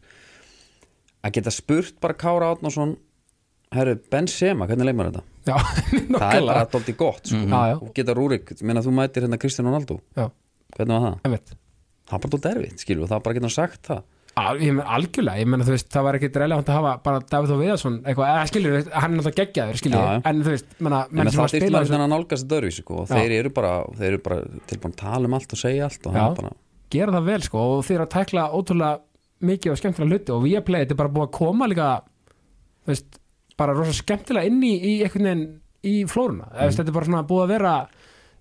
[SPEAKER 2] að geta spurt bara Kára Átnason herru, Ben Sema, hvernig leik maður þetta?
[SPEAKER 1] Já,
[SPEAKER 2] það er bara
[SPEAKER 1] nokkala
[SPEAKER 2] dólti gott sko.
[SPEAKER 1] Mhm. Já, já.
[SPEAKER 2] og geta Rúrik, minna þú mætir hérna Kristján Ronaldo
[SPEAKER 1] Já,
[SPEAKER 2] hvernig var það?
[SPEAKER 1] einmitt
[SPEAKER 2] það er bara dólti erfitt, skilur, það er bara að geta sagt það
[SPEAKER 1] Al, ég menn algjörlega, ég menn að þú veist það var ekkit relevant að hafa bara Davíð og Viðarsson eitthvað, eða skilur, hann er náttúrulega geggjaður skilur,
[SPEAKER 2] Já, já.
[SPEAKER 1] en þú veist, menna,
[SPEAKER 2] en
[SPEAKER 1] menn sem
[SPEAKER 2] það
[SPEAKER 1] var að
[SPEAKER 2] er
[SPEAKER 1] spila
[SPEAKER 2] maður
[SPEAKER 1] þessu,
[SPEAKER 2] þannig að nálgast þetta öðruvísi sko. og
[SPEAKER 1] Já.
[SPEAKER 2] þeir eru bara, þeir eru bara tilbúin að tala um allt og segja allt og það
[SPEAKER 1] Já.
[SPEAKER 2] er bara,
[SPEAKER 1] gera það vel sko og þeir eru að tækla ótrúlega mikið og skemmtilega hluti og Viaplay, þetta er bara búið að koma líka þú veist, bara rosa skemmtilega inn í, í einhvern veginn í flóruna, mm. veist, þetta er bara svona búið að vera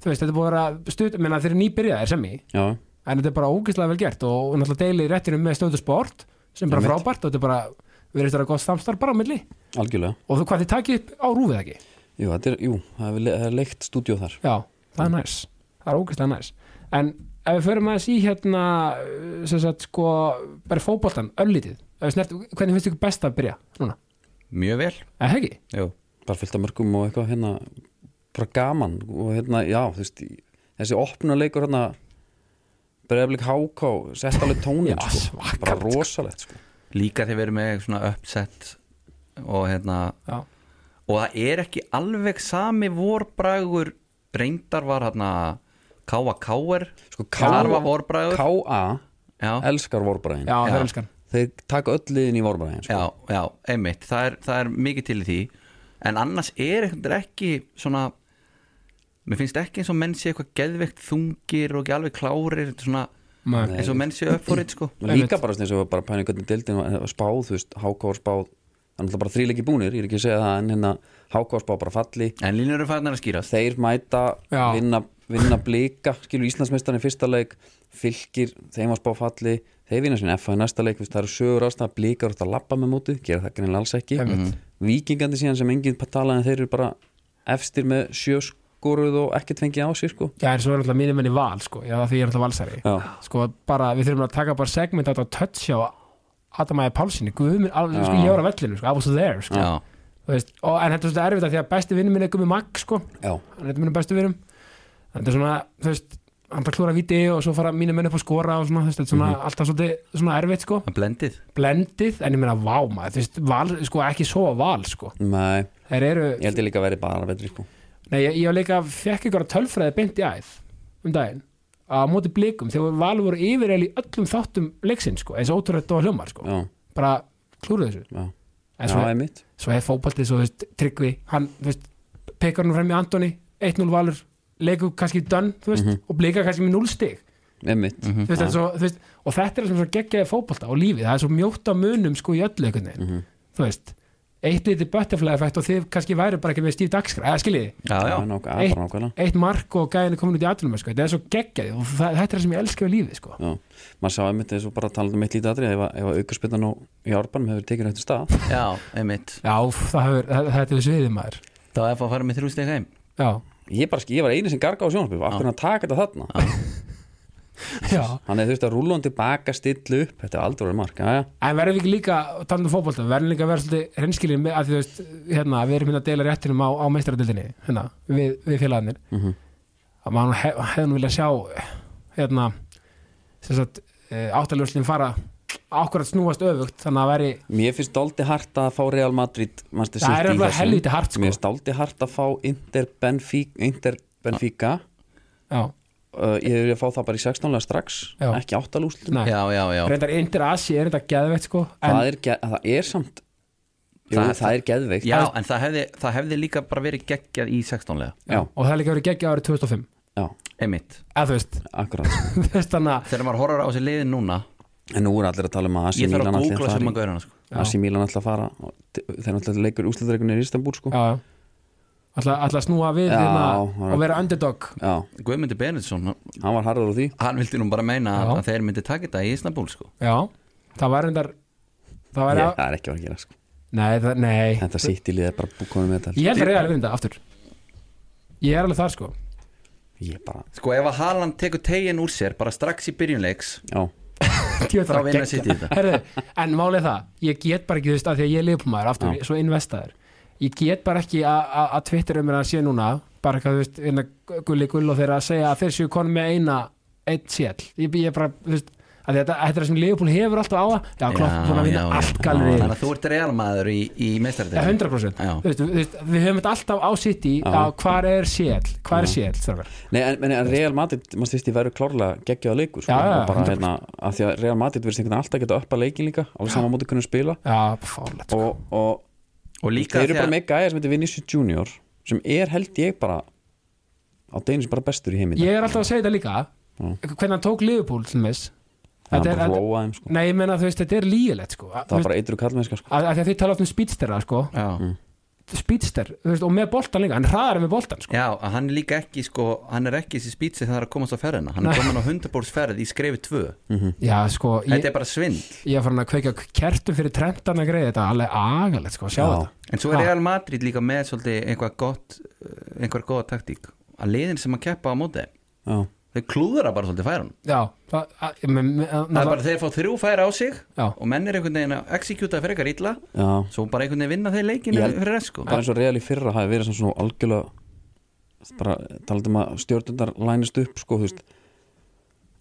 [SPEAKER 1] þú veist, þetta er búið að vera stutt, menna þeir eru nýbyrjaðir sem í,
[SPEAKER 2] já,
[SPEAKER 1] en þetta er bara ógeðslega vel gert og, og náttúrulega deilið réttinum með stöðu sport sem er bara
[SPEAKER 2] Einmitt.
[SPEAKER 1] frábært og þetta er bara, við erum þetta gott samstarf bara á milli
[SPEAKER 2] algjörlega
[SPEAKER 1] og þú, hvað þið takið upp á rúfið ekki
[SPEAKER 2] Jú, þetta er, jú, það er le- það er leikt stúdíó þar
[SPEAKER 1] Já, það er næs Það er ógæslega næs En ef við förum aðeins í hérna uh, sem sagt sko, bara fótboltan öllítið, ef við snert, hvernig finnst ykkur best að byrja núna?
[SPEAKER 3] Mjög vel,
[SPEAKER 1] Eða það ekki?
[SPEAKER 3] jú
[SPEAKER 2] bara fyllt af mörgum og eitthvað hérna bara gaman og hérna, já, þú veist í- þessi opnuleikur hérna bregðarleik háká, sett alveg tónin
[SPEAKER 1] Já,
[SPEAKER 2] sko.
[SPEAKER 1] svakalegt,
[SPEAKER 2] bara rosalegt sko.
[SPEAKER 3] Líka þegar við erum með svona uppsett og hérna
[SPEAKER 1] Já,
[SPEAKER 3] og það er ekki alveg sami vorbragur reyndar var hérna Káa Káer
[SPEAKER 2] Sko,
[SPEAKER 3] Karfa
[SPEAKER 2] K-
[SPEAKER 3] vorbragur
[SPEAKER 2] K.A.
[SPEAKER 3] já,
[SPEAKER 2] elskar vorbræðin
[SPEAKER 1] já, það
[SPEAKER 3] Já.
[SPEAKER 1] er elskan
[SPEAKER 2] þeir taka öll liðin í vorbræðin sko.
[SPEAKER 3] já, já, einmitt það er, það er mikið til í því en annars er eitthvað ekki svona mér finnst ekki eins og menn sé eitthvað geðveikt þungir og ekki alveg klárir þetta er svona,
[SPEAKER 1] Nei.
[SPEAKER 3] eins og menn sé upp fór eitt sko
[SPEAKER 2] Og líka bara þess að við bara pæni hvernig deildin var- var spáð, þú veist, háká var spáð það er náttúrulega bara þríleiki búnir, ég er ekki að segja það en hérna háká var spáð bara falli
[SPEAKER 3] en línur eru farnar að skýrast
[SPEAKER 2] þeir mæta
[SPEAKER 1] Já.
[SPEAKER 2] vinna, vinna blika, skilur Íslandsmeistarinn í fyrsta leik, fylgir þeim að spá falli, þeir vinna sinni FH í næsta leik, þú veist, það eru sögur ástæða, blikar út að labba með móti, gera það greinilega alls ekki
[SPEAKER 1] Einmitt.
[SPEAKER 2] vikingandi síðan sem enginn talaði en þeir eru bara efstir með sjö skoruð og ekkert fengið á sig sko.
[SPEAKER 1] Já, en svo er alltaf mínum enni val, sko, já, því ég er alltaf valsari
[SPEAKER 2] Já.
[SPEAKER 1] Sko, bara, við þurfum að taka bara segment átt á touch á Adamæði Pálsini, guðum minn, alveg, sko,
[SPEAKER 2] Já.
[SPEAKER 1] ég var á vellinu, sko, I was there, sko
[SPEAKER 3] já,
[SPEAKER 1] Þú veist, og, En þetta er svolítið erfitt af því að besti vinnum minn er Gumi Mag, sko,
[SPEAKER 2] Já,
[SPEAKER 1] hann er eitt af mínum bestu vinnum Þetta er svona, þú veist, hann bara klúra víti og svo fara mínum menn upp að skora og svona, þú veist, þetta er
[SPEAKER 2] Mhm.
[SPEAKER 1] svona, alltaf svolítið svona erfitt, sko
[SPEAKER 3] að blendið
[SPEAKER 1] Blendið, en ég meina, vá, maður, þú veist, val, sko, ekki svo val, sko
[SPEAKER 2] nei,
[SPEAKER 1] Þeir eru,
[SPEAKER 2] ég held ég líka að veri bara betri sko.
[SPEAKER 1] Nei, ég, ég var líka fekk ykkur að tölfræði beint í æð um daginn á móti blikum þegar valur voru yfirreil í öllum þáttum leiksinn sko, eins og ótrúlega og hljómar sko.
[SPEAKER 2] Já,
[SPEAKER 1] bara klúruðu þessu
[SPEAKER 2] já,
[SPEAKER 1] en
[SPEAKER 2] já,
[SPEAKER 1] svo,
[SPEAKER 2] er mitt
[SPEAKER 1] svo hefði fótbaltið svo þú veist, tryggvi, hann þú veist, pekar hann fram í Antoni, 1-0 valur leikur kannski dönn, þú veist og blika kannski með 0 stig
[SPEAKER 2] Er mitt,
[SPEAKER 1] þú veist, þetta er svo, þú veist, og þetta er það sem svo geggjaði fótbalta og lífið, það er svo mjótt á munum sko í öllu einhvern veginn, þú veist eitt litið butterfly effect og þið kannski væri bara ekki með stíf dagskra, eða skiljiði
[SPEAKER 3] já, já,
[SPEAKER 2] er nák- það er bara nákvæmlega
[SPEAKER 1] eitt mark og gæðin er komin út í aðlum sko. þetta er svo geggjaði og það, þetta er það sem ég elska við lífið sko.
[SPEAKER 2] Já, maður sá einmitt eins og bara talað um eitt lítið atrið ef, að- ef aukurspinnan og í árbanum hefur tekið hættu stað
[SPEAKER 3] já, einmitt
[SPEAKER 1] já, úff, það hefur, það- þetta er sviðið maður
[SPEAKER 3] þá er að fara með þrjú steg heim
[SPEAKER 1] já,
[SPEAKER 2] ég, bara, sk- ég var einu sem garga á sjónarspil af hvernig að taka þetta þarna
[SPEAKER 1] já.
[SPEAKER 2] hann hefði þurft að rúla hann tilbaka, stilla upp þetta er aldrei verið mark, já, já,
[SPEAKER 1] en verðum við ekki líka talað um fótbolta, verðum líka að vera svolítið hreinskilin með að því þú veist, hérna, við erum hérna að deila réttinum á, á meistaradildinni hérna, við, við félagarnir
[SPEAKER 2] Mhm.
[SPEAKER 1] að maður hef, hefði nú viljað sjá hérna sem sagt, áttaljóslinn fara akkurat snúast öfugt, þannig að veri
[SPEAKER 2] Mér finnst dálti hart að fá Real Madrid Manchester
[SPEAKER 1] Það er
[SPEAKER 2] City í
[SPEAKER 1] alveg
[SPEAKER 2] þessum.
[SPEAKER 1] helvíti hart, sko.
[SPEAKER 2] Mér finnst dálti hart að fá Inter Benfica, Inter Benfica.
[SPEAKER 1] já,
[SPEAKER 2] Uh, Ég hefur að fá það bara í 16 lega strax
[SPEAKER 1] Já.
[SPEAKER 2] ekki 8 lúslum
[SPEAKER 1] næ,
[SPEAKER 3] já, já, já,
[SPEAKER 1] reyndar yndir Asi er þetta geðveitt sko, en
[SPEAKER 2] það, er ge- það er samt Jú,
[SPEAKER 3] Það
[SPEAKER 2] það,
[SPEAKER 3] er-
[SPEAKER 2] er geðveikt
[SPEAKER 3] já en það hefði, það hefði líka bara verið geggjað í 16 lega
[SPEAKER 2] já,
[SPEAKER 1] og það er líka verið geggja árið 2005
[SPEAKER 2] já,
[SPEAKER 3] einmitt,
[SPEAKER 1] eða þú veist,
[SPEAKER 2] akkurat sko.
[SPEAKER 1] þú veist þannig að
[SPEAKER 3] þegar maður horfar á þessi liðin núna
[SPEAKER 2] En nú er allir að tala um að Asi
[SPEAKER 3] ég þarf
[SPEAKER 2] Milan
[SPEAKER 3] að
[SPEAKER 2] allir
[SPEAKER 3] googla
[SPEAKER 2] að
[SPEAKER 3] sem
[SPEAKER 2] fara
[SPEAKER 3] maður gaurana sko.
[SPEAKER 2] í- AC Milan allir að fara og t- þeir náttúrulega leikur úslitaðreikunni í Istanbul sko.
[SPEAKER 1] já, já. ætla, ætla að snúa við
[SPEAKER 2] Já,
[SPEAKER 1] hérna,
[SPEAKER 2] já.
[SPEAKER 1] og vera underdog
[SPEAKER 2] já,
[SPEAKER 3] Guðmundur Benediktsson, hann-
[SPEAKER 2] hann var harður á því
[SPEAKER 3] hann vildi nú bara meina
[SPEAKER 1] Já.
[SPEAKER 3] að, að þeir myndi taka þetta í Istanbul sko.
[SPEAKER 1] já, það var reyndar það var
[SPEAKER 2] Ég-
[SPEAKER 1] yeah.
[SPEAKER 2] Það er ekki að vera að gera sko.
[SPEAKER 1] nei, það, nei
[SPEAKER 2] Þetta City lið er bara búkonum með þetta sko.
[SPEAKER 1] ég held að reyða alveg þetta aftur ég er alveg þar sko
[SPEAKER 2] Ég bara,
[SPEAKER 3] sko ef að Haaland tekur tegin úr sér bara strax í byrjunleiks
[SPEAKER 2] já,
[SPEAKER 1] Djöfull
[SPEAKER 3] Þá
[SPEAKER 1] er það
[SPEAKER 3] vinna
[SPEAKER 1] geggjað.
[SPEAKER 3] City þetta.
[SPEAKER 1] Herðu, en málið er það ég get bara ekki þú veist að því að ég er liðbúmaður aftur,
[SPEAKER 2] Já.
[SPEAKER 1] svo investaður ég get bara ekki að- að að Twitter um mér að sé núna bara eitthvað þú veist, hérna gulli gull og þeirra að segja að þeir séu konum með eina eitt sél, ég, ég bara þú veist, að þetta, þetta er það sem liðbúl hefur alltaf á það já, klopp búin að vinna allt galrið
[SPEAKER 3] þannig að þú ert realmaður í, í
[SPEAKER 1] Ja,
[SPEAKER 3] meistaradeildinni.
[SPEAKER 1] 100%
[SPEAKER 3] Já.
[SPEAKER 1] Þú veist, þú veist, Við höfum þetta alltaf á sitt í
[SPEAKER 2] Já.
[SPEAKER 1] Hvar er sél, hvar er sél strákar?
[SPEAKER 2] Nei, en, en, en Real Madrid, maður styrst, ég verður klárlega geggjaða leikur, sko,
[SPEAKER 1] Já, já,
[SPEAKER 2] og bara
[SPEAKER 1] 100%.
[SPEAKER 2] hérna að því að Real Madrid verðist einhvern veginn alltaf geta upp að leikin líka, alveg saman móti kunni spila
[SPEAKER 1] Já, sko. fálegt
[SPEAKER 2] og, og
[SPEAKER 3] og líka
[SPEAKER 2] þeir eru
[SPEAKER 3] þegar-
[SPEAKER 2] bara með gæja sem heitir Vinicius Junior sem er held ég bara á deginu sem bara bestur í heiminn
[SPEAKER 1] Ég er alltaf að segja þetta líka
[SPEAKER 2] Já.
[SPEAKER 1] Hvernig hann tók liðbúl til þess
[SPEAKER 2] það
[SPEAKER 1] þetta er-
[SPEAKER 2] er bara
[SPEAKER 1] þetta-
[SPEAKER 2] hlóa þeim, sko
[SPEAKER 1] Nei, ég meina þú veist, þetta er lígilegt sko
[SPEAKER 2] það var bara eitur og kallmennska, sko
[SPEAKER 1] að, að því að þið tala oft um speedstera sko
[SPEAKER 3] já.
[SPEAKER 1] speedster, þú veist, og með boltan líka hann hraðar en með boltan sko
[SPEAKER 3] já, að hann er líka ekki sko, hann er ekki þessi spýtsi það er að komast á ferðina hann er komin á 100 ferð í skrefi 2
[SPEAKER 2] Mm.
[SPEAKER 1] já, sko, ég,
[SPEAKER 3] þetta er bara svind
[SPEAKER 1] ég er farin að kveika kertum fyrir trentan að greið þetta er alveg agalegt sko, sjá
[SPEAKER 2] Já.
[SPEAKER 1] þetta
[SPEAKER 3] en svo er
[SPEAKER 1] Ha.
[SPEAKER 3] Real Madrid líka með svolítið einhvað gott eh, einhver góða taktík að liðin sem að keppa á móti þeim,
[SPEAKER 2] já,
[SPEAKER 3] þau klúðra bara svolítið færun
[SPEAKER 1] já, það, að, me, me, að,
[SPEAKER 3] það er bara þeir fá þrjú færa á sig
[SPEAKER 1] Já.
[SPEAKER 3] og menn er einhvern veginn að exekjúta fyrir eitthvað ítla
[SPEAKER 2] já
[SPEAKER 3] svo bara einhvern veginn vinna þeir leikinu
[SPEAKER 2] Ég held-
[SPEAKER 3] fyrir rest sko
[SPEAKER 2] bara eins og Real í fyrra hafi verið svona svona algjörlega bara talað um að stjórnundar lænist upp sko, þú veist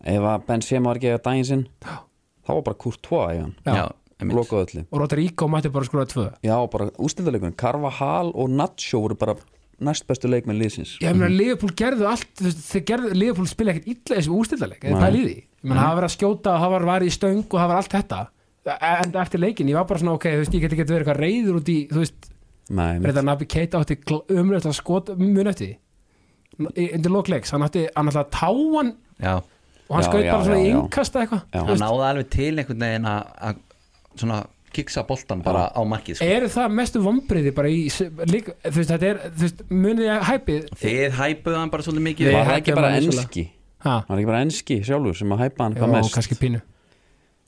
[SPEAKER 2] ef að Benzema var ekki að daginn sinn þá var bara Courtois eigan
[SPEAKER 1] já.
[SPEAKER 3] já, einmitt.
[SPEAKER 2] lokaðu öllu
[SPEAKER 1] og Rodrigo mætti bara skora tvö
[SPEAKER 2] já, bara ústildarleikunum, Carvajal og Nacho voru bara næst bestu leikmenn liðsins
[SPEAKER 1] ég meina, Liverpool gerðu allt þú veist, þeir gerðu, Liverpool spila ekkert illa í þessum úrstildarleik eða
[SPEAKER 2] Nei.
[SPEAKER 1] pæli í því, ég meina, það var verið að skjóta það var varið í stöng og það var allt þetta E, en eftir leikin, ég var bara svona, ok, þú veist, ég get ekki verið eitthvað reyður út í, þú veist,
[SPEAKER 2] Nei, mitt.
[SPEAKER 1] Reyndar Nabi Keita átti umröðt að skot mun eftir því í- undir lokleiks, hann átti hann alltaf táan
[SPEAKER 3] já,
[SPEAKER 1] og hann
[SPEAKER 2] Já,
[SPEAKER 1] skaut
[SPEAKER 2] já,
[SPEAKER 1] bara svona
[SPEAKER 2] já,
[SPEAKER 1] í
[SPEAKER 2] já.
[SPEAKER 1] yngkasta eitthvað
[SPEAKER 2] Já.
[SPEAKER 1] Þú
[SPEAKER 3] hann náði alveg til einhvern veginn að- að svona kiksa boltan bara á markið
[SPEAKER 1] veist,
[SPEAKER 3] sko.
[SPEAKER 1] eru það mestu vombriði bara í s- lík, þú veist, þetta er, þú veist, munið ég hæpið
[SPEAKER 3] þið hæpuðu hann bara svolítið mikið
[SPEAKER 1] Við-
[SPEAKER 2] var það
[SPEAKER 1] hækkaði
[SPEAKER 2] ekki bara
[SPEAKER 1] mann vissulega.
[SPEAKER 2] enski
[SPEAKER 1] ha,
[SPEAKER 2] var ekki bara enski sjálfur sem að hæpa hann
[SPEAKER 1] já,
[SPEAKER 2] hvað mest
[SPEAKER 1] kannski pínu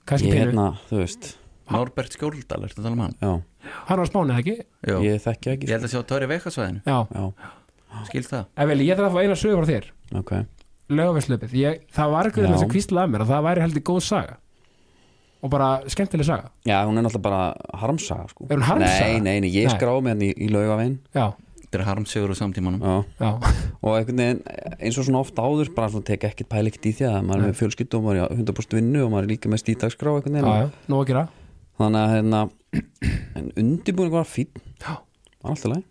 [SPEAKER 1] kannski
[SPEAKER 2] ég
[SPEAKER 1] pínu,
[SPEAKER 2] hérna, þú veist
[SPEAKER 3] Norbert Skjóldal, ertu að tala um hann?
[SPEAKER 2] já,
[SPEAKER 1] hann var spánið ekki
[SPEAKER 3] Jú.
[SPEAKER 2] ég þekki
[SPEAKER 3] ég
[SPEAKER 2] ekki sko.
[SPEAKER 3] held að sé á Tóri Veikasvæðinu
[SPEAKER 1] já,
[SPEAKER 2] já,
[SPEAKER 3] skilst það
[SPEAKER 1] En vel, ég þarf að fá eina sögur frá þér
[SPEAKER 2] ok
[SPEAKER 1] Lögavæslöpið, það var ekki
[SPEAKER 2] Já.
[SPEAKER 1] þess að kvísla að mér að það væri heldur góð saga og bara skemmtileg saga
[SPEAKER 2] Já, hún er náttúrulega bara harmsaga sko.
[SPEAKER 1] Er hún harmsaga?
[SPEAKER 2] Nei, nei, nei, ég
[SPEAKER 1] Nei.
[SPEAKER 2] skrá mig hann í, í laugavegin
[SPEAKER 1] Já,
[SPEAKER 3] þetta er harmsögur og samtímanum
[SPEAKER 2] Já
[SPEAKER 1] já,
[SPEAKER 2] og einhvern veginn eins og svona oft áður bara svona tek ekkert pæl ekkert í því að maður er með fjölskyld og maður er í 100% vinnu og maður er líka með stítagskrá einhvern
[SPEAKER 1] já, já,
[SPEAKER 2] veginn
[SPEAKER 1] nú að gera
[SPEAKER 2] þannig að hérna en undirbúning var fín
[SPEAKER 1] Já,
[SPEAKER 2] var alltaf læg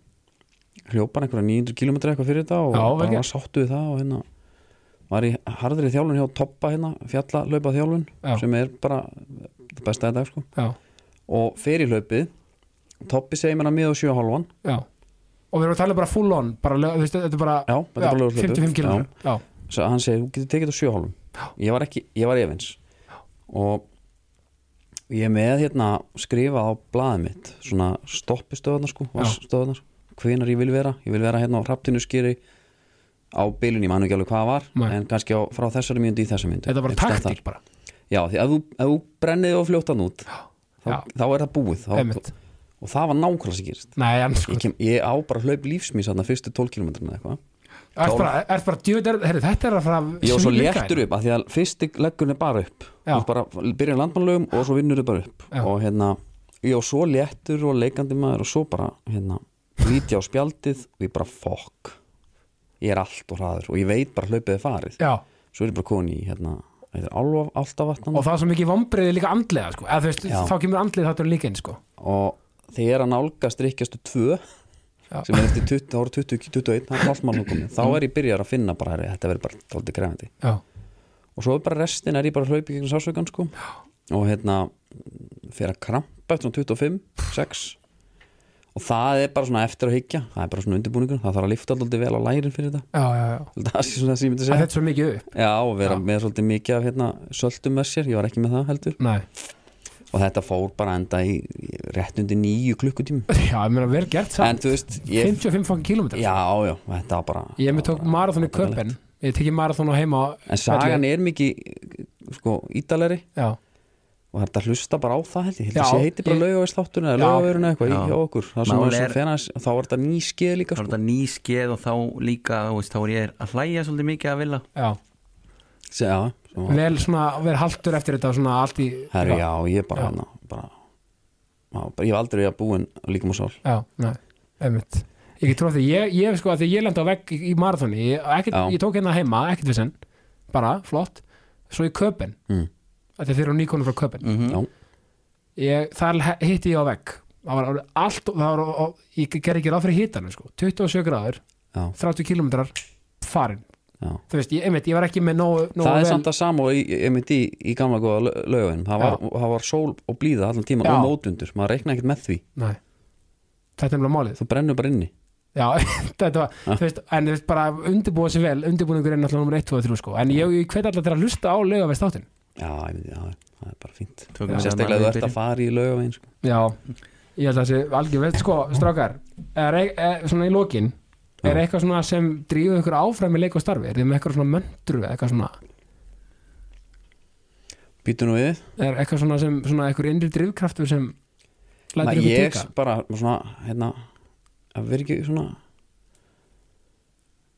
[SPEAKER 2] hljópar einhverja 900 km eitthvað fyrir þetta og
[SPEAKER 1] Já, vel
[SPEAKER 2] bara
[SPEAKER 1] gert.
[SPEAKER 2] var sáttu við það og hérna var í harðri þjálun hjá Toppa hérna fjallalaupa þjálun
[SPEAKER 1] Já.
[SPEAKER 2] sem er bara það besta þetta sko
[SPEAKER 1] já,
[SPEAKER 2] og fer í hlaupið Toppi segir mér að miða á 7,5
[SPEAKER 1] já Og við erum að tala bara full on bara, lög- þú veist, Þetta er bara,
[SPEAKER 2] Já, þetta er bara lögum
[SPEAKER 1] 55 km Já,
[SPEAKER 2] svo hann segir, þú getur tekið þetta á
[SPEAKER 1] Já.
[SPEAKER 2] sjöhálfum ég var ekki, ég var efins og ég er með hérna skrifað á blaðið mitt svona stoppistöðunar sko
[SPEAKER 1] Já.
[SPEAKER 2] vatnsstöðvarnar, hvenar ég vil vera ég vil vera hérna á hraptinu skýri á bylunni, mann ekki alveg hvað það var
[SPEAKER 1] Nei.
[SPEAKER 2] en kannski á, frá þessari mjöndu í þessa mjöndu
[SPEAKER 1] þetta er bara taktík bara
[SPEAKER 2] já, því að þú, ef þú brennið og fljóttan út þá,
[SPEAKER 1] Já.
[SPEAKER 2] þá er það búið þá,
[SPEAKER 1] Einmitt.
[SPEAKER 2] og það var nákvæmlega sem gerist
[SPEAKER 1] Nei, en sko,
[SPEAKER 2] ég, kem, ég á bara hlaup lífsmís þarna fyrstu 12 kilometrina eitthvað
[SPEAKER 1] ert bara, ert bara djöð, er, herri, þetta er að fara
[SPEAKER 2] Ég var svo
[SPEAKER 1] svívirka
[SPEAKER 2] léttur
[SPEAKER 1] hérna.
[SPEAKER 2] upp að því að fyrst leggur henni bara upp
[SPEAKER 1] Já.
[SPEAKER 2] Þú bara byrjar í landmannlögum og svo vinnur þið bara upp
[SPEAKER 1] Já.
[SPEAKER 2] og hérna, ég var svo léttur og leikandi maður og svo bara hérna, líti á spjaldið og ég bara fokk ég er allt og hraður og ég veit bara hlaupið er farið
[SPEAKER 1] Já,
[SPEAKER 2] svo er ég bara koni í hérna þetta er álfa, áltavatnan
[SPEAKER 1] og
[SPEAKER 2] og,
[SPEAKER 1] það er svo mikið vombriði líka andlega sko. Eða, þú veist,
[SPEAKER 2] Já.
[SPEAKER 1] Þá kemur andlega þáttur líka inn sko.
[SPEAKER 2] og þegar að nálgast ríkjastu tvö
[SPEAKER 1] Já. Mm.
[SPEAKER 2] sem er eftir 20, ára 20, 21 það er hálfmálnum komið, þá er ég byrjar að finna bara herri, þetta verður bara tóldi krefandi
[SPEAKER 1] Já,
[SPEAKER 2] og svo er bara restin er ég bara hlaupið gegn sásaukan sko og hérna fyrir að krampa eftir svona 25, 6 og það er bara svona eftir að higgja það er bara svona undirbúningur, það þarf að lifta alltaf vel á lærin fyrir þetta,
[SPEAKER 1] já, já, já.
[SPEAKER 2] það sé svona það sem ég myndi að
[SPEAKER 1] En
[SPEAKER 2] segja
[SPEAKER 1] Þetta er svo mikið upp
[SPEAKER 2] já og vera með svolítið mikið af hérna söltum með sér, ég var ekki með það heldur
[SPEAKER 1] Nei.
[SPEAKER 2] og þetta fór bara enda í, í rétt undir nýju klukkutími
[SPEAKER 1] Já, ég meina vel gert
[SPEAKER 2] en
[SPEAKER 1] samt
[SPEAKER 2] þú veist, ég
[SPEAKER 1] 55 fangin
[SPEAKER 2] já,
[SPEAKER 1] kílómetrar
[SPEAKER 2] já, þetta var bara
[SPEAKER 1] Ég með tók marathon í köpen Ég tekið marathon á heima á-
[SPEAKER 2] en sagan er mikið sko ídalegri
[SPEAKER 1] Já,
[SPEAKER 2] og það er að hlusta bara á það held ég held
[SPEAKER 1] Já,
[SPEAKER 2] að sé heiti bara
[SPEAKER 1] ég-
[SPEAKER 2] laugavæslátturinn eða
[SPEAKER 1] Já.
[SPEAKER 2] laugavæðurinn eða eitthvað í
[SPEAKER 3] Já.
[SPEAKER 2] hjá okkur það er svona
[SPEAKER 3] Mál
[SPEAKER 2] er...
[SPEAKER 3] er-
[SPEAKER 2] fennas, þá er þetta ný skeið líka
[SPEAKER 3] þá er
[SPEAKER 2] sko,
[SPEAKER 3] þetta ný skeð og þá líka þú veist, þá er ég að hlæja svolítið mikið að vilja
[SPEAKER 1] já
[SPEAKER 2] Se, já, svo,
[SPEAKER 1] Vel svona, vel haltur eftir þetta og Svona allt í
[SPEAKER 2] herri, já, ég bara,
[SPEAKER 1] Já.
[SPEAKER 2] hana, bara, já, bara ég hef aldrei verið að búin líka múið sál
[SPEAKER 1] Já, nei, einmitt Ég get tróð því, ég, ég sko að því ég lendi á vegg í, í marathoni ég, ekkert,
[SPEAKER 2] Já.
[SPEAKER 1] ég tók hérna heima, ekkert við senn Bara, flott Svo í köpen,
[SPEAKER 2] mm.
[SPEAKER 1] þetta er fyrir á nýkonum frá köpen
[SPEAKER 3] mm
[SPEAKER 2] já,
[SPEAKER 1] ég, Þar he- hitti ég á vegg Það var orðið allt, það var, og, ég gerði ekki ráð fyrir hitanum sko 27 gráður,
[SPEAKER 2] já,
[SPEAKER 1] 30 kílómetrar farin,
[SPEAKER 2] já.
[SPEAKER 1] þú veist, ég, einmitt, ég var ekki með nógu, nógu
[SPEAKER 2] það er
[SPEAKER 1] vel-
[SPEAKER 2] samt að sama og ég myndi í, í gamla góða laugavæðin það, var- það var sól og blíða allan tíma
[SPEAKER 1] Já.
[SPEAKER 2] og mótundur, maður reikna ekkert með því
[SPEAKER 1] Nei. Þetta er nefnilega málið
[SPEAKER 2] þú brennur bara inni
[SPEAKER 1] Já, þetta var, þú veist, en þú veist bara undirbúa sér vel, undirbúningur er náttúrulega nummer 1, 2 og 3 sko, en ég, ég hveit alltaf til að hlusta á lögaveg státtin.
[SPEAKER 2] já, ég myndi, já, það er bara fínt
[SPEAKER 3] Tökum við
[SPEAKER 2] sérstaklega þú
[SPEAKER 3] hérna í
[SPEAKER 2] ert
[SPEAKER 3] byrjun.
[SPEAKER 2] að fara í laugavæðin sko.
[SPEAKER 1] Já, ég held að þessi algjör, veist sko, strákar, er, er, svona í lokin, er eitthvað svona sem drífur ykkur áfram í leik og starfi, er þið með eitthvað svona möndru, eða eitthvað svona,
[SPEAKER 2] býtu nú við
[SPEAKER 1] er eitthvað svona sem, svona eitthvað innri drifkraftur sem
[SPEAKER 2] Nei,
[SPEAKER 1] lætur ykkur
[SPEAKER 2] ég
[SPEAKER 1] tíka?
[SPEAKER 2] bara svona, hérna að vera ekki svona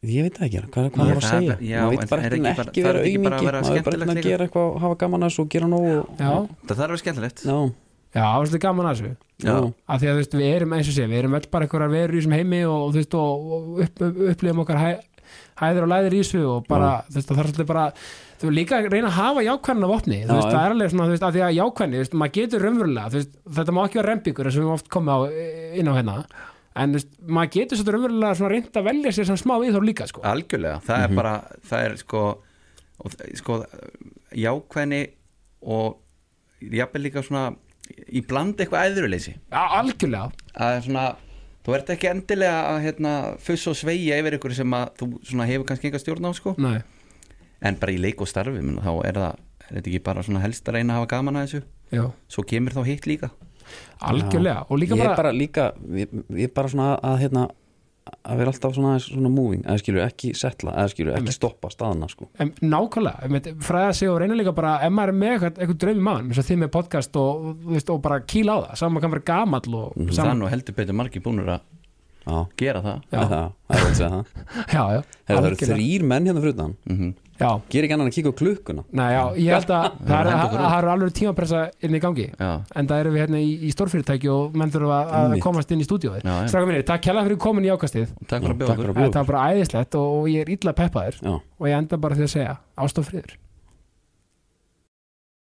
[SPEAKER 2] ég veit það ekki hvað, hvað
[SPEAKER 3] Nei,
[SPEAKER 2] er að
[SPEAKER 3] það
[SPEAKER 2] segja,
[SPEAKER 3] er- já,
[SPEAKER 2] maður
[SPEAKER 3] en
[SPEAKER 2] veit bara
[SPEAKER 3] er
[SPEAKER 2] ekki,
[SPEAKER 3] ekki
[SPEAKER 2] ekki,
[SPEAKER 3] bara-
[SPEAKER 2] ekki
[SPEAKER 3] þarf
[SPEAKER 2] vera
[SPEAKER 3] ekki bara að
[SPEAKER 2] aumingi
[SPEAKER 3] vera
[SPEAKER 2] maður er bara að
[SPEAKER 3] skemmtilegt
[SPEAKER 2] gera eitthvað, hafa gaman að þessu og gera nóg og,
[SPEAKER 1] Já,
[SPEAKER 3] það þarf að vera skemmtilegt
[SPEAKER 2] já,
[SPEAKER 1] já, það var svolítið gaman að þessu.
[SPEAKER 2] já,
[SPEAKER 3] Já.
[SPEAKER 1] að því að þú veist, við erum eins og sé við erum öll bara einhverjar verur í þessum heimi og þú veist, og, og upp, upplifum okkar hæ, hæðir og læðir í þessu og bara þú veist, það þarf svolítið bara þú veist, líka að reyna að hafa jákvæðan af opni þú
[SPEAKER 2] Já,
[SPEAKER 1] veist,
[SPEAKER 2] já.
[SPEAKER 1] það er alveg svona, þú veist, að því að jákvæðni þú veist, maður getur raunverulega, þú veist, þetta má ekki vera rembingur sem við oft komum á, inn á hérna en þú veist, maður getur svolítið raunverulega svona reynd að velja sér sem smá viðhór líka, sko
[SPEAKER 3] algjörlega, það er bara það er sko, og, þ- sko jákvæðni og jafnvel líka svona í bland eitthvað æðuruleysi
[SPEAKER 1] Já, algjörlega,
[SPEAKER 3] að svona, þú ert ekki endilega að hérna, fuss og sveigja yfir ykkur sem að þú svona, hefur kannski enga stjórn á sko.
[SPEAKER 1] nei,
[SPEAKER 3] en bara í leik og starfi menn, þá er það, er þetta ekki bara svona helst að reyna að hafa gaman að þessu,
[SPEAKER 1] já,
[SPEAKER 3] svo kemur þá hitt líka
[SPEAKER 1] algjörlega og líka
[SPEAKER 2] ég er
[SPEAKER 1] bara,
[SPEAKER 2] bara líka ég, ég er bara svona að hérna að vera alltaf svona, aðeins svona moving eða skilur ekki setla, eða skilur ekki stoppa staðana sko,
[SPEAKER 1] En nákvæmlega, einmitt, fræða sig og reyna líka bara ef maður er með eitthvað, eitthvað draumi mann eins og þið með podcast og, og, þú veist, og bara kýla á það saman kann vera gamall og
[SPEAKER 3] Mm, það
[SPEAKER 1] saman,
[SPEAKER 3] er nú heldur betur margir búnur að
[SPEAKER 2] Já,
[SPEAKER 3] gera það
[SPEAKER 1] Já.
[SPEAKER 2] það það er rétt að segja það
[SPEAKER 1] já, já,
[SPEAKER 2] Heyrðu, Það eru
[SPEAKER 1] algjörlega.
[SPEAKER 2] þrýr menn hérna fyrir utan
[SPEAKER 3] mm
[SPEAKER 1] já,
[SPEAKER 2] Ger ekki annan að kíka á klukkuna
[SPEAKER 1] Nei, já, ég held að það er-
[SPEAKER 3] henda okkur
[SPEAKER 1] það eru alveg tímapressa inn í gangi
[SPEAKER 3] Já,
[SPEAKER 1] en það erum við hérna í, í stórfyrirtæki og menn þurfa að- að
[SPEAKER 2] Einmitt.
[SPEAKER 1] komast inn í stúdíóið
[SPEAKER 3] Já, já.
[SPEAKER 1] Stráka mínir, takk kjærlega fyrir komin í ákastið
[SPEAKER 3] takk fyrir að
[SPEAKER 2] Já,
[SPEAKER 3] bjóða
[SPEAKER 2] takk
[SPEAKER 3] okkur
[SPEAKER 2] fyrir að bjóða
[SPEAKER 1] Þetta var bara æðislegt og og ég er illa peppaður
[SPEAKER 2] Já,
[SPEAKER 1] og ég enda bara því að segja ástof friður